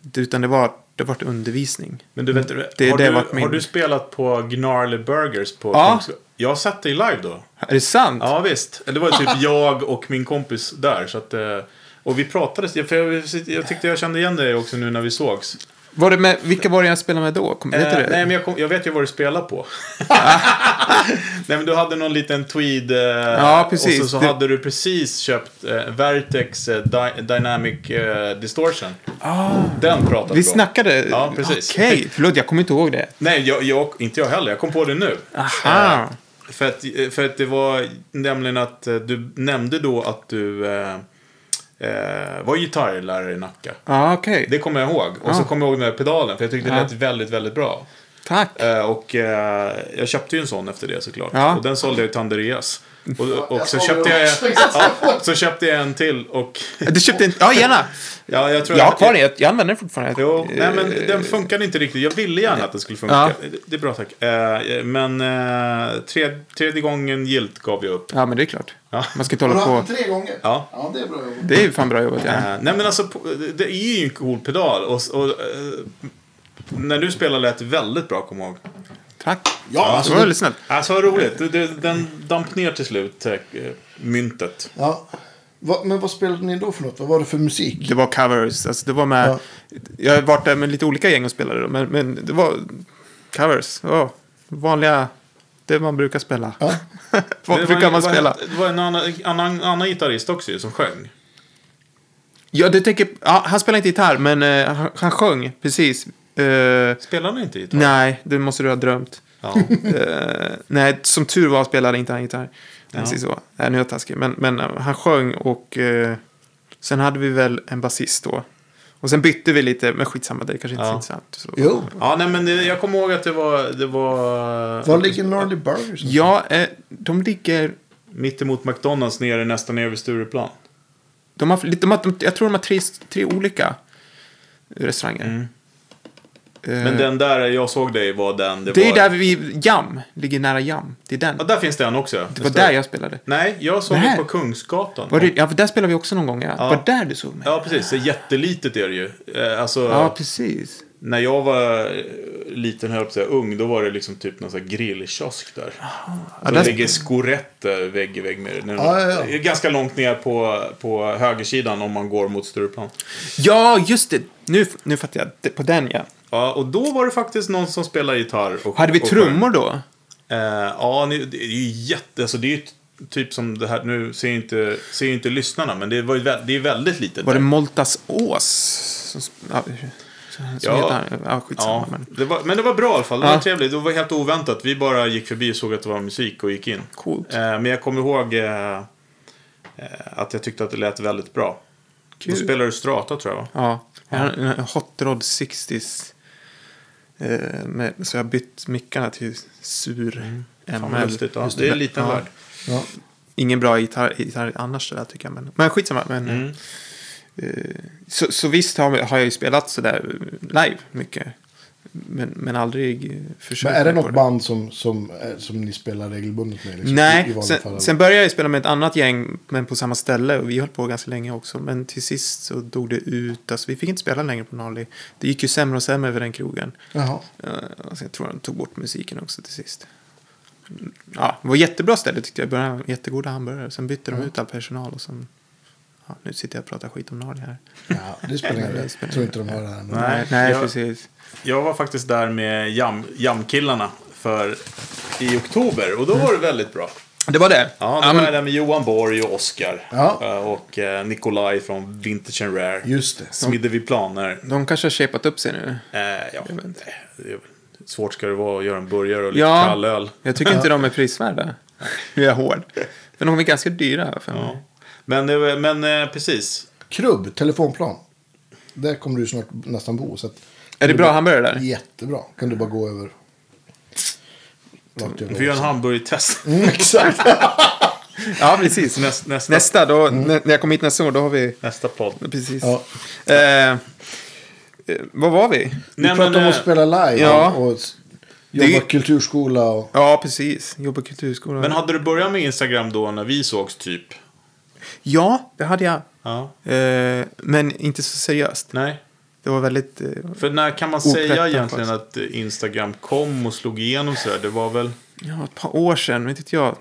[SPEAKER 3] Det- Utan det var, det var undervisning.
[SPEAKER 1] Mm. Men du vet,
[SPEAKER 3] Mm, Det-
[SPEAKER 1] har,
[SPEAKER 3] det har
[SPEAKER 1] du,
[SPEAKER 3] varit min-
[SPEAKER 1] har du spelat på Gnarly Burgers på
[SPEAKER 3] Ja.
[SPEAKER 1] Kungsgatan? Jag satt dig live då.
[SPEAKER 3] Är det sant?
[SPEAKER 1] Ja visst. Det var typ jag och min kompis där. Så att, eh, och vi pratade, för jag, jag tyckte jag kände igen dig också nu när vi sågs.
[SPEAKER 3] Var det med, vilka var det jag spelade med då? Kom, vet du
[SPEAKER 1] Eh,
[SPEAKER 3] det?
[SPEAKER 1] Nej, men jag, kom, jag vet ju vad du spelar på. nej, men du hade någon liten tweed. Eh,
[SPEAKER 3] Ja, precis.
[SPEAKER 1] Och så, så
[SPEAKER 3] Det-
[SPEAKER 1] hade du precis köpt eh, Vertex eh, Dy- Dynamic eh, Distortion. Den pratade
[SPEAKER 3] Ah. Vi
[SPEAKER 1] om.
[SPEAKER 3] snackade?
[SPEAKER 1] Ja, precis.
[SPEAKER 3] Okej, förlåt jag kommer inte ihåg det.
[SPEAKER 1] Nej, jag, jag, inte jag heller. Jag kom på det nu.
[SPEAKER 3] Aha.
[SPEAKER 1] Eh, För att, för att det var nämligen att eh, du nämnde då att du eh, eh, var gitarrlärare i Nacka.
[SPEAKER 3] Ja, okej.
[SPEAKER 1] Det kommer jag ihåg. Och så
[SPEAKER 3] Ja.
[SPEAKER 1] kommer jag ihåg den där pedalen, för jag tyckte
[SPEAKER 3] Ja.
[SPEAKER 1] det lät väldigt, väldigt bra.
[SPEAKER 3] Tack.
[SPEAKER 1] Eh, Och eh, jag köpte ju en sån efter det såklart.
[SPEAKER 3] Ja.
[SPEAKER 1] Och den sålde jag till Andreas. Och, och
[SPEAKER 2] jag
[SPEAKER 1] så,
[SPEAKER 2] såg
[SPEAKER 1] köpte
[SPEAKER 2] det
[SPEAKER 1] jag,
[SPEAKER 2] också.
[SPEAKER 1] ja, så köpte jag en till och...
[SPEAKER 3] Du köpte en... Ja, gärna.
[SPEAKER 1] Ja, jag tror
[SPEAKER 3] Jag
[SPEAKER 1] jag-
[SPEAKER 3] har kvar den. Jag, jag använder den fortfarande.
[SPEAKER 1] Jo, nej men
[SPEAKER 3] Eh,
[SPEAKER 1] den funkade inte riktigt. Jag ville gärna att den skulle funka.
[SPEAKER 3] Ja.
[SPEAKER 1] Det- Det är bra tack. Eh, Men eh, tre, tredje gången gilt gav jag upp.
[SPEAKER 3] Ja, men det är klart.
[SPEAKER 1] Ja.
[SPEAKER 3] Man ska inte
[SPEAKER 2] Har du
[SPEAKER 3] hålla
[SPEAKER 2] haft
[SPEAKER 3] på.
[SPEAKER 2] den tre gånger?
[SPEAKER 1] Ja.
[SPEAKER 2] Ja, det är bra jobbat.
[SPEAKER 3] Det är ju fan bra jobbat. Ja.
[SPEAKER 1] Eh, Nej men alltså, på- det- det är ju en cool pedal. Och, och, eh, när du spelade lät det väldigt bra, kom ihåg.
[SPEAKER 3] Tack.
[SPEAKER 2] Ja, alltså
[SPEAKER 3] det var
[SPEAKER 2] det-
[SPEAKER 3] väldigt snällt.
[SPEAKER 1] Alltså vad roligt. Det- det- Den damp ner till slut, eh, myntet.
[SPEAKER 2] Ja. Va, men vad spelade ni då för något? Vad var det för musik?
[SPEAKER 3] Det var covers. Alltså, det var med,
[SPEAKER 2] Ja.
[SPEAKER 3] Jag har varit där med lite olika gäng och spelade. då, Men, men det var covers. Ja, vanliga... Det man brukar spela. Vad
[SPEAKER 1] Det var
[SPEAKER 3] brukar
[SPEAKER 1] en-
[SPEAKER 3] man
[SPEAKER 1] vad
[SPEAKER 3] spela?
[SPEAKER 1] hette- Det var en annan, annan, annan gitarrist också ju som sjöng.
[SPEAKER 3] Ja, det tänker, ja, han spelade inte gitarr, men eh, han, han sjöng. Precis. Eh,
[SPEAKER 1] Spelade han inte gitarr?
[SPEAKER 3] nej, det måste du ha drömt.
[SPEAKER 1] Ja.
[SPEAKER 3] Eh, nej, som tur var spelade inte han gitarr. Ja. Så. Nej, nu är jag taskig. Men, men eh, han sjöng och eh, sen hade vi väl en basist då. Och sen bytte vi lite, men skitsamma, det är kanske inte
[SPEAKER 1] Ja.
[SPEAKER 3] så intressant. Så.
[SPEAKER 2] Jo.
[SPEAKER 1] ja, nej men det, jag kommer ihåg att det var... Det var,
[SPEAKER 2] Var ligger Gnarly Burgers?
[SPEAKER 3] Ja, eh, de ligger...
[SPEAKER 1] Mittemot McDonalds nere, nästan nere vid Stureplan.
[SPEAKER 3] De har, lite- de har, de, jag tror de har tre, tre olika restauranger. Eh,
[SPEAKER 1] Mm. Men den där jag såg dig var den... Det,
[SPEAKER 3] det är ju
[SPEAKER 1] var,
[SPEAKER 3] där vi... Jam, ligger nära Jam. Det är den.
[SPEAKER 1] Ja, där finns den också.
[SPEAKER 3] det var där jag spelade.
[SPEAKER 1] Nej, jag såg
[SPEAKER 3] Nej.
[SPEAKER 1] dig på Kungsgatan.
[SPEAKER 3] Var det, ja, för där spelade vi också någon gång, ja. Var där du såg mig?
[SPEAKER 1] Ja, precis. Det är jättelitet är det ju. Eh, Alltså,
[SPEAKER 3] ja precis.
[SPEAKER 1] när jag var eh, liten, höll jag på att säga, ung, då var det liksom typ någon sån här grillkiosk där.
[SPEAKER 3] Ja,
[SPEAKER 1] Då
[SPEAKER 3] där-
[SPEAKER 1] ligger skoretter vägg i vägg med det. Nu-
[SPEAKER 2] Ja, ja, ja.
[SPEAKER 1] det är Ganska långt ner på, på högersidan om man går mot Stureplan.
[SPEAKER 3] Ja, just det. Nu, nu fattar jag. Det- På den, ja.
[SPEAKER 1] Ja, och då var det faktiskt någon som spelade gitarr. Och,
[SPEAKER 3] Hade vi
[SPEAKER 1] och
[SPEAKER 3] trummor då?
[SPEAKER 1] sjöng. Eh, ja, ni- det är ju jätte... Alltså det är ju t- typ som det här... Nu ser ju inte, ser ju inte lyssnarna, men det, var ju, vä- det är väldigt litet.
[SPEAKER 3] Var det
[SPEAKER 1] där.
[SPEAKER 3] Moltas Ås? Som, ja, som
[SPEAKER 1] Ja.
[SPEAKER 3] heter han? Ja, skitsamma.
[SPEAKER 1] Ja,
[SPEAKER 3] Men.
[SPEAKER 1] det var, men det var bra i alla fall. Det
[SPEAKER 3] Ja.
[SPEAKER 1] var trevligt. Det var helt oväntat. Vi bara gick förbi och såg att det var musik och gick in.
[SPEAKER 3] Coolt.
[SPEAKER 1] Eh, men jag kommer ihåg eh, eh, att jag tyckte att det lät väldigt bra.
[SPEAKER 3] Kul.
[SPEAKER 1] Då spelade du strata tror jag va?
[SPEAKER 3] Ja. Jag har en en Hot Rod 60s. Eh, med, så jag har bytt mickarna till sur
[SPEAKER 1] Mm. Fan,
[SPEAKER 3] ML.
[SPEAKER 1] häftigt, ja.
[SPEAKER 3] Just
[SPEAKER 1] Det är en liten
[SPEAKER 3] Ja.
[SPEAKER 1] värld.
[SPEAKER 2] Ja.
[SPEAKER 3] Ingen bra gitarr, gitarr annars det där tycker jag. Men, men skitsamma. Men, eh, så, så visst har, har jag ju spelat sådär eh, live mycket. Men, men aldrig eh, försökt.
[SPEAKER 2] Men är det
[SPEAKER 3] mig på
[SPEAKER 2] något band som, som, eh, som ni spelar regelbundet med? Liksom, i, i
[SPEAKER 3] Nej,
[SPEAKER 2] vanliga
[SPEAKER 3] sen,
[SPEAKER 2] fall?
[SPEAKER 3] sen började jag spela med ett annat gäng, men på samma ställe. Och vi höll på ganska länge också. Men till sist så dog det ut. Alltså, vi fick inte spela längre på Nali. Det gick ju sämre och sämre för den krogen.
[SPEAKER 2] Jaha.
[SPEAKER 3] Eh, Alltså, jag tror de tog bort musiken också till sist. Mm, Ja, det var jättebra ställe tyckte jag. i början. Jättegoda hamburgare. Sen bytte
[SPEAKER 1] Mm.
[SPEAKER 3] de ut all personal och sen... Ja, nu sitter jag och pratar skit om Nali här.
[SPEAKER 2] Ja, det spelar ingen roll. Jag tror inte de hör det här. Men...
[SPEAKER 1] Nej,
[SPEAKER 3] Nej, nej
[SPEAKER 1] jag-
[SPEAKER 3] precis.
[SPEAKER 1] Jag var faktiskt där med jam, jamkillarna för, i oktober och då var det väldigt bra.
[SPEAKER 3] Det var det?
[SPEAKER 1] Ja, då var jag där med Johan Borg och Oskar.
[SPEAKER 2] Ja.
[SPEAKER 1] Eh, Och eh, Nikolaj från Vintage and Rare.
[SPEAKER 2] Just det.
[SPEAKER 1] Smidde vi planer.
[SPEAKER 3] De kanske har shapat upp sig nu.
[SPEAKER 1] Eh, ja, det är väl svårt ska det vara att göra en burgare och lite
[SPEAKER 3] Ja.
[SPEAKER 1] kall öl.
[SPEAKER 3] Jag tycker inte de är prisvärda. Nu är jag hård. Men de är ganska dyra för mig.
[SPEAKER 1] Ja. Men, det var- men eh, precis.
[SPEAKER 2] Krubb, telefonplan. Där kommer du snart nästan bo. Så att,
[SPEAKER 3] Är det bra hamburgare där?
[SPEAKER 2] Jättebra. Kan du bara gå över. Rakt
[SPEAKER 1] Vi
[SPEAKER 2] över.
[SPEAKER 1] får göra en hamburgertest.
[SPEAKER 2] Mm, exakt.
[SPEAKER 3] Ja, precis.
[SPEAKER 1] Näst, nästa, Mm.
[SPEAKER 3] Nästa, då, när- när jag kommer hit nästa år, då har vi...
[SPEAKER 1] nästa podd.
[SPEAKER 3] Precis.
[SPEAKER 2] Ja.
[SPEAKER 3] Eh, eh, vad var vi?
[SPEAKER 2] Vi pratar om
[SPEAKER 1] eh,
[SPEAKER 2] att spela live
[SPEAKER 3] ja.
[SPEAKER 2] och s- jobba
[SPEAKER 3] Det-
[SPEAKER 2] kulturskola. Och...
[SPEAKER 3] Ja, precis. Jobba kulturskolan.
[SPEAKER 1] men hade du börjat med Instagram då när vi sågs typ?
[SPEAKER 3] Ja, det hade jag.
[SPEAKER 1] Ja.
[SPEAKER 3] Eh, men inte så seriöst.
[SPEAKER 1] Nej.
[SPEAKER 3] Det var väldigt... Eh,
[SPEAKER 1] För när kan man
[SPEAKER 3] Oprettan
[SPEAKER 1] säga egentligen
[SPEAKER 3] fast.
[SPEAKER 1] att eh, Instagram kom och slog igenom sådär? Det var väl
[SPEAKER 3] ja, ett par år sedan, vet inte jag.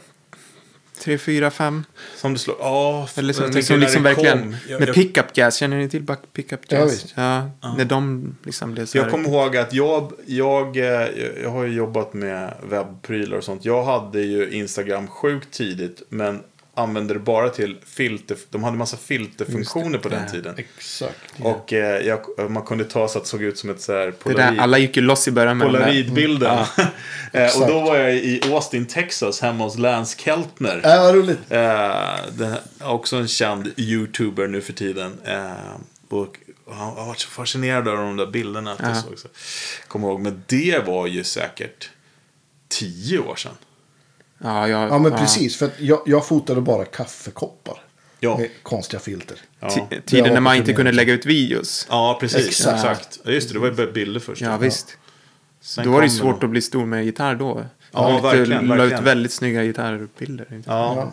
[SPEAKER 3] Tre, fyra, fem.
[SPEAKER 1] som det slog... Ja, f-
[SPEAKER 3] Eller som,
[SPEAKER 1] jag tänker
[SPEAKER 3] liksom,
[SPEAKER 1] när
[SPEAKER 3] liksom
[SPEAKER 1] det kom.
[SPEAKER 3] verkligen.
[SPEAKER 1] Jag,
[SPEAKER 3] med
[SPEAKER 1] jag,
[SPEAKER 3] pickup jazz. Känner ni till back- pickup
[SPEAKER 2] Ja,
[SPEAKER 3] jazz?
[SPEAKER 2] visst.
[SPEAKER 3] Ja, När de liksom blev så
[SPEAKER 1] jag
[SPEAKER 3] här-
[SPEAKER 1] kommer ihåg att jag, jag, eh, jag- jag har ju jobbat med webbprylar och sånt. Jag hade ju Instagram sjukt tidigt men använde det bara till filter. De hade massa filterfunktioner på den
[SPEAKER 3] Ja.
[SPEAKER 1] tiden.
[SPEAKER 2] Exakt.
[SPEAKER 1] Och eh, jag, man kunde ta så att det såg ut som ett så här
[SPEAKER 3] Det där,
[SPEAKER 1] polaroid,
[SPEAKER 3] alla Mm. gick ju loss i början med de där.
[SPEAKER 1] polaroidbilden. Eh, och då
[SPEAKER 2] Exakt.
[SPEAKER 1] var jag i Austin, Texas hemma hos Lance Keltner.
[SPEAKER 2] Äh, vad roligt.
[SPEAKER 1] Eh, det, också en känd youtuber nu för tiden. Eh, och han har varit så fascinerad av de där bilderna. Att jag
[SPEAKER 3] Ja.
[SPEAKER 1] såg, så. Kommer ihåg, men det var ju säkert tio år sedan.
[SPEAKER 3] Ja, jag,
[SPEAKER 2] Ja, men precis. För att jag, jag fotade bara kaffekoppar.
[SPEAKER 1] Ja.
[SPEAKER 2] Med konstiga filter.
[SPEAKER 1] Ja,
[SPEAKER 3] Ti-
[SPEAKER 2] Det har
[SPEAKER 3] Tiden när man
[SPEAKER 2] varit
[SPEAKER 3] inte
[SPEAKER 2] en
[SPEAKER 3] kunde
[SPEAKER 2] del.
[SPEAKER 3] lägga ut videos.
[SPEAKER 1] ja precis.
[SPEAKER 2] Exakt.
[SPEAKER 1] Exakt. Ja, just det, det var ju bara bilder först.
[SPEAKER 3] Ja, visst.
[SPEAKER 1] Sen
[SPEAKER 3] Då var det ju
[SPEAKER 1] kom
[SPEAKER 3] svårt
[SPEAKER 1] någon.
[SPEAKER 3] att bli stor med gitarr då.
[SPEAKER 1] Ja,
[SPEAKER 3] Man la ut-
[SPEAKER 1] verkligen,
[SPEAKER 3] La ut
[SPEAKER 1] verkligen.
[SPEAKER 3] väldigt snygga gitarrbilder. inte?
[SPEAKER 1] Ja,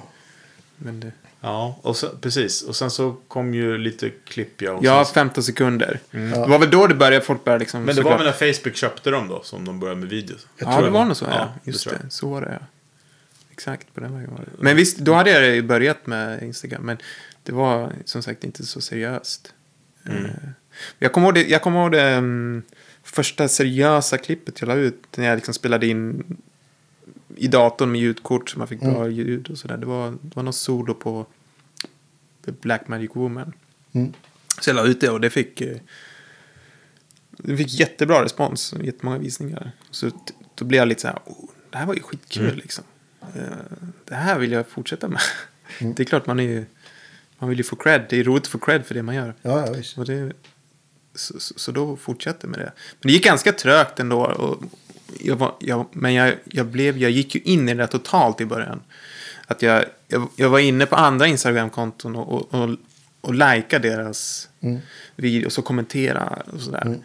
[SPEAKER 3] Men det,
[SPEAKER 1] ja och sen, precis. Och sen så kom ju lite klipp ja. och
[SPEAKER 3] ja,
[SPEAKER 1] sen- Mm.
[SPEAKER 3] 15 sekunder. Det var väl då det började, folk började liksom...
[SPEAKER 1] men det var
[SPEAKER 3] såklart-
[SPEAKER 1] väl när Facebook köpte dem då som de började med videos.
[SPEAKER 2] Jag
[SPEAKER 3] Ja,
[SPEAKER 2] tror
[SPEAKER 3] det
[SPEAKER 2] jag-
[SPEAKER 3] var nog så. Ja,
[SPEAKER 1] Ja, det
[SPEAKER 3] just
[SPEAKER 1] tror
[SPEAKER 3] det.
[SPEAKER 1] jag. Mm.
[SPEAKER 3] Så var det, ja. Exakt, på den vägen var det. Men visst, då hade jag ju börjat med Instagram. Men det var som sagt inte så seriöst.
[SPEAKER 1] Mm.
[SPEAKER 3] Eh, Jag kommer ihåg det, jag kommer ihåg det mm, första seriösa klippet jag la ut. När jag liksom spelade in i datorn med ljudkort så man fick
[SPEAKER 2] Mm.
[SPEAKER 3] bra ljud och sådär. Det var, det var någon solo på Black Magic Woman.
[SPEAKER 2] Mm.
[SPEAKER 3] Så jag la ut det och det fick, eh, det fick jättebra respons. Jättemånga visningar. Så t- då blev jag lite så här, oh, det här var ju skitkul liksom. Eh, Det här vill jag fortsätta med. Det är klart man är ju, man vill ju få cred. Det är roligt att få cred för det man gör.
[SPEAKER 2] Ja, ja, visst.
[SPEAKER 3] Och det, så, så, så då fortsatte jag med det. Men det gick ganska trögt ändå. Och jag var, jag, men jag, jag, blev, jag gick ju in i det totalt i början. Att jag, jag, jag var inne på andra Instagram-konton och, och, och, och likea deras videos och kommentera och sådär.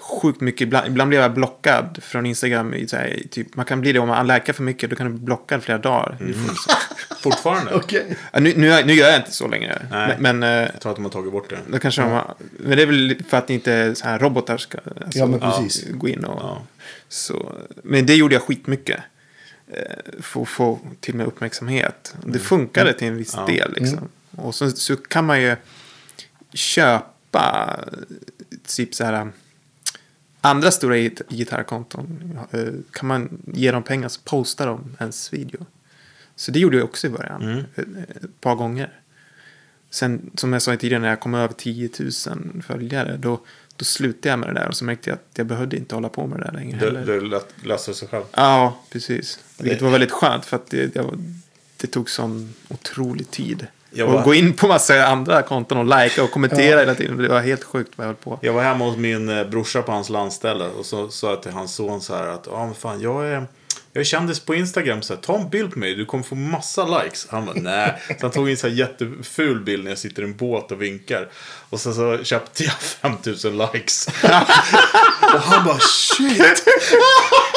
[SPEAKER 3] Sjukt mycket, ibland, ibland blev jag blockad från Instagram. I, så här, i typ, man kan bli det om man likar för mycket, då kan du bli blockad flera dagar.
[SPEAKER 1] Fortfarande.
[SPEAKER 2] Okej.
[SPEAKER 3] Ja, Nu, nu, nu gör jag inte så längre.
[SPEAKER 1] Nej.
[SPEAKER 3] Men, men, eh,
[SPEAKER 1] Jag tror att de har tagit bort det.
[SPEAKER 3] då kanske de har, men det är väl för att inte så här robotar ska alltså,
[SPEAKER 2] Ja, men precis.
[SPEAKER 3] gå in och...
[SPEAKER 1] Ja.
[SPEAKER 3] Så, men det gjorde jag skitmycket. eh, För att få till mig uppmärksamhet. Och
[SPEAKER 2] Mm.
[SPEAKER 3] Det funkade till en viss
[SPEAKER 1] Ja.
[SPEAKER 3] del. Liksom. Och så, så kan man ju köpa eh, typ så här... Andra stora git- gitarrkonton eh, kan man ge dem pengar så postar de ens video. Så det gjorde jag också i början. Ett, ett par gånger. Sen som jag sa tidigare när jag kom över 10 000 följare då, då slutade jag med det där och så märkte jag att jag behövde inte hålla på med det där längre
[SPEAKER 1] Det,
[SPEAKER 3] heller.
[SPEAKER 1] det lät- löser sig själv.
[SPEAKER 3] Ja, precis. Vilket var väldigt skönt för att det, jag, var- det tog sån otrolig tid.
[SPEAKER 1] Jag
[SPEAKER 3] och
[SPEAKER 1] bara-
[SPEAKER 3] gå in på massa andra konton och likea och kommentera hela tiden. Det var helt sjukt vad jag höll på.
[SPEAKER 1] Jag var hemma hos min eh, brorsa på hans landställe och så sa jag till hans son så här att ja men fan jag är jag är kändis på Instagram, så här, ta en bild på mig, du kommer få massa likes. Han bara, nej. Så han tog en så här jätteful bild när jag sitter i en båt och vinkar. Och sen så köpte jag 5000 likes. och han bara, shit.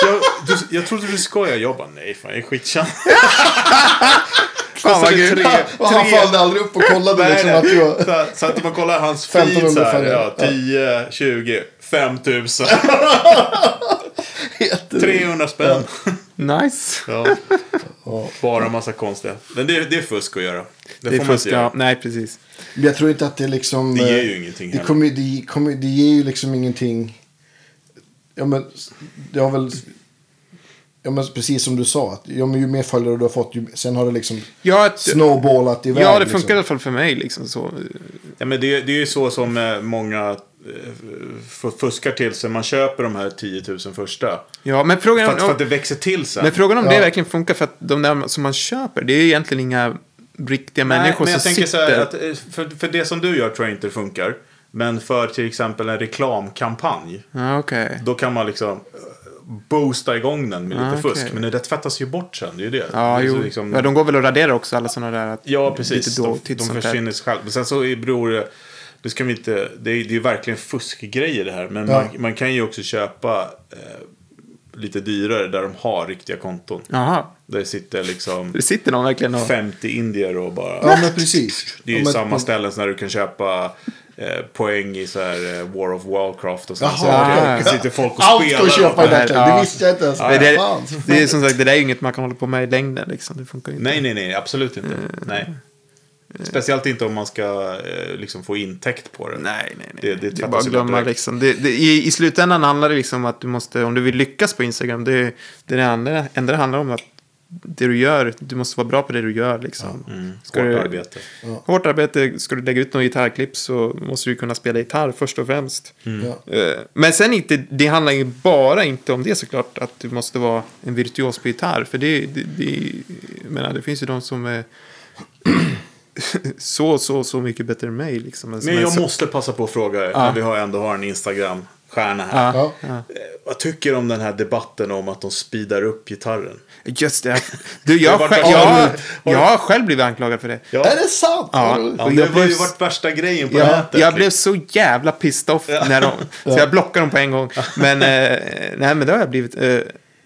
[SPEAKER 1] Jag, du, jag trodde du skojade. Jag bara, nej fan, jag är skitkänd.
[SPEAKER 3] Fan vad
[SPEAKER 1] Kostade
[SPEAKER 3] grymt.
[SPEAKER 1] tre-
[SPEAKER 2] Och han
[SPEAKER 1] tre-
[SPEAKER 2] följde aldrig upp och kollade
[SPEAKER 1] Nej,
[SPEAKER 2] liksom
[SPEAKER 1] nej.
[SPEAKER 2] att du var...
[SPEAKER 1] så, så att man kollar hans
[SPEAKER 2] 15
[SPEAKER 1] feed så här,
[SPEAKER 2] ungefär,
[SPEAKER 1] ja,
[SPEAKER 2] ja.
[SPEAKER 1] 10, 20, 5000,
[SPEAKER 2] Jätte-
[SPEAKER 1] 300 spänn.
[SPEAKER 3] Nice.
[SPEAKER 1] Ja.
[SPEAKER 2] Ja.
[SPEAKER 1] Bara massa konstiga. Men det, det är fusk att göra. Det,
[SPEAKER 3] Det
[SPEAKER 1] får
[SPEAKER 3] är
[SPEAKER 1] man
[SPEAKER 3] fusk,
[SPEAKER 1] inte göra.
[SPEAKER 3] ja. Nej, precis.
[SPEAKER 2] Men jag tror inte att det liksom...
[SPEAKER 1] Det ger ju
[SPEAKER 2] eh,
[SPEAKER 1] ingenting
[SPEAKER 2] det,
[SPEAKER 1] heller.
[SPEAKER 2] kommer, det, kommer, det ger ju liksom ingenting. Ja men, det har väl... Ja men precis som du sa. Att, ja men ju mer följare du har fått, ju, sen har det liksom
[SPEAKER 3] Ja, att,
[SPEAKER 2] snowballat iväg.
[SPEAKER 3] ja det funkar
[SPEAKER 2] Liksom.
[SPEAKER 3] i alla fall för mig. Liksom, så.
[SPEAKER 1] Ja, men det, det är ju så som eh, många eh, f- fuskar till sig. Man köper de här 10 000 första.
[SPEAKER 3] Ja, men
[SPEAKER 1] För
[SPEAKER 3] frågan
[SPEAKER 1] att, för att
[SPEAKER 3] om,
[SPEAKER 1] det växer till sen.
[SPEAKER 3] men frågan om
[SPEAKER 2] Ja.
[SPEAKER 3] det verkligen funkar för att de där som man köper, det är ju egentligen inga riktiga människor
[SPEAKER 1] men jag
[SPEAKER 3] som
[SPEAKER 1] tänker
[SPEAKER 3] sitter.
[SPEAKER 1] så här att eh, för, för det som du gör tror jag inte funkar. Men för till exempel en reklamkampanj.
[SPEAKER 3] Ja, okej.
[SPEAKER 1] Då kan man liksom eh, boosta igång den med lite
[SPEAKER 3] Ah, okej.
[SPEAKER 1] fusk. Men det tvättas ju bort sen, det är ju det.
[SPEAKER 3] Ja,
[SPEAKER 1] det är så
[SPEAKER 3] jo.
[SPEAKER 1] liksom-
[SPEAKER 3] ja, de går väl att radera också, alla sådana där. Att
[SPEAKER 1] Ja, precis.
[SPEAKER 3] Lite då,
[SPEAKER 1] de,
[SPEAKER 3] titt
[SPEAKER 1] de
[SPEAKER 3] sånt där.
[SPEAKER 1] försvinner sig själva. Men sen så är- beror det... Det, ska vi inte, det, är, det är ju verkligen fuskgrejer det här. Men
[SPEAKER 2] Ja.
[SPEAKER 1] man, man kan ju också köpa eh, lite dyrare där de har riktiga konton.
[SPEAKER 3] Jaha,
[SPEAKER 1] Där sitter liksom
[SPEAKER 3] det sitter någon verkligen och...
[SPEAKER 1] 50 indier och bara...
[SPEAKER 2] Ja men precis.
[SPEAKER 1] Det är ju
[SPEAKER 2] ja, men,
[SPEAKER 1] samma ställen som när du kan köpa eh, poäng i så här eh, War of Warcraft och sådana
[SPEAKER 2] Jaha,
[SPEAKER 1] saker.
[SPEAKER 3] okej.
[SPEAKER 1] Så sitter folk och
[SPEAKER 2] Allt
[SPEAKER 1] spelar.
[SPEAKER 2] ska köpa i
[SPEAKER 3] det här.
[SPEAKER 2] detta. Det
[SPEAKER 3] Ja.
[SPEAKER 2] visste jag inte ens.
[SPEAKER 3] det, är-
[SPEAKER 2] Fan.
[SPEAKER 3] det är som sagt, det där är ju inget man kan hålla på med i längden. Liksom. Det funkar ju inte.
[SPEAKER 1] Nej, nej, nej. Absolut inte.
[SPEAKER 2] Mm.
[SPEAKER 1] Nej. Speciellt inte om man ska eh, liksom få intäkt på det.
[SPEAKER 3] Nej, nej, nej.
[SPEAKER 1] Det- det
[SPEAKER 3] Det, är
[SPEAKER 1] tvättas
[SPEAKER 3] bara att
[SPEAKER 1] ju
[SPEAKER 3] glömma
[SPEAKER 1] direkt.
[SPEAKER 3] liksom. Det, det, i, I slutändan handlar det liksom att du måste, om du vill lyckas på Instagram, det, det är det andra, enda det handlar om att det du gör, du måste vara bra på det du gör liksom.
[SPEAKER 1] Mm,
[SPEAKER 3] Ska
[SPEAKER 1] hårt
[SPEAKER 3] du-
[SPEAKER 1] arbete.
[SPEAKER 3] Hårt arbete, ska du lägga ut några gitarrklipp så måste du kunna spela gitarr först och främst.
[SPEAKER 1] Mm.
[SPEAKER 2] Mm. Ja.
[SPEAKER 3] Eh, Men sen inte, det handlar ju bara inte om det såklart, att du måste vara en virtuos på gitarr. För det, det, det, jag menar, det finns ju de som är så, så, så mycket bättre än mig. Liksom.
[SPEAKER 1] Men
[SPEAKER 3] så,
[SPEAKER 1] jag måste passa på att fråga er, när vi har ändå har en Instagram-stjärna här.
[SPEAKER 3] Ja.
[SPEAKER 2] Ja.
[SPEAKER 1] Eh, Vad tycker du om den här debatten om att de speedar upp gitarren?
[SPEAKER 3] Just det. Du,
[SPEAKER 1] har
[SPEAKER 3] jag,
[SPEAKER 1] varit
[SPEAKER 3] själv,
[SPEAKER 1] anklagad.
[SPEAKER 3] jag,
[SPEAKER 1] Har
[SPEAKER 3] har-
[SPEAKER 1] du-
[SPEAKER 3] jag har själv blivit anklagad för det.
[SPEAKER 1] Ja,
[SPEAKER 2] Är det sant?
[SPEAKER 3] Ja.
[SPEAKER 1] ja
[SPEAKER 3] och
[SPEAKER 1] det
[SPEAKER 3] jag
[SPEAKER 1] har ju
[SPEAKER 3] blev-
[SPEAKER 1] varit värsta grejen på
[SPEAKER 3] Jag,
[SPEAKER 1] nätet. liksom.
[SPEAKER 3] jag blev så jävla pissed off när de, så jag blockade dem på en gång. Men, eh, nej, men det har jag blivit. Eh,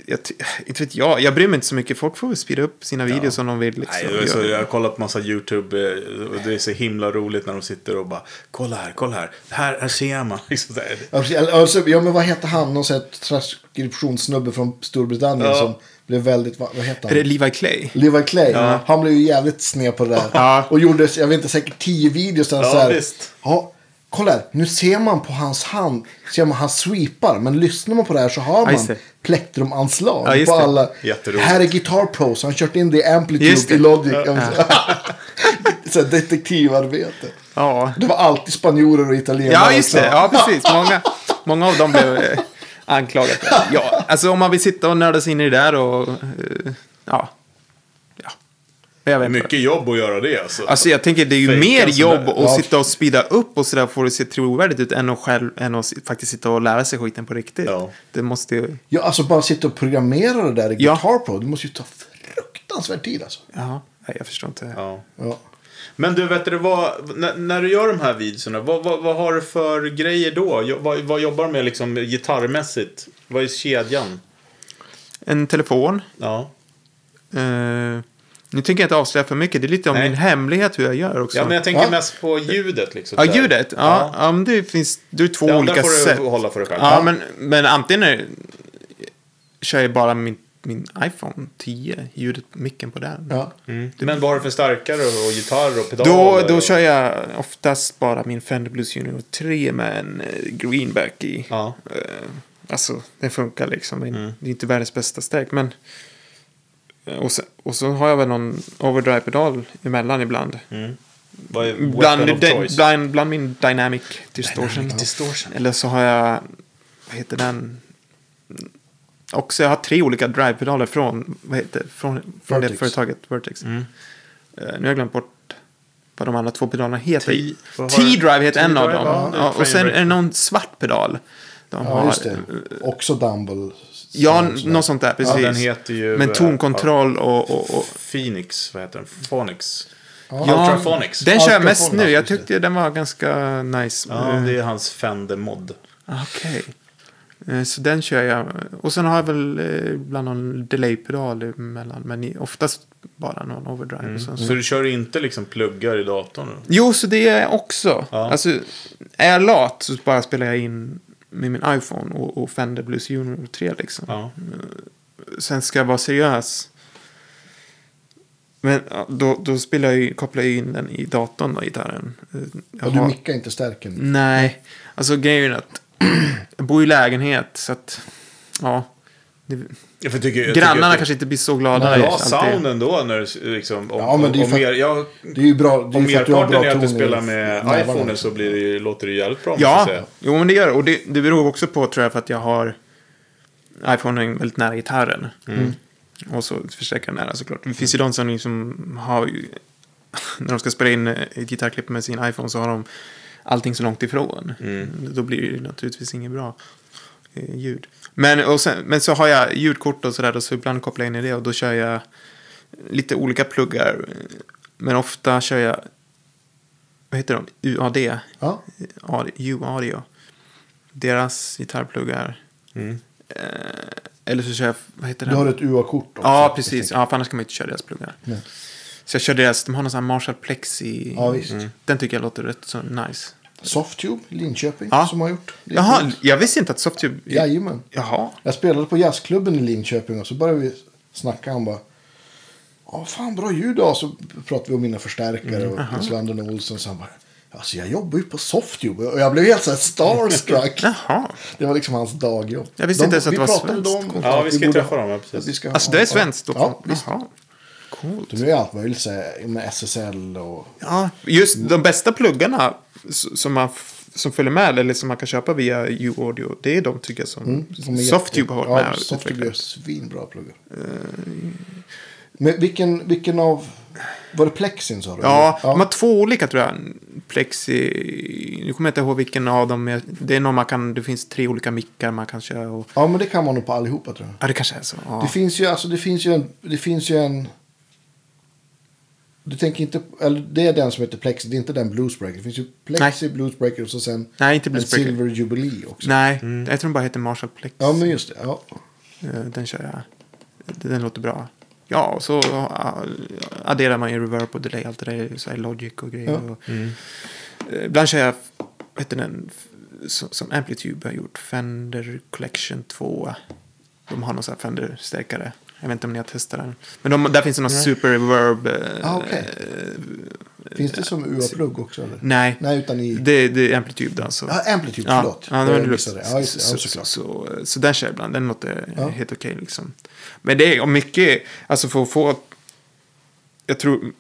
[SPEAKER 3] jag, ty- inte vet jag, jag bryr mig inte så mycket. Folk får väl speeda upp sina videos om de vill. Liksom.
[SPEAKER 1] Nej, det var så, jag har kollat på massa YouTube eh, och det är så himla roligt när de sitter och bara Kolla här, kolla här, här, här ser man. Liksom så här.
[SPEAKER 2] Ja, precis. Alltså, ja men vad hette han? Någon sån här transkriptionssnubbe från Storbritannien
[SPEAKER 1] Ja.
[SPEAKER 2] som blev väldigt, vad, vad hette
[SPEAKER 3] Är
[SPEAKER 2] han?
[SPEAKER 3] det Levi Clay?
[SPEAKER 2] Levi Clay, han blev ju jävligt sned på det där.
[SPEAKER 3] Ja.
[SPEAKER 2] Och gjorde, jag vet inte, säkert tio videos där han
[SPEAKER 1] Ja,
[SPEAKER 2] så här,
[SPEAKER 1] visst.
[SPEAKER 2] Ja, kolla här, nu ser man på hans hand, ser man han sweepar. Men lyssnar man på det här så har man
[SPEAKER 3] just det.
[SPEAKER 2] plektrumanslag
[SPEAKER 3] Ja, just
[SPEAKER 2] på
[SPEAKER 3] det.
[SPEAKER 2] alla.
[SPEAKER 1] Jätteroligt.
[SPEAKER 2] Här är Guitar Pro, så han kört in det i
[SPEAKER 3] Just
[SPEAKER 2] Amplitude
[SPEAKER 3] det.
[SPEAKER 2] i Logic. så här, detektivarbete.
[SPEAKER 3] Ja.
[SPEAKER 2] Det var alltid spanjorer och italienare.
[SPEAKER 3] Ja, just det.
[SPEAKER 2] så.
[SPEAKER 3] Ja, precis. Många, många av dem blev eh, anklagade. för det. Ja, alltså om man vill sitta och nörda sig in i det där och... eh, Ja. ja. Jag vet inte.
[SPEAKER 1] Mycket jobb att göra det alltså.
[SPEAKER 3] Alltså jag tänker det är ju
[SPEAKER 1] Fejka
[SPEAKER 3] mer
[SPEAKER 1] sådär.
[SPEAKER 3] jobb att
[SPEAKER 2] Ja.
[SPEAKER 3] sitta och speeda upp och sådär får det se trovärdigt ut än att, själv, än att si- faktiskt sitta och lära sig skiten på riktigt.
[SPEAKER 1] Ja.
[SPEAKER 3] Det måste ju...
[SPEAKER 2] Ja, alltså bara sitta och programmera det där i
[SPEAKER 3] Ja.
[SPEAKER 2] Guitar Pro. Det måste ju ta fruktansvärd tid alltså.
[SPEAKER 3] Ja, nej, jag förstår inte.
[SPEAKER 1] ja.
[SPEAKER 2] Ja.
[SPEAKER 1] Men du, vet du vad, när, när du gör de här videorna, vad, vad, vad har du för grejer då? Jo- Vad, vad jobbar du med liksom gitarrmässigt? Vad är kedjan?
[SPEAKER 3] En telefon.
[SPEAKER 1] Ja,
[SPEAKER 3] Eh, nu tänker jag inte avslöja för mycket. Det är lite om
[SPEAKER 1] Nej.
[SPEAKER 3] min hemlighet hur jag gör också.
[SPEAKER 1] ja men jag tänker
[SPEAKER 2] Ja.
[SPEAKER 1] mest på ljudet liksom.
[SPEAKER 3] Ja,
[SPEAKER 1] så här.
[SPEAKER 3] ljudet. Ja, ja. men det finns... Det är två
[SPEAKER 1] Det andra
[SPEAKER 3] olika
[SPEAKER 1] får du
[SPEAKER 3] sätt.
[SPEAKER 1] hålla för dig själv.
[SPEAKER 3] Ja, men, men antingen är, kör jag bara min, min iPhone 10, ljudet på micken på den.
[SPEAKER 2] Ja.
[SPEAKER 1] Mm. Men vad har du för starkare och gitarr och pedaler?
[SPEAKER 3] Då, då
[SPEAKER 1] och...
[SPEAKER 3] kör jag oftast bara min Fender Blues Junior 3 med en eh, greenback i.
[SPEAKER 1] Ja.
[SPEAKER 3] Eh, Alltså, den funkar liksom. Det är- Det är inte världens bästa steg, men... Eh, Och, sen, och så har jag väl någon overdrive-pedal emellan ibland.
[SPEAKER 1] Vad är weapon
[SPEAKER 3] Bland,
[SPEAKER 1] of
[SPEAKER 3] den,
[SPEAKER 1] choice?
[SPEAKER 3] bland, bland min Dynamic Distortion.
[SPEAKER 1] Dynamic distortion.
[SPEAKER 3] Eller så har jag... Vad heter den? Också, jag har tre olika drive-pedaler från, vad heter, från, från det
[SPEAKER 2] Vertex.
[SPEAKER 3] företaget, Vertex.
[SPEAKER 1] Mm.
[SPEAKER 3] Eh, nu har jag glömt bort vad de andra två pedalerna heter.
[SPEAKER 1] T- vad har du?
[SPEAKER 3] T-Drive heter en av
[SPEAKER 1] T-Drive,
[SPEAKER 3] dem.
[SPEAKER 1] ja, det är
[SPEAKER 3] Ja, och sen är det
[SPEAKER 1] framework.
[SPEAKER 3] någon svart pedal. De
[SPEAKER 2] Ja,
[SPEAKER 3] har.
[SPEAKER 2] just det. Också Dumble.
[SPEAKER 3] Ja,
[SPEAKER 2] Sånt där.
[SPEAKER 3] något sånt där, precis.
[SPEAKER 1] den heter ju, eh,
[SPEAKER 3] Men tonkontroll och... och, och
[SPEAKER 1] Phoenix, vad heter den? Phonics.
[SPEAKER 3] ja,
[SPEAKER 1] Ultraphonics.
[SPEAKER 3] Den kör jag mest
[SPEAKER 2] Ultraphonics,
[SPEAKER 3] nu. Jag
[SPEAKER 2] just det.
[SPEAKER 3] tyckte den var ganska nice.
[SPEAKER 1] Ja,
[SPEAKER 3] Eh,
[SPEAKER 1] det är hans Fender-mod.
[SPEAKER 3] Okej. Eh, Så den kör jag. Och sen har jag väl eh, ibland någon delay-pedal emellan. Men i- oftast bara någon overdrive. Och sen, så.
[SPEAKER 1] Så du kör inte liksom pluggar i datorn? nu?
[SPEAKER 3] Jo, så det är jag också.
[SPEAKER 1] Ja.
[SPEAKER 3] Alltså, är jag lat så bara spelar jag in med min iPhone och, och Fender Blues Junior 3 liksom.
[SPEAKER 1] Ja.
[SPEAKER 3] Sen ska jag vara seriös. Men ja, då, då spelar jag ju, kopplar jag in den i datorn då, gitarren. Eh, jag
[SPEAKER 2] Ja, du
[SPEAKER 3] har-
[SPEAKER 2] mickar inte stärken.
[SPEAKER 3] Nej, alltså grejen är att jag bor i lägenhet så att, ja. Det,
[SPEAKER 1] Ja, för jag tycker, jag tycker
[SPEAKER 3] grannarna
[SPEAKER 1] att det-
[SPEAKER 3] kanske inte blir så glada.
[SPEAKER 2] Nej,
[SPEAKER 3] alltid.
[SPEAKER 1] Bra sound ändå när du liksom... Om,
[SPEAKER 2] Ja, men det är ju
[SPEAKER 1] om
[SPEAKER 2] för-
[SPEAKER 1] mer, ja,
[SPEAKER 2] Det är ju bra. Det är
[SPEAKER 1] om
[SPEAKER 2] ju för att du har
[SPEAKER 1] merparten är
[SPEAKER 2] bra
[SPEAKER 1] att du
[SPEAKER 2] ton i
[SPEAKER 1] spelar med
[SPEAKER 2] nävarna. liksom.
[SPEAKER 1] iPhone så blir det, ju- låter det ju jävligt bra. måste jag
[SPEAKER 3] Ja,
[SPEAKER 1] säga.
[SPEAKER 3] jo men det gör det. Och det, det beror också på tror jag för att jag har iPhonen väldigt nära gitarren. Och så förstärkaren nära såklart. Det finns ju de som liksom har, ju- när de ska spela in eh, ett gitarrklipp med sin iPhone så har de allting så långt ifrån. Då blir det naturligtvis inget bra eh, ljud. Men, och sen, men så har jag ljudkort och sådär och så ibland kopplar jag in i det och då kör jag lite olika pluggar. Men ofta kör jag, vad heter de, UAD?
[SPEAKER 2] Ja.
[SPEAKER 3] Audi- U-audio. Deras gitarrpluggar. Eh, eller så kör jag, vad heter
[SPEAKER 2] Mm. Du
[SPEAKER 3] den?
[SPEAKER 2] har ett UA-kort också.
[SPEAKER 3] ja, precis. Ja, för annars kan man ju inte köra deras pluggar.
[SPEAKER 2] Nej.
[SPEAKER 3] Så jag kör deras, de har någon sån här Marshall Plexi.
[SPEAKER 2] Ja, visst.
[SPEAKER 3] Den tycker jag låter rätt så nice.
[SPEAKER 2] Softtube i Linköping
[SPEAKER 3] Ja.
[SPEAKER 2] som har gjort. det.
[SPEAKER 3] Jaha, jag visste inte att Softube...
[SPEAKER 2] Jajamän.
[SPEAKER 3] Jaha.
[SPEAKER 2] Jag spelade på jazzklubben i Linköping och så började vi snacka. Han bara. Ja, fan bra ljud då. Så pratade vi om mina förstärkare
[SPEAKER 3] Mm.
[SPEAKER 2] och Chris Landon Olsson. Så han bara. Alltså jag jobbar ju på Softube. Och jag blev helt så här starstruck.
[SPEAKER 3] Jaha.
[SPEAKER 2] det var liksom hans dagjobb.
[SPEAKER 3] Jag visste inte ens att
[SPEAKER 2] vi
[SPEAKER 3] det var
[SPEAKER 2] pratade
[SPEAKER 3] svenskt.
[SPEAKER 2] om
[SPEAKER 1] Ja, vi
[SPEAKER 2] att
[SPEAKER 1] ska
[SPEAKER 2] borde-
[SPEAKER 1] träffa dem, ja, precis.
[SPEAKER 2] att vi ska ha-
[SPEAKER 3] Alltså det är svenskt också.
[SPEAKER 2] Ja, visst.
[SPEAKER 3] Jaha. Coolt.
[SPEAKER 2] Nu är allt möjligt så här, med SSL och...
[SPEAKER 3] Ja, just de bästa pluggarna s- som man f- som följer med eller som man kan köpa via U-audio. Det är de tycker jag som
[SPEAKER 2] Mm, som är jätte-
[SPEAKER 3] Softube har varit med
[SPEAKER 2] Ja,
[SPEAKER 3] och Eh,
[SPEAKER 2] Softube
[SPEAKER 3] utvecklat.
[SPEAKER 2] gör svinbra pluggar. Men vilken, vilken av... Var det Plexin sa du?
[SPEAKER 3] Ja,
[SPEAKER 2] ja.
[SPEAKER 3] de har två olika tror jag. Plexi, nu kommer jag inte ihåg vilken av dem. är. Det är någon man kan, det finns tre olika mickar man kan köra. Och,
[SPEAKER 2] Ja, men det kan man nog på allihopa tror jag.
[SPEAKER 3] ja, det kanske är så.
[SPEAKER 2] Det
[SPEAKER 3] Ja.
[SPEAKER 2] finns ju, alltså det finns ju en... Det finns ju en... Du tänker inte... Eller det är den som heter Plexi, det är inte den Bluesbreaker. Det finns ju Plexi, Bluesbreaker och så sen...
[SPEAKER 3] Nej, inte
[SPEAKER 2] en
[SPEAKER 3] Bluesbreaker.
[SPEAKER 2] Silver Jubilee också. Mm.
[SPEAKER 3] Nej, jag tror den bara heter Marshall Plex.
[SPEAKER 2] Ja, men just det. Ja.
[SPEAKER 3] Eh, Den kör jag. Den låter bra. Ja, och så ah, adderar man ju reverb och delay, allt det där, så här logic och grejer.
[SPEAKER 2] Ja. Mm.
[SPEAKER 3] Och, Eh, Ibland kör jag, vad heter den, f- som, som Amplitube har gjort, Fender Collection 2. De har någon sån här Fender-stärkare. Jag vet inte om ni har testat den. Men de, där finns det någon super reverb. eh,
[SPEAKER 2] Ah, okej.
[SPEAKER 3] eh,
[SPEAKER 2] Finns det som UA-plugg också eller?
[SPEAKER 3] nej,
[SPEAKER 2] Nej, utan i...
[SPEAKER 3] det, det är Amplitube då. alltså. Så.
[SPEAKER 2] Ja, Amplitude,
[SPEAKER 3] Ja,
[SPEAKER 2] typ förlåt.
[SPEAKER 3] Ja, det var
[SPEAKER 2] Jag
[SPEAKER 3] det
[SPEAKER 2] missade det. Ja, just det. Ja,
[SPEAKER 3] så, så,
[SPEAKER 2] såklart.
[SPEAKER 3] så, så den kör jag ibland. Den låter
[SPEAKER 2] Ja.
[SPEAKER 3] helt okej liksom. Men det är och mycket, alltså för att få... Jag tror...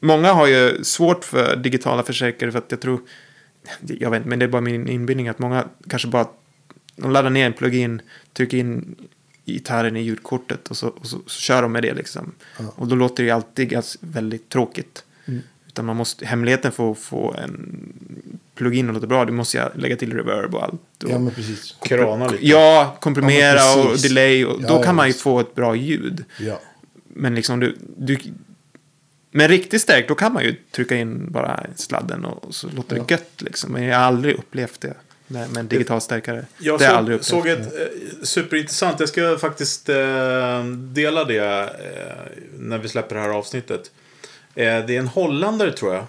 [SPEAKER 3] Många har ju svårt för digitala försäkringar för att jag tror... Jag vet inte, men det är bara min inbildning att många kanske bara... De laddar ner en plugin, trycker in gitarren i ljudkortet och så, och så, så kör de med det liksom. Och då låter det ju alltid ganska, väldigt tråkigt.
[SPEAKER 2] Mm.
[SPEAKER 3] Utan man måste, hemligheten för att få en plugin att låta bra, du måste jag lägga till reverb och allt. Och,
[SPEAKER 2] Ja, men precis.
[SPEAKER 1] Krana lite.
[SPEAKER 3] Ja, komprimera
[SPEAKER 2] Ja, men
[SPEAKER 3] och
[SPEAKER 2] precis.
[SPEAKER 3] delay. Och,
[SPEAKER 2] Ja,
[SPEAKER 3] då
[SPEAKER 2] ja,
[SPEAKER 3] kan man ju
[SPEAKER 2] visst.
[SPEAKER 3] få ett bra ljud.
[SPEAKER 2] Ja.
[SPEAKER 3] Men liksom du... du men riktigt stark, då kan man ju trycka in bara sladden och och så låter det gött liksom. Men jag har aldrig upplevt det med, med en digital stärkare.
[SPEAKER 1] Jag
[SPEAKER 3] det har jag aldrig
[SPEAKER 1] såg,
[SPEAKER 3] upplevt.
[SPEAKER 1] såg ett eh, superintressant, jag ska faktiskt eh, dela det eh, när vi släpper det här avsnittet. Eh, det är en holländare tror jag.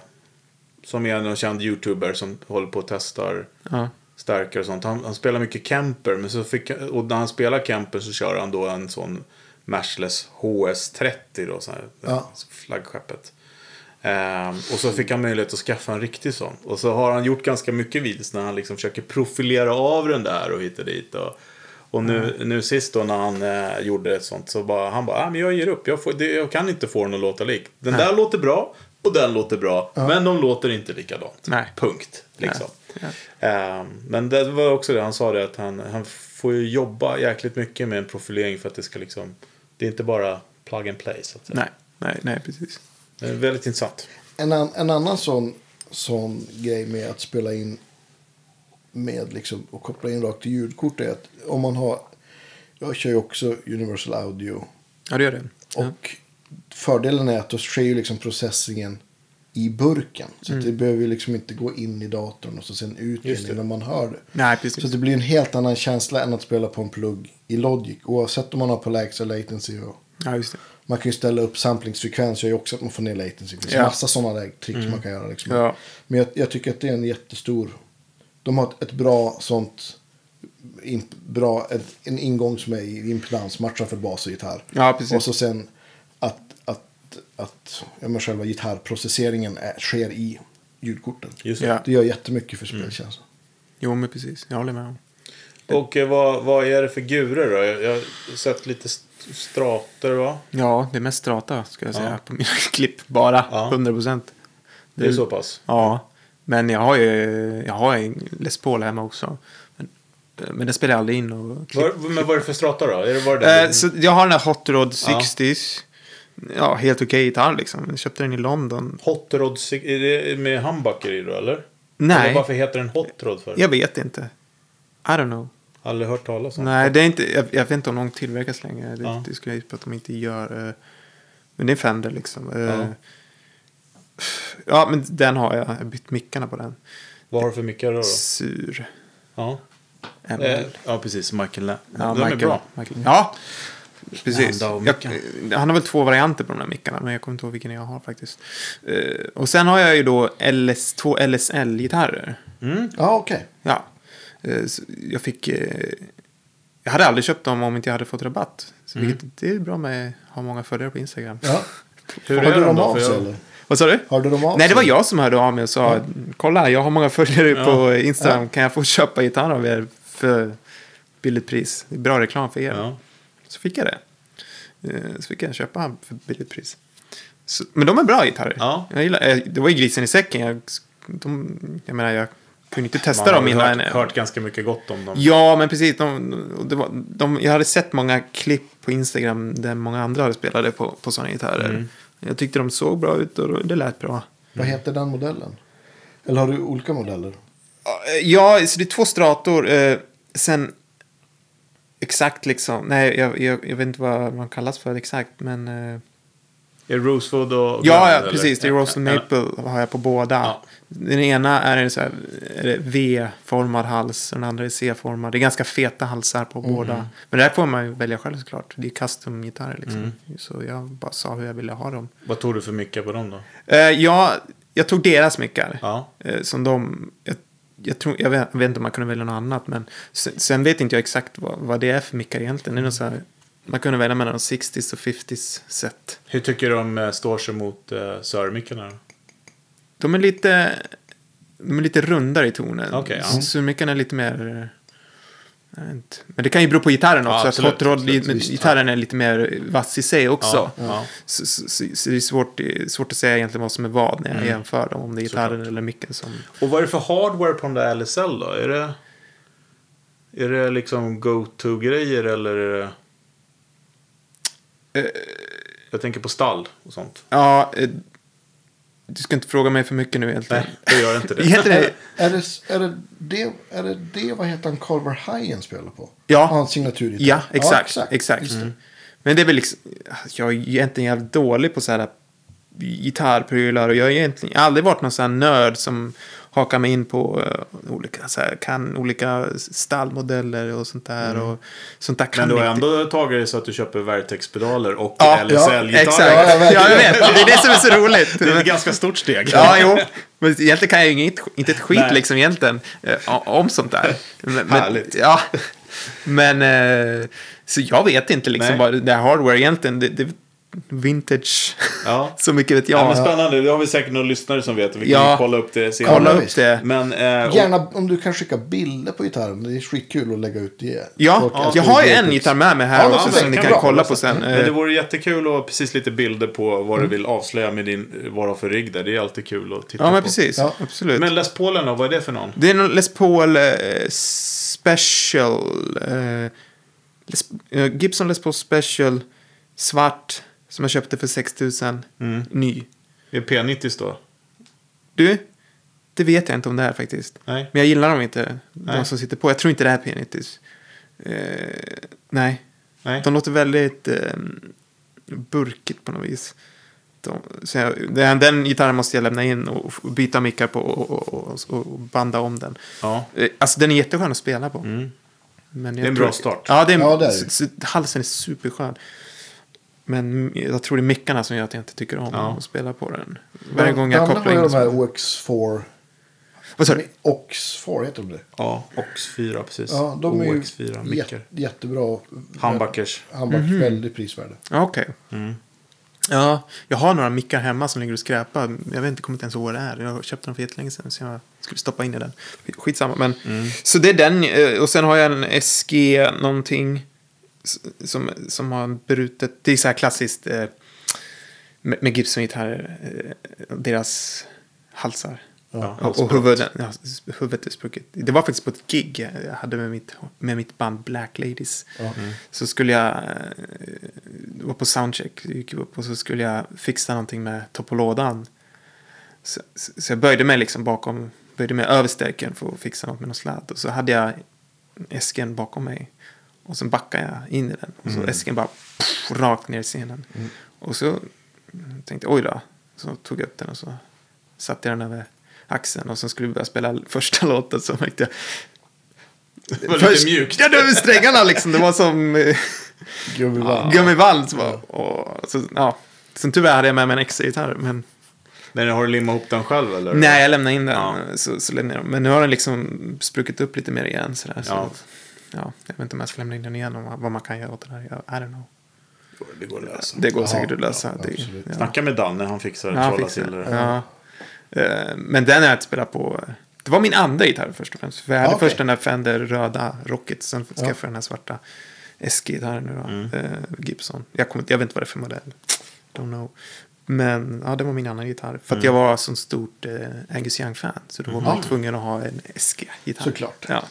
[SPEAKER 1] Som är en känd youtuber som håller på och testar
[SPEAKER 3] Ja.
[SPEAKER 1] stärkare och sånt. Han, han spelar mycket camper. Men så fick, och när han spelar camper så kör han då en sån Mashless HS30 då. Sån här,
[SPEAKER 2] Ja.
[SPEAKER 1] Flaggskeppet. Ehm, och så fick han möjlighet att skaffa en riktig sån. Och så har han gjort ganska mycket videos när han liksom försöker profilera av den där och hit och dit. Och, och nu, nu sist då när han eh, gjorde ett sånt så bara han bara, ah, men jag ger upp. Jag, får, det, jag kan inte få den att låta lik. Den där låter bra och den låter bra. Men de låter inte likadant.
[SPEAKER 3] Nej.
[SPEAKER 1] Punkt. Liksom. Ehm, men det var också det han sa det att han, han får ju jobba jäkligt mycket med en profilering för att det ska liksom. Det är inte bara plug and play så att säga.
[SPEAKER 3] Nej, nej, nej, precis.
[SPEAKER 1] Det är väldigt intressant.
[SPEAKER 2] En, an, en annan sån, sån grej med att spela in med liksom, och koppla in rakt till ljudkort är att om man har Jag kör ju också Universal Audio.
[SPEAKER 3] Ja, det gör det. Ja.
[SPEAKER 2] Och fördelen är att då sker ju liksom processingen i burken. Så
[SPEAKER 3] Mm.
[SPEAKER 2] att det behöver ju liksom inte gå in i datorn och så sen
[SPEAKER 1] Just
[SPEAKER 2] ut igen
[SPEAKER 1] det.
[SPEAKER 2] innan man hör det.
[SPEAKER 3] Nej,
[SPEAKER 2] Så
[SPEAKER 3] precis.
[SPEAKER 2] det blir en helt annan känsla än att spela på en plugg i Logic. Oavsett om man har på lägsta latency. Och
[SPEAKER 3] Ja, just det.
[SPEAKER 2] man kan ju ställa upp samplingsfrekvens. gör ju också att man får ner latency. Det finns
[SPEAKER 3] Ja. Mm.
[SPEAKER 2] massa sådana där tricks man kan göra. Liksom.
[SPEAKER 3] Ja.
[SPEAKER 2] Men jag, jag tycker att det är en jättestor. De har ett, ett bra sånt. In, bra, ett, en ingång som är i impedansmatchen för bas och gitarr.
[SPEAKER 3] Ja, precis.
[SPEAKER 2] Och så sen att, att, att ja, men själva gitarrprocesseringen är, sker i ljudkorten.
[SPEAKER 1] Just det.
[SPEAKER 3] Ja.
[SPEAKER 2] Det gör jättemycket för
[SPEAKER 3] Mm.
[SPEAKER 2] spelkänslan.
[SPEAKER 3] Jo, men precis. Jag håller med om.
[SPEAKER 1] Och eh, vad, vad är det för gurer då? Jag, jag har sett lite st- strater va?
[SPEAKER 3] Ja, det är mest strata, ska jag
[SPEAKER 1] Ja.
[SPEAKER 3] säga, på mina klipp. Bara,
[SPEAKER 1] Ja.
[SPEAKER 3] 100 procent.
[SPEAKER 1] Det är
[SPEAKER 3] Mm.
[SPEAKER 1] så pass.
[SPEAKER 3] Ja, men jag har ju jag har en Les Paul hemma också. Men, men den spelar jag aldrig in och klipp.
[SPEAKER 1] Var, men vad är det för strata då? Är det bara den?
[SPEAKER 3] Eh, så jag har den här Hot Rod 60s. Ja, helt okej gitarr liksom. Jag köpte den i London.
[SPEAKER 1] Hot Rod, sig- är det med humbucker i då eller?
[SPEAKER 3] Nej.
[SPEAKER 1] Eller varför heter den Hot Rod för?
[SPEAKER 3] Jag vet inte. I don't know.
[SPEAKER 1] Aldrig hört talas om.
[SPEAKER 3] Nej, det är inte, jag, jag vet inte om någon tillverkas längre. Det,
[SPEAKER 1] Ja.
[SPEAKER 3] det skulle jag gissa på att de inte gör. eh, Men det är Fender liksom. Eh,
[SPEAKER 1] Ja.
[SPEAKER 3] ja, men den har jag. Jag har bytt mickarna på den.
[SPEAKER 1] Vad har du för mickar då? då?
[SPEAKER 3] Sur.
[SPEAKER 1] Ja.
[SPEAKER 3] ML.
[SPEAKER 1] Eh, ja, precis. Michael Lam.
[SPEAKER 3] Ja,
[SPEAKER 1] de
[SPEAKER 3] Michael,
[SPEAKER 1] är bra.
[SPEAKER 3] Michael. Ja, precis.
[SPEAKER 1] Landau och
[SPEAKER 3] Jag,
[SPEAKER 1] mickarna.
[SPEAKER 3] han har väl två varianter på de där mickarna, men jag kommer inte ihåg vilken jag har faktiskt. Eh, och sen har jag ju då LS, två LSL-gitarrer.
[SPEAKER 2] Ja, okej.
[SPEAKER 3] Ja. Eh, så jag fick... eh, jag hade aldrig köpt dem om inte jag hade fått rabatt. Så vilket, det är bra med att ha många följare på Instagram.
[SPEAKER 2] Ja.
[SPEAKER 1] Hur
[SPEAKER 2] Hörde
[SPEAKER 1] är de
[SPEAKER 2] de
[SPEAKER 1] då?
[SPEAKER 2] av
[SPEAKER 1] För
[SPEAKER 2] sig
[SPEAKER 1] jag-
[SPEAKER 2] eller?
[SPEAKER 3] Vad sa du?
[SPEAKER 2] Hörde de av
[SPEAKER 3] Nej, det var
[SPEAKER 2] sig?
[SPEAKER 3] jag som hörde av mig och sa kolla, jag har många följare på Instagram. Kan jag få köpa gitarr av er för billigt pris? Det är bra reklam för er.
[SPEAKER 1] Ja.
[SPEAKER 3] Så fick jag det. Eh, Så fick jag köpa han för billigt pris. Så, men de är bra gitarrer.
[SPEAKER 1] Ja.
[SPEAKER 3] Jag gillar, eh, det var ju grisen i säcken. Jag, de, jag menar, jag kunde inte
[SPEAKER 1] Man
[SPEAKER 3] testa
[SPEAKER 1] har
[SPEAKER 3] dem
[SPEAKER 1] ju
[SPEAKER 3] innan.
[SPEAKER 1] hört, hört ganska mycket gott om dem.
[SPEAKER 3] Ja, men precis. De, och det var, de, jag hade sett många klipp på Instagram där många andra hade spelade på, på sådana gitarrer.
[SPEAKER 1] Mm.
[SPEAKER 3] Jag tyckte de såg bra ut och det lät bra.
[SPEAKER 2] Vad heter den modellen? Eller har du olika modeller?
[SPEAKER 3] Ja, så det är två strator. Eh, sen exakt liksom. Nej, jag, jag, jag vet inte vad man kallas för exakt, men... Eh,
[SPEAKER 1] Är Rosewood och
[SPEAKER 3] Ja,
[SPEAKER 1] Glenn,
[SPEAKER 3] ja
[SPEAKER 1] eller?
[SPEAKER 3] precis. Det är Rosen
[SPEAKER 1] Ja, ja.
[SPEAKER 3] Maple har jag på båda.
[SPEAKER 1] Ja.
[SPEAKER 3] Den ena är en så här är det V-formad hals och den andra är C-formad. Det är ganska feta halsar på
[SPEAKER 1] Mm.
[SPEAKER 3] båda. Men det här får man ju välja själv såklart. Det är custom-gitarrer liksom.
[SPEAKER 1] Mm.
[SPEAKER 3] Så jag bara sa hur jag ville ha dem.
[SPEAKER 1] Vad tog du för mickar på dem då?
[SPEAKER 3] Eh, jag, jag tog deras mickar.
[SPEAKER 1] Ja.
[SPEAKER 3] Eh, som de... Jag, jag, tror, jag, vet, jag vet inte om man kunde välja något annat. Men sen, sen vet inte jag exakt vad, vad det är för mickar egentligen. Det är någon så här, man kunde välja mellan 60s och 50s set.
[SPEAKER 1] Hur tycker du de eh, står sig mot eh, Sör-mickarna? då?
[SPEAKER 3] De är lite, de är lite rundare i tonen.
[SPEAKER 1] Okej, ja.
[SPEAKER 3] Surmickarna är lite mer... Jag vet inte. Men det kan ju bero på gitarren också.
[SPEAKER 1] Ja,
[SPEAKER 3] att
[SPEAKER 1] absolut,
[SPEAKER 3] hot rod,
[SPEAKER 1] absolut,
[SPEAKER 3] men
[SPEAKER 2] visst.
[SPEAKER 3] gitarren är lite mer vass i sig också.
[SPEAKER 1] Ja, ja.
[SPEAKER 3] Så, så, så, så det är svårt, svårt att säga egentligen vad som är vad när jag
[SPEAKER 1] Mm.
[SPEAKER 3] jämför dem. Om det är gitarren eller micken som...
[SPEAKER 1] Och vad är det för hardware på den där LSL då? Är det, är det liksom go-to-grejer eller är det...
[SPEAKER 3] Eh,
[SPEAKER 1] Jag tänker på stall och sånt.
[SPEAKER 3] Ja, eh, du ska inte fråga mig för mycket nu egentligen.
[SPEAKER 1] Nej, det gör inte det.
[SPEAKER 3] Heter det?
[SPEAKER 2] Är det, är det, det, är det, det vad heter han, Carver Hyen spelar på?
[SPEAKER 3] Ja.
[SPEAKER 2] Hans signaturgitarr.
[SPEAKER 3] Ja, exakt. exakt. Mm. Men det är väl liksom, jag är egentligen jävligt dålig på så här gitarrprylar och jag har egentligen jag har aldrig varit någon sån här nörd som hakar mig in på eh, olika, så här, kan olika stallmodeller och sånt där. Och sånt där kan
[SPEAKER 1] Men du har
[SPEAKER 3] inte-
[SPEAKER 1] ändå tagit det så att du köper Vertex-pedaler och
[SPEAKER 3] Ja,
[SPEAKER 1] LSL-gitarrer.
[SPEAKER 3] Exakt,
[SPEAKER 2] Ja,
[SPEAKER 3] ja,
[SPEAKER 2] ja, verkligen.
[SPEAKER 3] jag vet. Det är det som är så roligt.
[SPEAKER 1] Det är ett ganska stort steg.
[SPEAKER 3] Ja, jo. Men egentligen kan jag ju inget, inte ett skit
[SPEAKER 1] Nej.
[SPEAKER 3] liksom egentligen eh, o- om sånt där. Men,
[SPEAKER 1] Härligt.
[SPEAKER 3] Men, ja. Men, eh, så jag vet inte liksom
[SPEAKER 1] Nej.
[SPEAKER 3] vad det här hardware egentligen. Det, det, vintage.
[SPEAKER 1] Ja.
[SPEAKER 3] så mycket vet jag.
[SPEAKER 1] Ja, men spännande, det har vi säkert några lyssnare som vet. Vi kan
[SPEAKER 3] Ja.
[SPEAKER 1] ju kolla upp det senare.
[SPEAKER 3] Kolla
[SPEAKER 2] Ja,
[SPEAKER 3] upp
[SPEAKER 2] visst.
[SPEAKER 3] det.
[SPEAKER 1] Men, eh, och,
[SPEAKER 2] Gärna om du kan skicka bilder på gitarren. Det är skitkul att lägga ut det.
[SPEAKER 3] Ja,
[SPEAKER 2] Folk älskar
[SPEAKER 3] jag har ju
[SPEAKER 2] det.
[SPEAKER 3] en gitarr med mig här
[SPEAKER 2] Ja, men
[SPEAKER 3] också
[SPEAKER 2] perfekt.
[SPEAKER 3] som ni
[SPEAKER 2] Kan
[SPEAKER 3] kan
[SPEAKER 2] bra.
[SPEAKER 3] kolla på sen.
[SPEAKER 1] men det
[SPEAKER 3] Eh, Mm.
[SPEAKER 1] vore jättekul att precis lite bilder på vad du vill avslöja med din, vad du har för rigg där. Det är alltid kul att titta på.
[SPEAKER 3] Ja, men precis.
[SPEAKER 2] Ja.
[SPEAKER 3] Absolut.
[SPEAKER 1] Men Les Paulen då, vad är det för någon?
[SPEAKER 3] Det är någon Les Paul eh, Special. Eh, Les, eh, Gibson Les Paul Special. Svart. Som jag köpte för 6000.
[SPEAKER 1] Mm.
[SPEAKER 3] Ny.
[SPEAKER 1] Är det P90 då?
[SPEAKER 3] Du, det vet jag inte om det är faktiskt.
[SPEAKER 1] Nej.
[SPEAKER 3] Men jag gillar dem inte. De
[SPEAKER 1] Nej.
[SPEAKER 3] som sitter på. Jag tror inte det är P90. Eh, nej.
[SPEAKER 1] Nej.
[SPEAKER 3] De låter väldigt eh, burkigt på något vis. De, så jag, den, den gitarren måste jag lämna in och, och byta mickar på och, och, och, och banda om den.
[SPEAKER 1] Ja. Mm.
[SPEAKER 3] Eh, Alltså den är jätteskön att spela på. Men jag
[SPEAKER 1] Det är en
[SPEAKER 3] tror-
[SPEAKER 1] bra start.
[SPEAKER 3] Ja, det är,
[SPEAKER 2] Ja, det är det.
[SPEAKER 3] s- s- halsen är superskön. Men jag tror det är mickarna som gör att jag inte tycker om
[SPEAKER 1] Ja.
[SPEAKER 3] att spela på den. Varje gång jag
[SPEAKER 2] Danne
[SPEAKER 3] kopplar in
[SPEAKER 2] har ju
[SPEAKER 3] den.
[SPEAKER 2] de här
[SPEAKER 3] så-
[SPEAKER 2] OX4.
[SPEAKER 3] Vad sa du?
[SPEAKER 2] OX4 heter de det.
[SPEAKER 1] Ja, OX4 precis.
[SPEAKER 2] Ja, de är ju
[SPEAKER 1] OX4
[SPEAKER 2] jätte,
[SPEAKER 1] mickar.
[SPEAKER 2] jättebra.
[SPEAKER 1] Handbackers.
[SPEAKER 2] Handback,
[SPEAKER 3] Mhm.
[SPEAKER 2] väldigt prisvärda.
[SPEAKER 3] Ja, Okej. Mm. Ja, jag har några mickar hemma som ligger och skräpar. Jag vet inte, kommer inte ens ihåg vad det är. Jag köpte dem för jättelänge sedan så jag skulle stoppa in i den. Skitsamma. Men, Så det är den. eh, Och sen har jag en SG någonting. s- Som, som har brutet. Det är så här klassiskt. Eh, med, med Gibson-gitarrer. Eh, deras halsar.
[SPEAKER 1] Ja,
[SPEAKER 3] och och huvudet, ja, s- huvudet är sprucket. Det var faktiskt på ett gig jag hade med mitt, med mitt band Black Ladies.
[SPEAKER 2] Ja.
[SPEAKER 3] Så skulle jag, eh, det var på soundcheck, så gick jag upp och så skulle jag fixa någonting med topolådan. Så, så så jag böjde mig liksom bakom, böjde mig över stärken för att fixa något med någon sladd. Och så hade jag äsken bakom mig. Och sen backade jag in i den. Och så
[SPEAKER 1] Mm.
[SPEAKER 3] äsken bara pff, rakt ner i scenen. Och så tänkte jag, oj då. Så tog jag upp den och så satte jag den över axeln. Och sen skulle vi börja spela första låten så märkte jag.
[SPEAKER 1] Det var lite mjukt.
[SPEAKER 3] Ja, det var strängarna liksom. Det var som... eh,
[SPEAKER 2] Gummi
[SPEAKER 3] Ja.
[SPEAKER 2] ja.
[SPEAKER 3] Gummi Wall. Så, bara, åh, så, ja. Sen tyvärr hade jag med mig en extra gitarr. Men
[SPEAKER 1] Men har du limmat ihop den själv eller?
[SPEAKER 3] nej, jag lämnade in den.
[SPEAKER 1] Ja.
[SPEAKER 3] Så, så lämnade jag den. Men nu har den liksom spruckit upp lite mer igen. Sådär, så,
[SPEAKER 1] Ja.
[SPEAKER 3] ja. jag vet inte om jag ska lämna in den igen och vad- vad man kan göra åt den här. Jag, I don't know.
[SPEAKER 1] Det går att lösa.
[SPEAKER 3] Det går
[SPEAKER 2] Ja,
[SPEAKER 3] säkert att lösa.
[SPEAKER 2] ja,
[SPEAKER 3] det,
[SPEAKER 2] absolut.
[SPEAKER 3] ja.
[SPEAKER 1] Snacka med Danne, han fixar det.
[SPEAKER 3] Ja,
[SPEAKER 1] Trolla
[SPEAKER 3] fixar
[SPEAKER 1] till
[SPEAKER 3] det.
[SPEAKER 1] det.
[SPEAKER 3] Ja. Eh, Men den har jag spelat på. Det var min andra gitarr först och främst. För jag hade
[SPEAKER 2] Ja, Ah, okej.
[SPEAKER 3] först den där Fender röda Rocket. Sen skaffade jag den här svarta SG-gitarren nu
[SPEAKER 1] Mm.
[SPEAKER 3] då. eh, Gibson. Jag, kommer, inte- jag vet inte vad det är för modell. Don't know. Men ja, det var min andra gitarr.
[SPEAKER 2] Mm.
[SPEAKER 3] För att jag var sån stort eh, Angus Young-fan. Så då var man tvungen att ha en SG-gitarr.
[SPEAKER 2] Såklart.
[SPEAKER 3] Ja.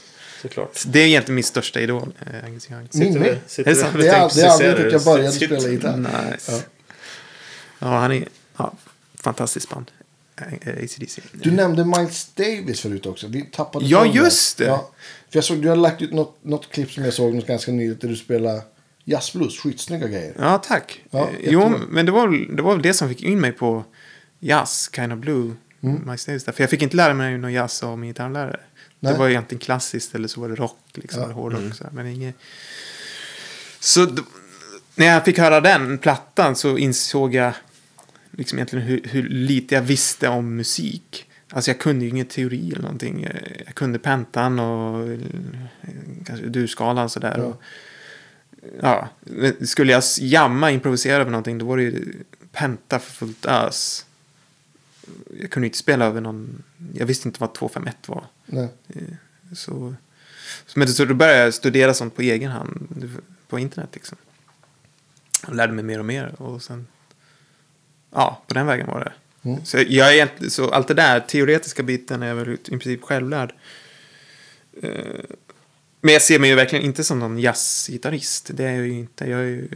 [SPEAKER 1] Såklart.
[SPEAKER 3] Så det är egentligen min största idol, eh, Angus Young.
[SPEAKER 2] Min
[SPEAKER 1] Sitter
[SPEAKER 2] med.
[SPEAKER 1] vi- sitter
[SPEAKER 3] Det är
[SPEAKER 1] vi-
[SPEAKER 3] sant.
[SPEAKER 1] vi
[SPEAKER 2] Det
[SPEAKER 1] tänkte
[SPEAKER 2] är- det är
[SPEAKER 1] precis säga
[SPEAKER 2] anledningen till att jag började spela gitarr.
[SPEAKER 3] Nice. Ja.
[SPEAKER 2] Ja.
[SPEAKER 3] han är ja, fantastiskt band. Eh, ACDC.
[SPEAKER 2] Du nämnde Miles Davis förut också. Vi tappade
[SPEAKER 3] Ja,
[SPEAKER 2] tråden där.
[SPEAKER 3] just det.
[SPEAKER 2] Ja. För jag såg, du har lagt ut något, något klipp som jag såg något ganska nyligt där du spelar jazzblues. Skitsnygga grejer.
[SPEAKER 3] Ja, tack.
[SPEAKER 2] Ja,
[SPEAKER 3] Eh, jo,
[SPEAKER 2] jättebra.
[SPEAKER 3] men det var, väl- det var väl det som fick in mig på jazz, kind of blue.
[SPEAKER 2] Mm.
[SPEAKER 3] Miles Davis där. För jag fick inte lära mig någon jazz av min gitarrlärare. Det
[SPEAKER 2] Nej.
[SPEAKER 3] var egentligen klassiskt eller så var det rock, liksom,
[SPEAKER 2] Ja.
[SPEAKER 3] eller hårdrock. Så här, men inget... Så d- när jag fick höra den plattan så insåg jag liksom egentligen hur, hur lite jag visste om musik. Alltså jag kunde ju ingen teori eller någonting. Eh, Jag kunde pentan och eh, kanske durskalan sådär. Och, ja, men skulle jag s- jamma, improvisera över någonting, då var det ju penta för fullt ös. Jag kunde ju inte spela över någon, jag visste inte vad 251 var.
[SPEAKER 2] Nej.
[SPEAKER 3] Eh, Så, så, men, så då började jag studera sånt på egen hand, på internet liksom. Och lärde mig mer och mer och sen, ja, på den vägen var det.
[SPEAKER 2] Mm.
[SPEAKER 3] Så, jag- jag är, egent- så allt det där teoretiska biten är jag väl i princip självlärd. Eh, Men jag ser mig ju verkligen inte som någon jazzgitarrist. Det är jag ju inte. Jag är ju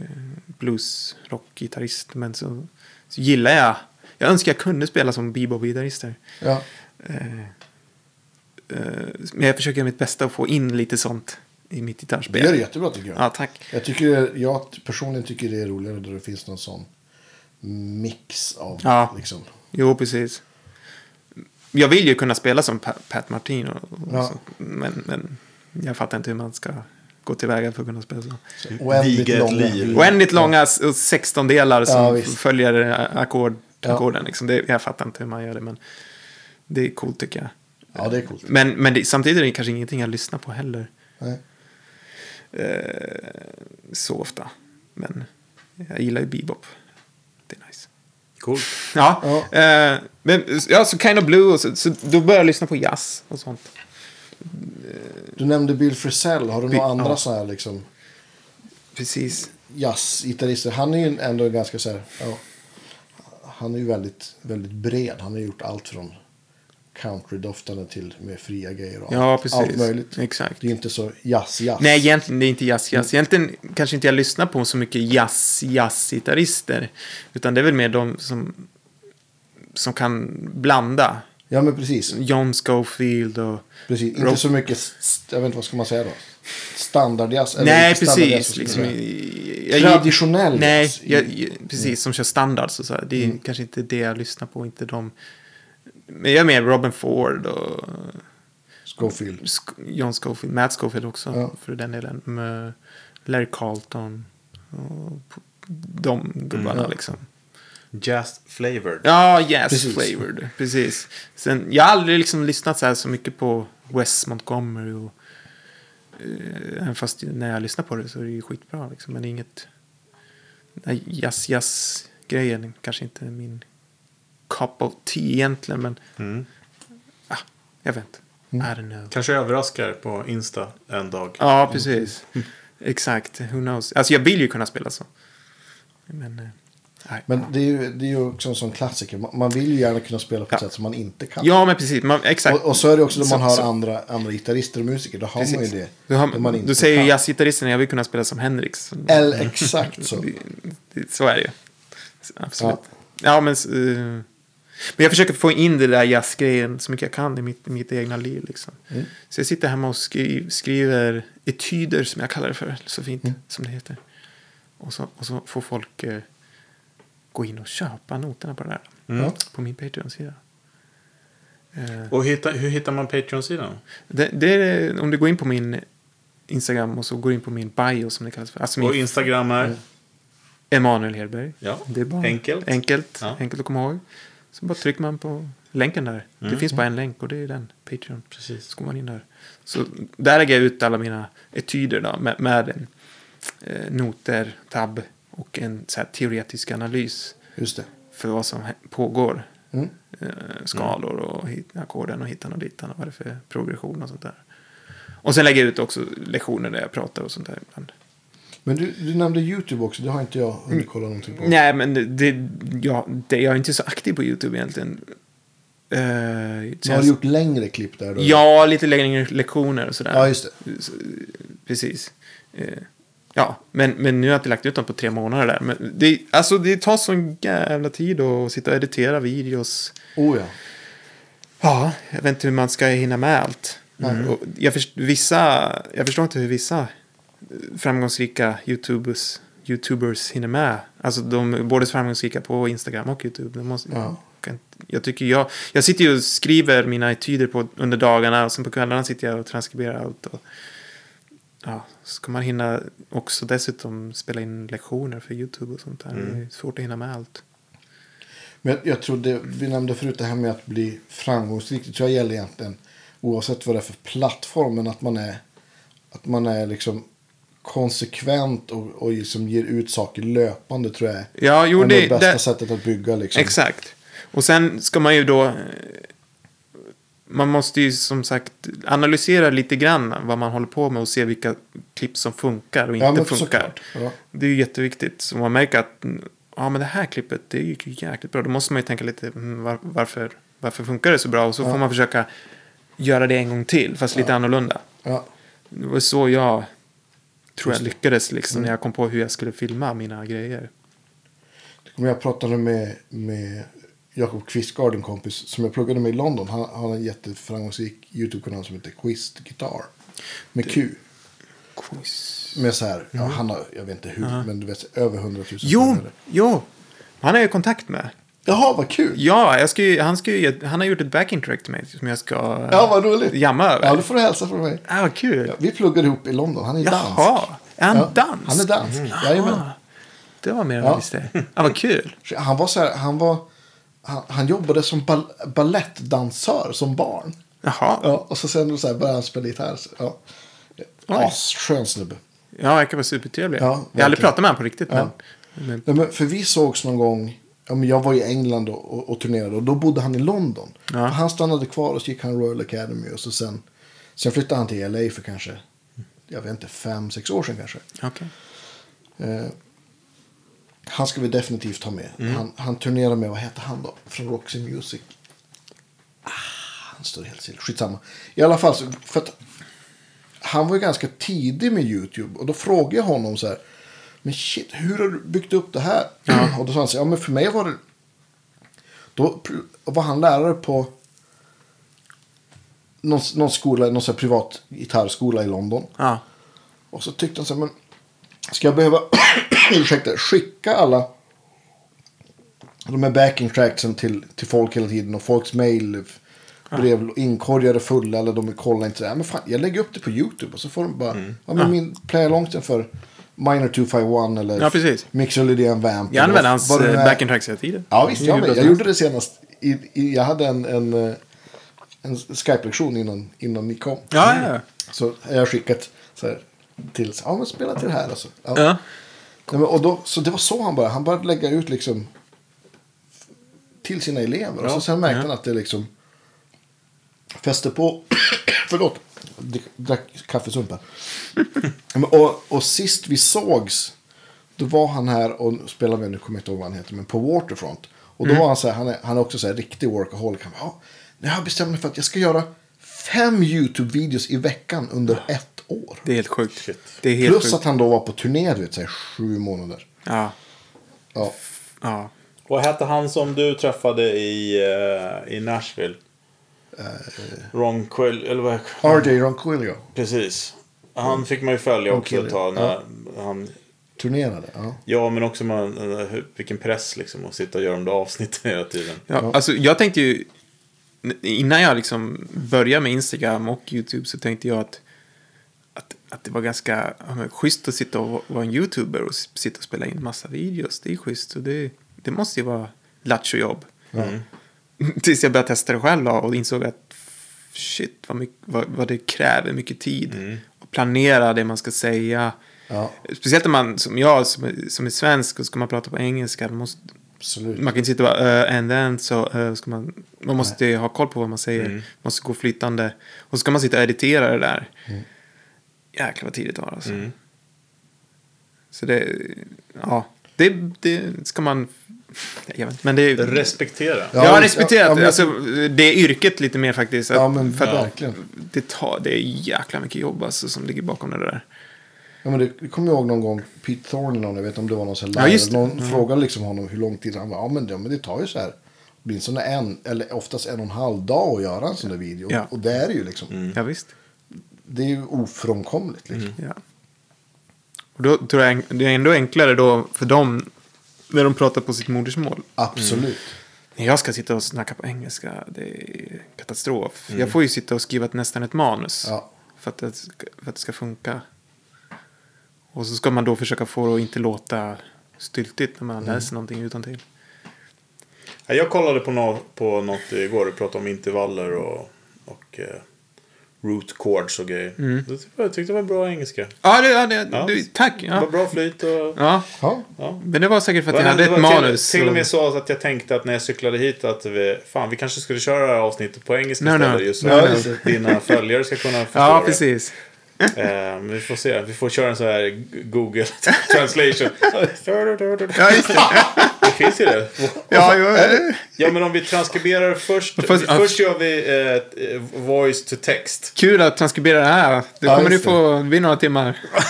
[SPEAKER 3] bluesrockgitarrist. Men så, så gillar jag. Jag önskar jag kunde spela som bebop-gitarrister.
[SPEAKER 2] Ja.
[SPEAKER 3] Eh, eh, men jag försöker göra mitt bästa att få in lite sånt i mitt
[SPEAKER 2] Det
[SPEAKER 3] gitarrspel.
[SPEAKER 2] gör det jättebra tycker jag.
[SPEAKER 3] Ja, tack.
[SPEAKER 2] Jag, tycker, det- jag personligen tycker det är roligare då det finns någon sån mix av
[SPEAKER 3] Ja.
[SPEAKER 2] liksom.
[SPEAKER 3] Jo, precis. Jag vill ju kunna spela som Pa- Pat Martino. Och
[SPEAKER 2] Ja.
[SPEAKER 3] sånt, men, men jag fattar inte hur man ska gå tillväga för att kunna spela så.
[SPEAKER 2] Oändligt
[SPEAKER 1] Viga ett
[SPEAKER 2] långa.
[SPEAKER 1] liv.
[SPEAKER 3] Oändligt långa s- och 16 delar som
[SPEAKER 2] Ja, visst.
[SPEAKER 3] följer eh, ackord,
[SPEAKER 2] Ja.
[SPEAKER 3] ackorden. Liksom. Det, jag fattar inte hur man gör det, men det är coolt tycker jag.
[SPEAKER 2] Ja, det är coolt.
[SPEAKER 3] Men, men det, samtidigt är det kanske ingenting jag lyssnar på heller
[SPEAKER 2] Nej.
[SPEAKER 3] så ofta. Men jag gillar ju bebop. Det är nice.
[SPEAKER 1] Coolt.
[SPEAKER 3] Ja,
[SPEAKER 2] Ja.
[SPEAKER 3] Eh, men, ja så Kind of Blue och så, så då började jag lyssna på jazz och sånt.
[SPEAKER 2] Du nämnde Bill Frisell. Har du några andra
[SPEAKER 3] ja.
[SPEAKER 2] sådana här liksom
[SPEAKER 3] Precis.
[SPEAKER 2] jazzgitarrister? Han är ju ändå ganska så här. Ja, han är ju väldigt, väldigt bred. Han har gjort allt från countrydoftande till med fria grejer och
[SPEAKER 3] Ja,
[SPEAKER 2] allt,
[SPEAKER 3] precis.
[SPEAKER 2] allt möjligt.
[SPEAKER 3] Exakt.
[SPEAKER 2] Det är ju inte så jazz-jazz.
[SPEAKER 3] Nej, egentligen det är inte jazz-jazz. Egentligen kanske inte jag lyssnar på så mycket jazz-jazz-gitarrister. Utan det är väl mer de som, som kan blanda.
[SPEAKER 2] Ja, men precis.
[SPEAKER 3] John Schofield och...
[SPEAKER 2] precis. Inte
[SPEAKER 3] Rock-
[SPEAKER 2] så mycket, st- jag vet inte vad ska man säga då? Standardjazz? eller
[SPEAKER 3] Nej,
[SPEAKER 2] standardjazz, vad
[SPEAKER 3] precis.
[SPEAKER 2] ska man
[SPEAKER 3] Liksom,
[SPEAKER 2] säga.
[SPEAKER 3] jag- jag-
[SPEAKER 2] Traditionell
[SPEAKER 3] Nej,
[SPEAKER 2] jazz.
[SPEAKER 3] jag, jag- precis. Som kör standard. Så, så här. Det är
[SPEAKER 2] Mm.
[SPEAKER 3] kanske inte det jag lyssnar på. Inte de... Men jag är med Robin Ford och
[SPEAKER 2] Scofield.
[SPEAKER 3] Sk- John Schofield. Matt Schofield också,
[SPEAKER 2] Ja.
[SPEAKER 3] för den delen. Med Larry Carlton. Och p- de gubbarna
[SPEAKER 2] Mm,
[SPEAKER 3] liksom.
[SPEAKER 1] Jazz flavored.
[SPEAKER 3] Ja, yes,
[SPEAKER 2] Precis.
[SPEAKER 3] flavored. Precis. Sen, jag har aldrig liksom lyssnat så, här så mycket på Wes Montgomery. Och, eh, även fast ju när jag lyssnar på det så är det ju skitbra. Liksom, men det är inget... Nej, Jazz, jazz grejen kanske inte är min cup of tea egentligen. Men
[SPEAKER 2] Mm.
[SPEAKER 3] ah, jag vet inte. I don't know.
[SPEAKER 1] Kanske överraskar på Insta en dag.
[SPEAKER 3] Ja, precis. Exakt. Who knows. Alltså jag vill ju kunna spela så. Men... Eh, nej.
[SPEAKER 2] Men det är ju, det är ju också en sån klassiker. Man man vill ju gärna kunna spela på ett
[SPEAKER 3] Ja.
[SPEAKER 2] sätt som man inte kan.
[SPEAKER 3] Ja, men precis. Man, exakt.
[SPEAKER 2] Och, och så är det också när man
[SPEAKER 3] Så-
[SPEAKER 2] hör
[SPEAKER 3] så-
[SPEAKER 2] andra, andra gitarrister och musiker. Då har man ju
[SPEAKER 3] Precis.
[SPEAKER 2] det.
[SPEAKER 3] Du, har,
[SPEAKER 2] det man inte
[SPEAKER 3] du säger ju
[SPEAKER 2] kan.
[SPEAKER 3] jazzgitarristen, jag vill kunna spela som Henriks.
[SPEAKER 2] Eller exakt så.
[SPEAKER 3] Det- Så är det ju. Absolut. Ja, men... s- eh, men jag försöker få in det där jazzgrejen så mycket jag kan i mitt, i mitt egna liv. Liksom.
[SPEAKER 2] Mm.
[SPEAKER 3] Så jag sitter hemma och skri, skriver etyder, som jag kallar det för, så fint
[SPEAKER 2] Mm.
[SPEAKER 3] som det heter. Och så, och så får folk eh, gå in och köpa noterna på det där.
[SPEAKER 2] Ja.
[SPEAKER 3] På min Patreon-sida. Eh,
[SPEAKER 1] Och hitta, hur hittar man Patreon-sidan?
[SPEAKER 3] det, det är, om du går in på min Instagram och så går in på min bio som det kallas för. Alltså
[SPEAKER 1] Och
[SPEAKER 3] min
[SPEAKER 1] Instagram är?
[SPEAKER 3] Emanuel Hedberg.
[SPEAKER 1] Ja,
[SPEAKER 3] Det är bara
[SPEAKER 1] enkelt.
[SPEAKER 3] Enkelt,
[SPEAKER 1] Ja.
[SPEAKER 3] enkelt att komma ihåg. Så bara trycker man på länken där. Det finns bara en länk och det är den. Patreon.
[SPEAKER 1] Mm. Precis.
[SPEAKER 3] Så går man in där. Så där lägger jag ut alla mina etyder då, med, med eh, noter, tab och en så här, teoretisk analys
[SPEAKER 2] Just det.
[SPEAKER 3] för vad som hä- pågår.
[SPEAKER 2] Mm.
[SPEAKER 3] Eh, skalor och hit- ackorden och hittan och ditan och vad det är för progression och sånt där. Och sen lägger jag ut också lektioner där jag pratar och sånt där ibland.
[SPEAKER 2] Men du, du nämnde YouTube också. Det har inte jag hunnit kolla någonting på.
[SPEAKER 3] Nej, men det, det, ja, det, jag är inte så aktiv på YouTube egentligen. Eh,
[SPEAKER 2] Men har
[SPEAKER 3] känns-
[SPEAKER 2] du gjort längre klipp där? Då?
[SPEAKER 3] Ja, lite längre lektioner och sådär.
[SPEAKER 2] Ja, just
[SPEAKER 3] Så, Precis. Eh, Ja, men, men nu har jag inte lagt ut dem på tre månader där. Men det, alltså, det tar sån jävla tid att sitta och editera videos.
[SPEAKER 2] Oh ja.
[SPEAKER 3] Ja, jag vet inte hur man ska hinna med allt. Mm. Och jag, först, vissa, jag förstår inte hur vissa eh, framgångsrika YouTubers, YouTubers hinner med. Alltså de är både framgångsrika på Instagram och YouTube. De måste,
[SPEAKER 2] Ja.
[SPEAKER 3] kan, inte- jag, tycker jag, jag sitter ju och skriver mina etyder på, under dagarna och sen på kvällarna sitter jag och transkriberar allt. Och, ja, ska man hinna också dessutom spela in lektioner för YouTube och sånt där. Det är
[SPEAKER 2] Mm.
[SPEAKER 3] svårt att hinna med allt.
[SPEAKER 2] Men jag, jag tror det, vi nämnde förut det här med att bli framgångsrik. Det tror jag gäller egentligen oavsett vad det är för plattform. Men att man är, att man är liksom konsekvent och, och liksom ger ut saker löpande tror jag är
[SPEAKER 3] Ja, jo,
[SPEAKER 2] ändå
[SPEAKER 3] det-
[SPEAKER 2] det bästa
[SPEAKER 3] det-
[SPEAKER 2] sättet att bygga. Liksom.
[SPEAKER 3] Exakt. Och sen ska man ju då... eh, Man måste ju som sagt analysera lite grann vad man håller på med och se vilka klipp som funkar och
[SPEAKER 2] Ja,
[SPEAKER 3] inte
[SPEAKER 2] men
[SPEAKER 3] funkar.
[SPEAKER 2] såklart. Ja.
[SPEAKER 3] Det är ju jätteviktigt. Så man märker att mm, ja, men det här klippet det gick ju jäkligt bra. Då måste man ju tänka lite mm, var, varför, varför funkar det så bra? Och så får man försöka göra det en gång till, fast lite annorlunda.
[SPEAKER 2] Ja.
[SPEAKER 3] Det var så jag tror jag lyckades liksom,
[SPEAKER 2] Mm.
[SPEAKER 3] när jag kom på hur jag skulle filma mina grejer.
[SPEAKER 2] Men jag pratade med, med Jakob Kvistgård, en kompis som jag pluggade med i London. Han han har en jätteframgångsrik YouTube-kanal som heter Quist Guitar. Med Q.
[SPEAKER 3] Quiz.
[SPEAKER 2] Med så här, ja, han har, jag vet inte hur, men du vet, över 100 000
[SPEAKER 3] Mm. Uh-huh. Jo,
[SPEAKER 2] följare.
[SPEAKER 3] jo. Han är jag i kontakt med.
[SPEAKER 2] Jaha, vad kul!
[SPEAKER 3] Ja, jag ska ju, han, ska ju, han har gjort ett backing track till mig som jag ska eh,
[SPEAKER 2] Ja, vad roligt!
[SPEAKER 3] jamma över.
[SPEAKER 2] Ja, då får du hälsa från mig.
[SPEAKER 3] ah, vad kul.
[SPEAKER 2] Ja, vi pluggade ihop i London, han är dansk.
[SPEAKER 3] Jaha, är han
[SPEAKER 2] Ja,
[SPEAKER 3] dansk?
[SPEAKER 2] Han är dansk, jajamän.
[SPEAKER 3] Ah, det var mer än
[SPEAKER 2] Ja.
[SPEAKER 3] jag visste. Ah, vad kul.
[SPEAKER 2] Så Han var så här, han var... Han, han jobbade som bal ballettdansör som barn.
[SPEAKER 3] Jaha, ja.
[SPEAKER 2] Ja, och så sen så här började han spela gitarr. Så, ja. Asskön snubbe.
[SPEAKER 3] verkar vara supertrevlig.
[SPEAKER 2] Ja,
[SPEAKER 3] jag har aldrig
[SPEAKER 2] verkligen.
[SPEAKER 3] pratat med honom på riktigt,
[SPEAKER 2] Ja.
[SPEAKER 3] men, men
[SPEAKER 2] Nej, men för vi sågs någon gång. Ja, men jag var i England och, och, och turnerade och då bodde han i London.
[SPEAKER 3] Ja.
[SPEAKER 2] Och Han stannade kvar och så gick han Royal Academy och så sen, sen flyttade han till LA för kanske, jag vet inte, fem, sex år sedan kanske.
[SPEAKER 3] okej.
[SPEAKER 2] Eh, han ska vi definitivt ha med. Han, han turnerar med, vad heter han då? Från Roxy Music. Ah, han står helt still. Skitsamma. I alla fall, så, för att han var ju ganska tidig med YouTube. Och då frågade jag honom så här. Men shit, hur har du byggt upp det här? Och då sa han så här, ja men för mig var det. Då pr- var han lärare på någon, någon skola, någon så här privat gitarrskola i London.
[SPEAKER 3] Ja.
[SPEAKER 2] Och så tyckte han så här, men ska jag behöva ursäkta, skicka alla de här backing tracksen till, till folk hela tiden och folks mail, brev, inkorgar är fulla eller de kollar inte det här. Men fan, jag lägger upp det på YouTube och så får de bara,
[SPEAKER 3] Mm.
[SPEAKER 2] ja men min playalongen för Minor 251 eller
[SPEAKER 3] Ja, precis.
[SPEAKER 2] Mixer Lydian Vamp. eller
[SPEAKER 3] Jag använder
[SPEAKER 2] vad-
[SPEAKER 3] hans eh,
[SPEAKER 2] vad det nu är.
[SPEAKER 3] back and tracks hela tiden.
[SPEAKER 2] Ja visst, jag,
[SPEAKER 3] Hur
[SPEAKER 2] med.
[SPEAKER 3] bra
[SPEAKER 2] jag
[SPEAKER 3] som
[SPEAKER 2] gjorde det senast. I, i, jag hade en, en, eh, en Skype-lektion innan, innan ni kom.
[SPEAKER 3] Ja, ja, ja.
[SPEAKER 2] Så har jag skickat så här, till, så, ja men spela till det här. Alltså. Ja.
[SPEAKER 3] Ja.
[SPEAKER 2] Nej, men, och då, så det var så han började. Han började lägga ut liksom till sina elever. Och så sen märkte han att det liksom fäste på. förlåt. Drick- Drack kaffesumpen. Men, och, och sist vi sågs. Då var han här och spelade med, nu kommer jag inte ihåg vad han heter, men på Waterfront. Och
[SPEAKER 3] Mm.
[SPEAKER 2] då var han så här, han är, han är också så här riktig workaholic. Han bara, "Ja, nu har jag bestämt mig för att jag ska göra fem YouTube-videos i veckan under ett år.
[SPEAKER 3] Det är helt sjukt.
[SPEAKER 1] Shit.
[SPEAKER 3] Det är helt
[SPEAKER 2] Plus
[SPEAKER 3] sjukt.
[SPEAKER 2] att han då var på turné, du vet, så här, sju månader.
[SPEAKER 3] Ja.
[SPEAKER 2] Ja.
[SPEAKER 3] ja.
[SPEAKER 1] Vad hette han som du träffade i, eh, i Nashville?
[SPEAKER 3] Eh,
[SPEAKER 1] Ron Quill, eller vad
[SPEAKER 2] RJ Ronquillo
[SPEAKER 1] Precis. Han fick man ju följa också
[SPEAKER 2] Quill,
[SPEAKER 1] ett tag. När han,
[SPEAKER 2] turnerade. Ja.
[SPEAKER 1] ja, men också man, eh, hur- vilken press liksom att sitta och göra de där avsnitten hela tiden.
[SPEAKER 3] Ja, Alltså, jag tänkte ju, innan jag liksom började med Instagram och YouTube så tänkte jag att, att, att det var ganska ja, men, schysst att sitta och vara en YouTuber och s- sitta och spela in massa videos. Det är schysst och det, det måste ju vara lattjojobb. jobb Tills jag började testa det själv då och insåg att shit vad, mycket, vad, vad det kräver mycket tid. Och planera det man ska säga.
[SPEAKER 2] Ja.
[SPEAKER 3] Speciellt när man, som jag, som, är- som är svensk och ska man prata på engelska. då Måste,
[SPEAKER 2] Absolut.
[SPEAKER 3] man kan inte sitta och bara, uh, and then, så eh, ska man, man måste ha koll på vad man säger.
[SPEAKER 2] Mm.
[SPEAKER 3] Måste gå flytande. Och så ska man sitta och editera det där.
[SPEAKER 2] Mm.
[SPEAKER 3] Jäklar vad tid det tar alltså. Så det, ja, det, det ska man, jag vet inte, men det är...
[SPEAKER 1] Respektera.
[SPEAKER 2] Ja,
[SPEAKER 3] jag har
[SPEAKER 2] men-
[SPEAKER 3] respekterat
[SPEAKER 2] ja, men-
[SPEAKER 3] alltså, det yrket lite mer faktiskt. att-
[SPEAKER 2] Ja, men
[SPEAKER 3] för att
[SPEAKER 2] verkligen.
[SPEAKER 3] Det, tar, det är jäkla mycket jobb alltså, som ligger bakom det där.
[SPEAKER 2] Ja, men det det kommer jag ihåg någon gång, Pete Thorne, någon, jag vet inte om det var någon sån
[SPEAKER 3] Ja,
[SPEAKER 2] här lärare,
[SPEAKER 3] just det. Mm.
[SPEAKER 2] någon frågade liksom honom hur lång tid han var. Ja, men det, men det tar ju så här, åtminstone en, eller oftast en och en halv dag att göra en sån där video.
[SPEAKER 3] Ja.
[SPEAKER 2] Och det är det ju liksom,
[SPEAKER 1] Mm.
[SPEAKER 3] Ja, visst.
[SPEAKER 2] det är ju ofrånkomligt liksom.
[SPEAKER 3] Ja. Och då tror jag en- det är ändå enklare då för dem när de pratar på sitt modersmål.
[SPEAKER 2] Absolut.
[SPEAKER 1] Mm.
[SPEAKER 3] När jag ska sitta och snacka på engelska, det är katastrof. Jag får ju sitta och skriva ett, nästan ett manus
[SPEAKER 2] Ja.
[SPEAKER 3] för, att det ska, för att det ska funka. Och så ska man då försöka få det att inte låta styltigt när man läser någonting utan till.
[SPEAKER 1] Ja, Jag kollade på, nå på något igår. Du pratade om intervaller och, och eh, root chords och grejer. Det tyckte jag- jag tyckte det var bra engelska.
[SPEAKER 3] Ja, det, ja, det,
[SPEAKER 1] Ja.
[SPEAKER 3] Du, tack!
[SPEAKER 1] Det var
[SPEAKER 3] Ja.
[SPEAKER 1] bra flyt och...
[SPEAKER 3] Ja.
[SPEAKER 2] Ja.
[SPEAKER 1] Ja.
[SPEAKER 3] Men det var säkert för att jag
[SPEAKER 1] Det
[SPEAKER 3] hade
[SPEAKER 1] var
[SPEAKER 3] ett manus.
[SPEAKER 1] Till, till och med så att jag tänkte att när jag cyklade hit att vi, fan, vi kanske skulle köra det här avsnittet på engelska
[SPEAKER 3] No, no.
[SPEAKER 1] istället. Just
[SPEAKER 3] No,
[SPEAKER 1] för att dina följare ska kunna förstå
[SPEAKER 3] Ja,
[SPEAKER 1] det.
[SPEAKER 3] precis.
[SPEAKER 1] Eh, Men vi får se. Vi får köra en sån här Google translation.
[SPEAKER 3] Ja, just det.
[SPEAKER 1] det finns ju det.
[SPEAKER 3] Ja, jo.
[SPEAKER 1] Ja, men om vi transkriberar först.
[SPEAKER 3] Fast-
[SPEAKER 1] först gör vi eh, ett, eh, voice to text.
[SPEAKER 3] Kul att transkribera det här. Det
[SPEAKER 2] Ja,
[SPEAKER 3] kommer du
[SPEAKER 2] just det.
[SPEAKER 3] få, det blir några timmar.
[SPEAKER 1] Ja,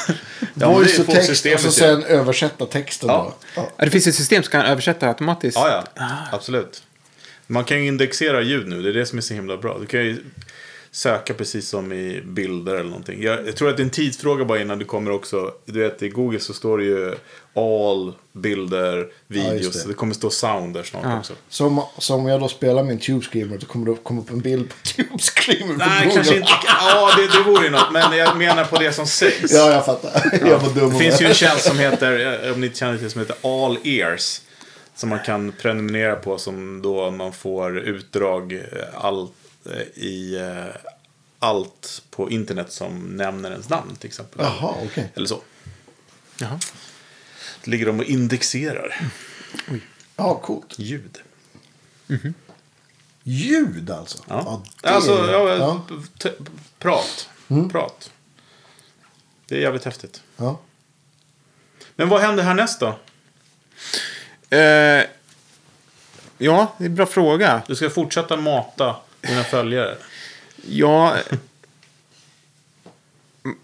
[SPEAKER 1] men det
[SPEAKER 2] Voice
[SPEAKER 1] får
[SPEAKER 2] och text och
[SPEAKER 1] systemet
[SPEAKER 2] så
[SPEAKER 1] göra.
[SPEAKER 2] sen översätta texten
[SPEAKER 1] Ja.
[SPEAKER 2] då. Ja.
[SPEAKER 3] Ja, Det finns ett system som kan översätta automatiskt.
[SPEAKER 1] Ja, ja. Absolut. Man kan ju indexera ljud nu. Det är det som är så himla bra. Du kan ju söka precis som i bilder eller någonting. Jag, jag tror att det är en tidsfråga bara innan du kommer också. Du vet, i Google så står det ju all bilder, videos.
[SPEAKER 2] just det.
[SPEAKER 1] det. kommer stå sound där snart också.
[SPEAKER 2] Så om, så om jag då spelar min Tube Screamer då kommer det upp- komma upp en bild på Tube Screamer. på
[SPEAKER 1] Nej,
[SPEAKER 2] Google.
[SPEAKER 1] kanske inte. Ja, det, det vore ju något. Men jag menar på det som sägs.
[SPEAKER 2] Ja, jag fattar. Jag var dum.
[SPEAKER 1] Det finns ju en tjänst som heter, eh, om ni inte känner till det, som heter All Ears. Som man kan prenumerera på som då man får utdrag eh, all, eh, i eh, allt på internet som nämner ens namn till exempel.
[SPEAKER 2] Jaha, okej.
[SPEAKER 1] Eller så.
[SPEAKER 3] Jaha.
[SPEAKER 1] Då ligger de och indexerar
[SPEAKER 2] Ja, coolt.
[SPEAKER 1] ljud.
[SPEAKER 2] Ljud alltså?
[SPEAKER 1] Ja.
[SPEAKER 2] det
[SPEAKER 1] alltså,
[SPEAKER 2] är-
[SPEAKER 1] ja,
[SPEAKER 2] ja. Mm.
[SPEAKER 1] t- prat. Prat. Det är jävligt häftigt.
[SPEAKER 2] ja.
[SPEAKER 1] Men vad händer härnäst då?
[SPEAKER 3] Eh, ja, det är en bra fråga.
[SPEAKER 1] Du ska fortsätta mata dina följare.
[SPEAKER 3] Ja... Mm,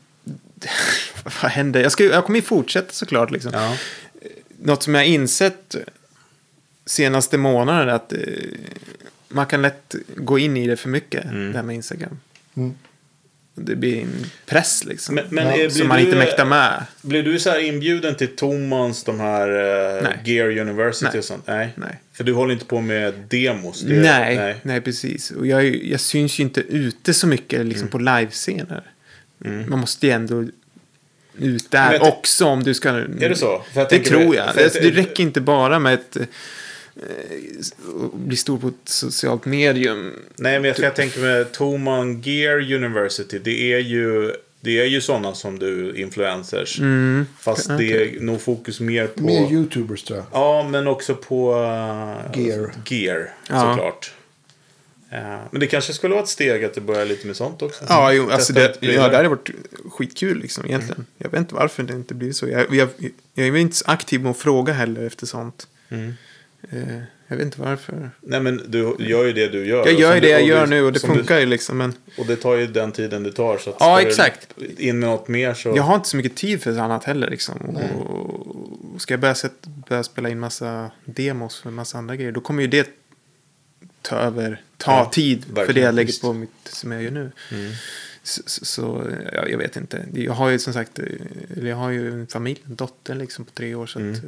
[SPEAKER 3] Vad händer? Jag, ska, ju- jag kommer ju fortsätta såklart. Liksom.
[SPEAKER 1] Ja.
[SPEAKER 3] Något som jag insett
[SPEAKER 1] Mm.
[SPEAKER 3] senaste månaden är att eh, man kan lätt gå in i det för mycket, det här med Instagram. Det blir en press liksom.
[SPEAKER 1] Men- men,
[SPEAKER 2] Ja.
[SPEAKER 1] eh, blir
[SPEAKER 3] som man inte
[SPEAKER 1] du-
[SPEAKER 3] mäktar med.
[SPEAKER 1] Blev du så här inbjuden till Tomans, de här eh,
[SPEAKER 3] Nej.
[SPEAKER 1] Gear University
[SPEAKER 3] Nej.
[SPEAKER 1] och sånt? Nej.
[SPEAKER 3] Nej.
[SPEAKER 1] För du håller inte på med demos? det-
[SPEAKER 3] nej, nej. precis. Och jag, är ju- jag syns ju inte ute så mycket
[SPEAKER 1] Mm.
[SPEAKER 3] liksom, på livescener. Man måste ju ändå ut där
[SPEAKER 1] Men-
[SPEAKER 3] också om du ska... Är
[SPEAKER 1] det så? För jag
[SPEAKER 3] det
[SPEAKER 1] tänker-
[SPEAKER 3] tror jag. Alltså,
[SPEAKER 1] för jag-
[SPEAKER 3] Det, det räcker inte bara med ett... eh, att bli stor på ett socialt medium.
[SPEAKER 1] Nej, men jag, jag tänker med Toman Gear University. Det är ju, det är ju sådana som du, influencers.
[SPEAKER 3] Mm.
[SPEAKER 1] Fast det är nog fokus mer på...
[SPEAKER 2] Mer YouTubers tror jag.
[SPEAKER 1] ja, men också på... eh,
[SPEAKER 2] Gear.
[SPEAKER 1] Gear,
[SPEAKER 3] Ja.
[SPEAKER 1] såklart. Eh, men det kanske skulle vara ett steg att det börjar lite med sånt också.
[SPEAKER 3] Ja, jo, alltså
[SPEAKER 1] Testa Mm.
[SPEAKER 3] det,
[SPEAKER 1] lite
[SPEAKER 3] ja,
[SPEAKER 1] prylar.
[SPEAKER 3] det hade varit skitkul liksom egentligen. Jag vet inte varför det inte blivit så. Jag, jag, jag är inte så aktiv med att fråga heller efter sånt.
[SPEAKER 1] Mm.
[SPEAKER 3] Eh, jag vet inte varför.
[SPEAKER 1] Nej, men du gör ju det du gör.
[SPEAKER 3] Jag
[SPEAKER 1] Och
[SPEAKER 3] gör
[SPEAKER 1] som
[SPEAKER 3] ju
[SPEAKER 1] du-
[SPEAKER 3] det jag
[SPEAKER 1] och
[SPEAKER 3] gör
[SPEAKER 1] du-
[SPEAKER 3] nu och det
[SPEAKER 1] som du-
[SPEAKER 3] funkar ju liksom. Men
[SPEAKER 1] Och det tar ju den tiden det tar. Så att
[SPEAKER 3] Ja,
[SPEAKER 1] ska du
[SPEAKER 3] exakt.
[SPEAKER 1] In med något mer så...
[SPEAKER 3] jag har inte så mycket tid för annat heller liksom. Och, och ska jag börja, sätta, börja spela in massa demos för massa andra grejer. Då kommer ju det ta över, ta
[SPEAKER 1] Ja,
[SPEAKER 3] tid för det
[SPEAKER 1] verkligen,
[SPEAKER 3] jag lägger
[SPEAKER 1] visst.
[SPEAKER 3] på mitt, som jag gör nu. Så, så, så ja, jag vet inte. Jag har ju som sagt, eh, eller jag har ju en familj, en dotter liksom på tre år. Så att, eh,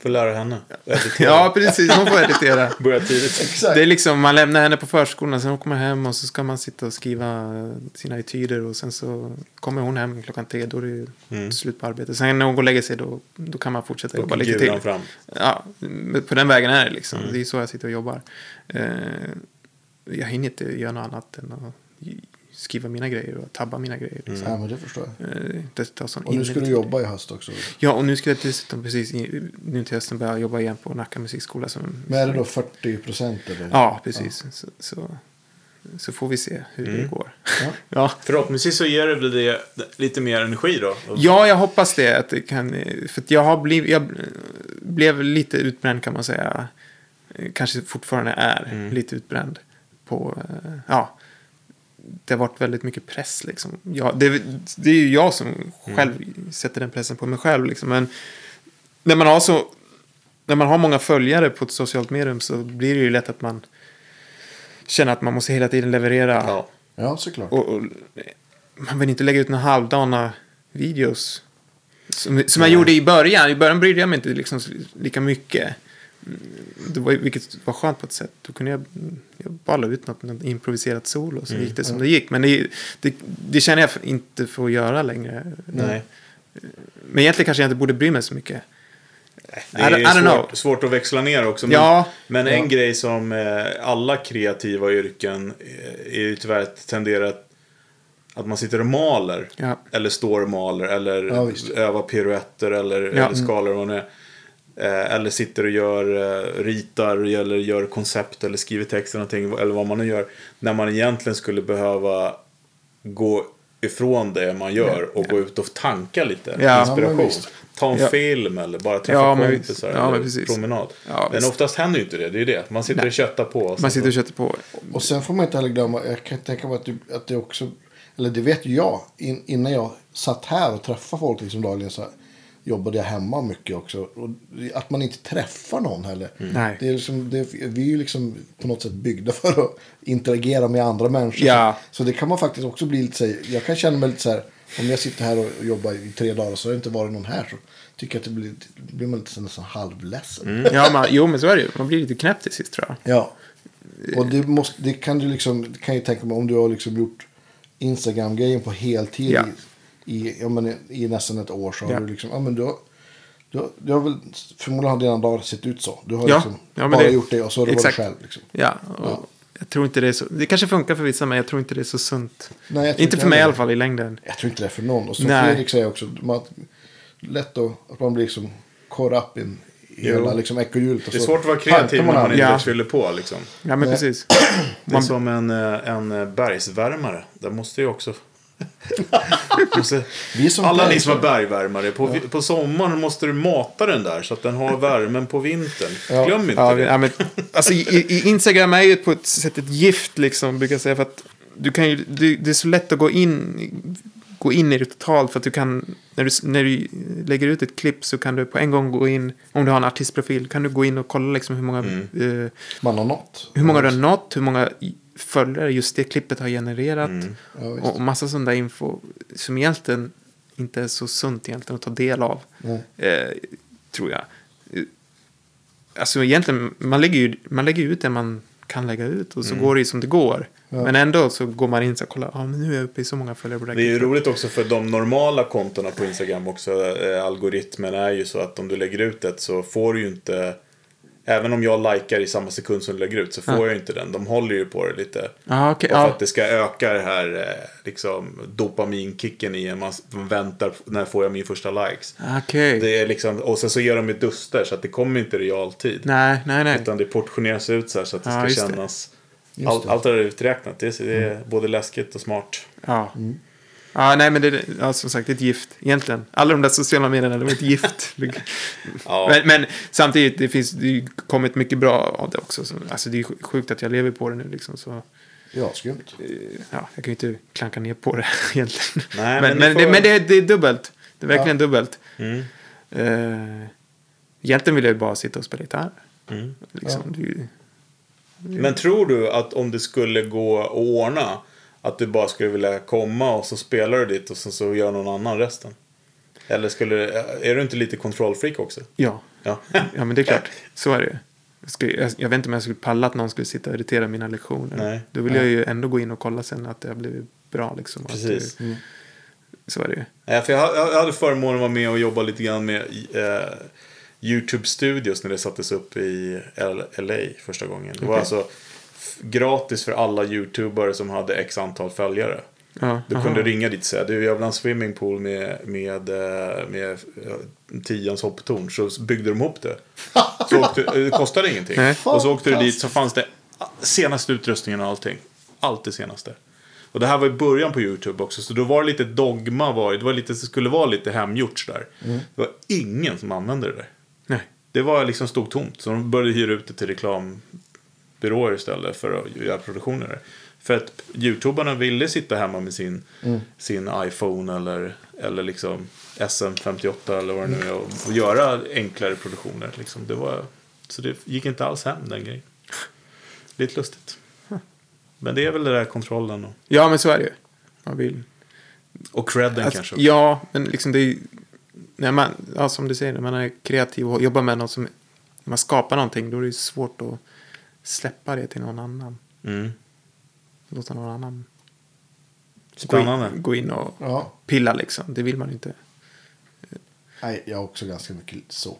[SPEAKER 1] Får lära henne.
[SPEAKER 3] ja, precis. Hon får editera.
[SPEAKER 1] Börja tidigt.
[SPEAKER 2] Exakt.
[SPEAKER 3] Det är liksom, man lämnar henne på förskolan, sen åker man hem och så ska man sitta och skriva sina etyder och sen så kommer hon hem klockan tre, då är det ju slut på arbetet. Sen när hon går och lägger sig då, då kan man fortsätta jobba lite till.
[SPEAKER 1] gulan fram.
[SPEAKER 3] Ja, men på den vägen är det liksom. Det är så jag sitter och jobbar. Eh, jag hinner inte göra något annat än att skriva mina grejer och tabba mina grejer.
[SPEAKER 1] Mm.
[SPEAKER 3] Liksom.
[SPEAKER 2] Ja, men det förstår jag.
[SPEAKER 3] Eh, det tar sån
[SPEAKER 2] Och nu ska
[SPEAKER 3] innerlig
[SPEAKER 2] du
[SPEAKER 3] tid.
[SPEAKER 2] jobba i höst också.
[SPEAKER 3] Ja, och nu ska jag dessutom precis i- nu till hösten börja jobba igen på Nacka musikskola. Som,
[SPEAKER 2] Men är det då 40 procent eller?
[SPEAKER 3] Ja, precis. Så, så, så får vi se hur det går.
[SPEAKER 2] Ja.
[SPEAKER 3] Ja.
[SPEAKER 1] Förhoppningsvis så ger det dig lite mer energi då.
[SPEAKER 3] ja, jag hoppas det. Att det kan, eh, för att jag, har bliv, jag eh, blev lite utbränd kan man säga. Eh, Kanske fortfarande är lite utbränd. På, eh, ja, det har varit väldigt mycket press. Liksom. Jag, det, det är ju jag som själv sätter den pressen på mig själv. Liksom. Men när man har så... När man har många följare på ett socialt medium så blir det ju lätt att man känner att man måste hela tiden leverera.
[SPEAKER 1] Ja.
[SPEAKER 2] Ja, såklart.
[SPEAKER 3] Och, och, man vill inte lägga ut några halvdana videos. Som, som jag gjorde i början. I början brydde jag mig inte liksom lika mycket. Mm, Det var, vilket var skönt på ett sätt. Då kunde jag, jag bara la ut något, något improviserat solo. Så gick det som det gick. Men det, det, det känner jag inte får göra längre.
[SPEAKER 1] Nej.
[SPEAKER 3] Men egentligen kanske jag inte borde bry mig så mycket.
[SPEAKER 1] Det
[SPEAKER 3] I don't- I don't
[SPEAKER 1] är
[SPEAKER 3] know.
[SPEAKER 1] svårt, svårt att växla ner också. Men,
[SPEAKER 3] Ja.
[SPEAKER 1] men en grej som eh, alla kreativa yrken eh, är ju tyvärr att tendera att, att man sitter och maler.
[SPEAKER 3] Ja.
[SPEAKER 1] Eller står och maler. Eller
[SPEAKER 2] Ja, visst.
[SPEAKER 1] övar piruetter eller,
[SPEAKER 3] Ja. Mm.
[SPEAKER 1] eller skalor. och Vad det är. Eh, eller sitter och gör, eh, ritar eller gör koncept eller skriver text eller någonting. Eller vad man nu gör. När man egentligen skulle behöva gå ifrån det man gör och gå ut och tanka lite.
[SPEAKER 3] Ja.
[SPEAKER 2] Ja, men
[SPEAKER 1] Inspiration.
[SPEAKER 2] visst.
[SPEAKER 1] Ta en
[SPEAKER 3] Ja.
[SPEAKER 1] film eller bara träffa
[SPEAKER 3] Ja, men
[SPEAKER 1] kompisar
[SPEAKER 3] visst. Ja, men
[SPEAKER 1] eller
[SPEAKER 3] precis.
[SPEAKER 1] promenad.
[SPEAKER 3] Ja,
[SPEAKER 1] men
[SPEAKER 3] visst.
[SPEAKER 1] oftast händer ju inte det, det är ju det. Man sitter och köttar på. och
[SPEAKER 3] Man
[SPEAKER 1] sen
[SPEAKER 3] sitter och
[SPEAKER 1] så-
[SPEAKER 3] köttar på.
[SPEAKER 2] Och sen får man inte heller glömma, jag kan tänka mig att, du, att det också, eller det vet ju jag, in, innan jag satt här och träffade folk liksom dagligen så jobbade jag hemma mycket också. Och att man inte träffar någon heller.
[SPEAKER 3] Mm. Nej.
[SPEAKER 2] Det är liksom, det, vi är ju liksom på något sätt byggda för att interagera med andra människor.
[SPEAKER 3] Ja.
[SPEAKER 2] Så det kan man faktiskt också bli lite så här- jag kan känna mig lite så här, om jag sitter här och jobbar i tre dagar och så har det inte varit någon här så tycker jag att det blir, blir man lite så här nästan halvledsen.
[SPEAKER 3] Ja, man, jo, men så är det ju. Man blir lite knäpp till sist tror jag.
[SPEAKER 2] Ja.
[SPEAKER 3] Eh.
[SPEAKER 2] Och det, måste, det kan du liksom, det kan jag tänka mig om du har liksom gjort Instagram-grejen på heltid
[SPEAKER 3] Ja.
[SPEAKER 2] i, i, ja, men, i nästan ett år så har
[SPEAKER 3] Ja.
[SPEAKER 2] du liksom, ja men du har, du har, du har väl, förmodligen har dina dagar sett ut så. Du har
[SPEAKER 3] Ja.
[SPEAKER 2] liksom
[SPEAKER 3] Ja, men
[SPEAKER 2] bara
[SPEAKER 3] det-
[SPEAKER 2] gjort det och så har du
[SPEAKER 3] exakt.
[SPEAKER 2] varit själv. Liksom.
[SPEAKER 3] Ja, och jag tror inte det är så. Det kanske funkar för vissa, men jag tror inte det är så sunt.
[SPEAKER 2] Nej, jag tror
[SPEAKER 3] inte
[SPEAKER 2] inte
[SPEAKER 3] för mig i
[SPEAKER 2] heller.
[SPEAKER 3] alla fall i längden.
[SPEAKER 2] Jag tror inte det är för någon. Och som
[SPEAKER 3] Nej.
[SPEAKER 2] Fredrik säger också, man, lätt då, att man blir liksom caught up in i
[SPEAKER 1] Jo.
[SPEAKER 2] hela liksom ekorrhjulet. och
[SPEAKER 1] Det är
[SPEAKER 2] så
[SPEAKER 1] svårt att vara
[SPEAKER 2] tankar
[SPEAKER 1] kreativ när man
[SPEAKER 2] aldrig.
[SPEAKER 1] inte
[SPEAKER 3] Ja.
[SPEAKER 1] fyller på liksom.
[SPEAKER 3] Ja, men
[SPEAKER 2] Nej.
[SPEAKER 3] precis.
[SPEAKER 1] Det är som en, eh, en bergsvärmare. Där måste ju också... måste...
[SPEAKER 2] Vi som
[SPEAKER 1] Alla ni
[SPEAKER 2] bergs-
[SPEAKER 1] som är bergvärmare, på, på sommaren måste du mata den där så att den har värmen på vintern.
[SPEAKER 2] Ja.
[SPEAKER 1] Glöm inte
[SPEAKER 3] Ja,
[SPEAKER 1] det.
[SPEAKER 3] ja, men, alltså, i, i Instagram är ju på ett sätt ett gift, liksom, brukar jag säga. För att du kan ju, du, det är så lätt att gå in, gå in i det totalt. För att du kan, när du, när du lägger ut ett klipp så kan du på en gång gå in, om du har en
[SPEAKER 2] Mm.
[SPEAKER 3] artistprofil, kan du gå in och kolla liksom, hur många eh,
[SPEAKER 2] Man har nått.
[SPEAKER 3] Hur många du har nått, hur många följare just det klippet har genererat.
[SPEAKER 1] Mm.
[SPEAKER 2] Ja, visst.
[SPEAKER 3] och massa sån där info som egentligen inte är så sunt egentligen att ta del av.
[SPEAKER 2] Nej.
[SPEAKER 3] Eh, tror jag. Eh, Alltså egentligen, man lägger, ju, man lägger ut det man kan lägga ut och så
[SPEAKER 1] Mm.
[SPEAKER 3] går det ju som det går. Men ändå så går man in och kollar, ja ah, men nu är jag uppe i så många följare på det här
[SPEAKER 1] Det är ju
[SPEAKER 3] klippet."
[SPEAKER 1] roligt också för de normala kontona på Instagram också. eh, Algoritmen är ju så att om du lägger ut ett så får du ju inte... Även om jag likar i samma sekund som du lägger ut så får jag ju inte den. De håller ju på det lite.
[SPEAKER 3] Ja, okej,
[SPEAKER 1] Bara för
[SPEAKER 3] ja.
[SPEAKER 1] att det ska öka det här eh, liksom, dopaminkicken i en. Man man väntar, när får jag min första likes?
[SPEAKER 3] Ah, Okej.
[SPEAKER 1] Det är liksom, och sen så gör de ju duster så att det kommer inte i realtid.
[SPEAKER 3] Nej, nej, nej.
[SPEAKER 1] Utan det portioneras ut så här så att det
[SPEAKER 3] Ja,
[SPEAKER 1] ska
[SPEAKER 3] just det. Mm.
[SPEAKER 1] kännas.
[SPEAKER 2] Just
[SPEAKER 1] All,
[SPEAKER 2] det.
[SPEAKER 1] allt det där är uträknat. Det är, det är både läskigt och smart.
[SPEAKER 3] Ja.
[SPEAKER 1] Mm.
[SPEAKER 3] Ja, nej men det ja, som sagt det är ett gift egentligen. Alla de där sociala medierna, de är ett gift.
[SPEAKER 1] Ja.
[SPEAKER 3] men, men samtidigt, det finns det har ju kommit mycket bra av det också. Så, alltså det är ju sjukt att jag lever på det nu liksom. Så,
[SPEAKER 2] Ja, skumt.
[SPEAKER 3] eh, ja, jag kan ju inte klanka ner på det egentligen.
[SPEAKER 1] Nej, men
[SPEAKER 3] men, men,
[SPEAKER 1] ni får- Mm.
[SPEAKER 3] det, men det, är- det är dubbelt. Det är verkligen dubbelt. Eh, egentligen vill jag ju bara sitta och spela gitarr.
[SPEAKER 1] Mm.
[SPEAKER 3] Liksom, det är ju- Mm.
[SPEAKER 1] Men tror du att om det skulle gå att ordna att du bara skulle vilja komma och så spelar du ditt och sen så gör någon annan resten? Eller skulle, är du inte lite kontrollfreak också?
[SPEAKER 3] ja.
[SPEAKER 1] Ja.
[SPEAKER 3] Ja, men det är klart. Så är det ju. Jag, skulle, jag, jag vet inte om jag skulle palla att någon skulle sitta och irritera mina lektioner.
[SPEAKER 1] Nej.
[SPEAKER 3] Då vill jag ju ändå gå in och kolla sen att det har blivit bra. Liksom, och att
[SPEAKER 1] Precis.
[SPEAKER 3] Det, Så är det ju.
[SPEAKER 1] Nej, Eh, för jag, ha- jag hade förmånen att vara med och jobba lite grann med eh, YouTube Studios när det sattes upp i L- LA första gången. Det var
[SPEAKER 3] Okej.
[SPEAKER 1] alltså f- gratis för alla YouTubare som hade x antal följare.
[SPEAKER 3] Ja,
[SPEAKER 1] Du
[SPEAKER 3] aha.
[SPEAKER 1] kunde ringa dit och säga du jag vill ha en swimmingpool med, med, eh, med eh, tians hopptorn. Så byggde de ihop det. Så åkte, eh, det kostade ingenting.
[SPEAKER 3] Nej.
[SPEAKER 1] Och så åkte du dit
[SPEAKER 2] Fantastiskt.
[SPEAKER 1] så fanns det senaste utrustningen och allting. Allt det senaste. Och det här var i början på YouTube också. Så då var det lite dogma. Var, det, var lite, det skulle vara lite hemgjort sådär. Det var ingen som använde det där.
[SPEAKER 3] Nej.
[SPEAKER 1] Det var liksom stod tomt. Så de började hyra ut det till reklambyråer istället för att göra produktioner. där. För att youtubarna ville sitta hemma med sin, sin iPhone eller, eller liksom SM58 eller vad det nu är. Och, och göra enklare produktioner. Liksom. Det var, så det gick inte alls hem den grejen. Lite lustigt. Men det är väl den där kontrollen och,
[SPEAKER 3] Ja, men så är det ju. Man vill.
[SPEAKER 1] och credden
[SPEAKER 3] Alltså,
[SPEAKER 1] kanske.
[SPEAKER 3] Ja, men liksom det är ju... När man, ja, som du säger, när man är kreativ och jobbar med något som... När man skapar någonting, då är det ju svårt att släppa det till någon annan.
[SPEAKER 1] Mm.
[SPEAKER 3] Låta någon annan gå
[SPEAKER 1] Spännande.
[SPEAKER 3] in, gå in och
[SPEAKER 2] Ja.
[SPEAKER 3] pilla liksom. Det vill man ju inte.
[SPEAKER 2] Nej, jag är också ganska mycket så.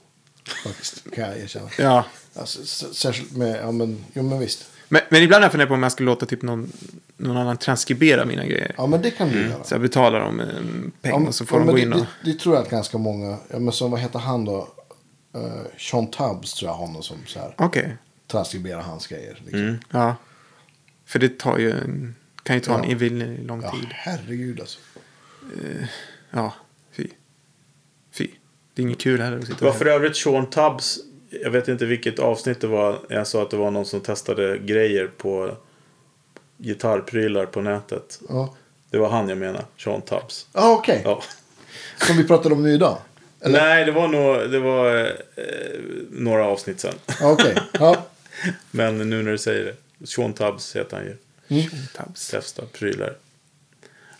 [SPEAKER 2] Faktiskt, kan jag erkänna.
[SPEAKER 3] Ja,
[SPEAKER 2] Alltså, s- särskilt med, ja men, jo men visst.
[SPEAKER 3] Men, men ibland har jag funderat på om jag ska låta typ någon, någon annan transkribera mina grejer.
[SPEAKER 2] Ja men det kan du
[SPEAKER 1] Mm.
[SPEAKER 2] göra.
[SPEAKER 3] Så jag betalar dem en peng
[SPEAKER 2] Ja, men-
[SPEAKER 3] och så får
[SPEAKER 2] ja,
[SPEAKER 3] de
[SPEAKER 2] men
[SPEAKER 3] gå
[SPEAKER 2] det-
[SPEAKER 3] in och...
[SPEAKER 2] Det, det tror jag att ganska många, ja men som vad heter han då? Uh, Sean Tubbs tror jag honom som så här
[SPEAKER 3] Okej.
[SPEAKER 2] transkriberar hans grejer. Liksom.
[SPEAKER 1] Mm.
[SPEAKER 3] Ja. För det tar ju en, kan ju ta en
[SPEAKER 2] Ja.
[SPEAKER 3] evinnerlig lång
[SPEAKER 2] Ja,
[SPEAKER 3] tid.
[SPEAKER 2] herregud alltså.
[SPEAKER 3] Ja, fy. Fy. Det är inget kul heller att
[SPEAKER 1] Det
[SPEAKER 3] sitta
[SPEAKER 1] var
[SPEAKER 3] här.
[SPEAKER 1] för övrigt Sean Tubbs, jag vet inte vilket avsnitt det var, jag sa att det var någon som testade grejer på gitarrprylar på nätet.
[SPEAKER 2] Ja,
[SPEAKER 1] Det var han jag menar, Sean Tubbs.
[SPEAKER 2] ah, okej.
[SPEAKER 1] Ja.
[SPEAKER 2] Som vi pratade om nu idag. Eller?
[SPEAKER 1] Nej, det var nog det var, eh, några avsnitt sen.
[SPEAKER 2] Ja, Okej. Ja.
[SPEAKER 1] Men nu när du säger det. Sean Tubbs heter han ju.
[SPEAKER 2] Mm.
[SPEAKER 3] Tabs.
[SPEAKER 1] Testa prylar.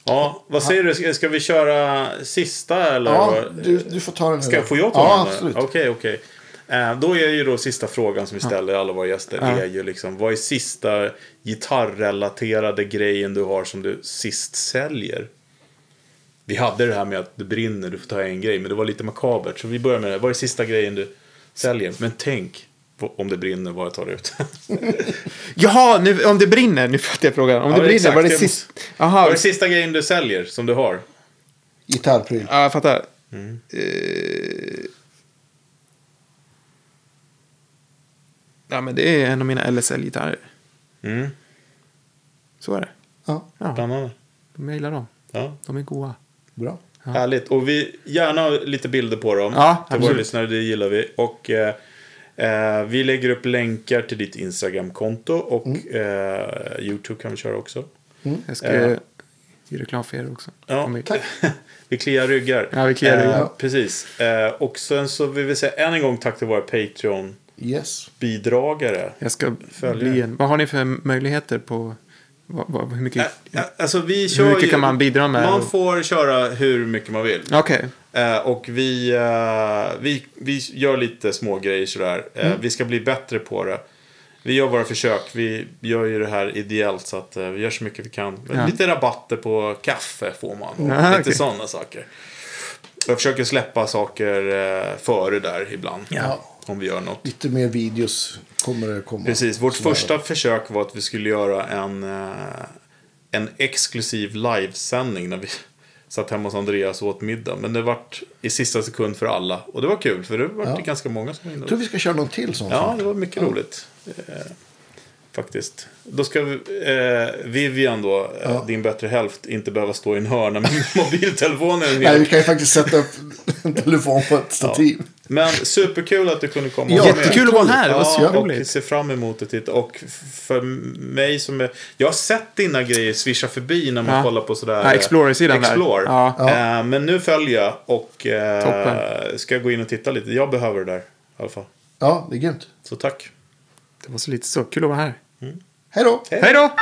[SPEAKER 1] Ja, vad säger du? Ska- Ska vi köra sista eller?
[SPEAKER 2] ja,
[SPEAKER 1] vad?
[SPEAKER 2] du, du får ta den.
[SPEAKER 1] Ska jag få jag ta
[SPEAKER 2] Ja,
[SPEAKER 1] den?
[SPEAKER 2] absolut.
[SPEAKER 1] Okej, okej. Eh, Då är ju då sista frågan som vi ställer alla våra gäster. är ju liksom, vad är sista gitarrrelaterade grejen du har som du sist säljer? Vi hade det här med att det brinner, du får ta en grej, men det var lite makabert. Så vi börjar med det. Vad är sista grejen du säljer? Men tänk på- om det brinner, vad jag tar ut.
[SPEAKER 3] Jaha, nu, om det brinner. Nu fattar jag frågan. Om
[SPEAKER 1] Ja,
[SPEAKER 3] det brinner,
[SPEAKER 1] exakt,
[SPEAKER 3] var det
[SPEAKER 1] jag
[SPEAKER 3] sist?
[SPEAKER 1] måste-
[SPEAKER 3] Jaha,
[SPEAKER 1] vad är sista grejen du säljer som du har?
[SPEAKER 2] Gitarrpryl.
[SPEAKER 3] ja, jag fattar.
[SPEAKER 2] Mm.
[SPEAKER 3] Eh, Ja, men det är en av mina LSL-gitarrer.
[SPEAKER 1] Mm,
[SPEAKER 3] Så är det.
[SPEAKER 2] Ja,
[SPEAKER 3] Ja.
[SPEAKER 1] spännande.
[SPEAKER 3] De gillar dem.
[SPEAKER 1] Ja.
[SPEAKER 3] De är goa.
[SPEAKER 2] bra.
[SPEAKER 1] Härligt. Och vi gärna lite bilder på dem.
[SPEAKER 3] Ja,
[SPEAKER 1] till våra
[SPEAKER 3] absolut.
[SPEAKER 1] lyssnare, det gillar vi. Och eh, eh, vi lägger upp länkar till ditt Instagram-konto och
[SPEAKER 3] Mm.
[SPEAKER 1] eh, YouTube kan vi köra också.
[SPEAKER 3] Jag ska
[SPEAKER 1] Eh.
[SPEAKER 3] ge reklam för er också.
[SPEAKER 1] Ja,
[SPEAKER 3] Om vi-
[SPEAKER 1] vi kliar ryggar. Eh,
[SPEAKER 3] Ja, vi kliar ryggar.
[SPEAKER 1] Precis. Eh, och sen så vill vi säga än en gång tack till våra Patreon.
[SPEAKER 2] Yes.
[SPEAKER 1] bidragare.
[SPEAKER 3] Jag ska
[SPEAKER 1] Följare.
[SPEAKER 3] bli en... Vad har ni för möjligheter på... Vad, vad, hur mycket...
[SPEAKER 1] Ä- ä- Alltså, vi kör
[SPEAKER 3] mycket
[SPEAKER 1] ju-
[SPEAKER 3] kan man bidra med?
[SPEAKER 1] Man får köra hur mycket man vill.
[SPEAKER 3] Okej.
[SPEAKER 1] Eh, och vi, eh, vi, vi gör lite små grejer sådär. Eh,
[SPEAKER 3] Mm.
[SPEAKER 1] Vi ska bli bättre på det. Vi gör våra försök. Vi gör ju det här ideellt så att eh, vi gör så mycket vi kan. Men
[SPEAKER 3] Ja.
[SPEAKER 1] Lite rabatter på kaffe får man. Och
[SPEAKER 3] Ah,
[SPEAKER 1] lite
[SPEAKER 3] okej.
[SPEAKER 1] sådana saker. Jag försöker släppa saker eh, före där ibland.
[SPEAKER 2] Ja.
[SPEAKER 1] Om vi gör något.
[SPEAKER 2] Lite mer videos kommer det komma.
[SPEAKER 1] Precis, vårt
[SPEAKER 2] Sådär.
[SPEAKER 1] första försök var att vi skulle göra en, eh, en exklusiv livesändning när vi satt hemma hos Andreas och åt middag. Men det vart i sista sekund för alla. Och det var kul, för det var
[SPEAKER 2] Ja.
[SPEAKER 1] det ganska många som var
[SPEAKER 2] Jag tror
[SPEAKER 1] inne.
[SPEAKER 2] vi ska köra någon till sån.
[SPEAKER 1] Ja,
[SPEAKER 2] sak.
[SPEAKER 1] det var mycket roligt. Eh, faktiskt. Då ska vi, eh, Vivian då, eh,
[SPEAKER 2] Ja.
[SPEAKER 1] din bättre hälft, inte behöva stå i en hörna med mobiltelefonen
[SPEAKER 2] Nej, vi
[SPEAKER 1] ner.
[SPEAKER 2] kan ju faktiskt sätta upp en telefon på ett stativ.
[SPEAKER 1] Men superkul att du kunde komma.
[SPEAKER 2] Ja,
[SPEAKER 1] och vara med.
[SPEAKER 3] Jättekul att vara här. Det var
[SPEAKER 1] Ja, och
[SPEAKER 3] superroligt.
[SPEAKER 1] ser fram emot det. titt- Och för mig som är... Jag har sett dina grejer swisha förbi när man
[SPEAKER 3] Ja.
[SPEAKER 1] kollar på sådär...
[SPEAKER 3] Ja, Explorer-sidan där.
[SPEAKER 1] Explore.
[SPEAKER 3] Ja.
[SPEAKER 1] Eh, men nu följer jag och eh,
[SPEAKER 3] Toppen.
[SPEAKER 1] ska gå in och titta lite. Jag behöver det där i alla fall.
[SPEAKER 2] Ja, det är grymt.
[SPEAKER 1] Så tack.
[SPEAKER 3] Det var så lite så. Kul att vara här.
[SPEAKER 2] Hej då!
[SPEAKER 3] Hej då!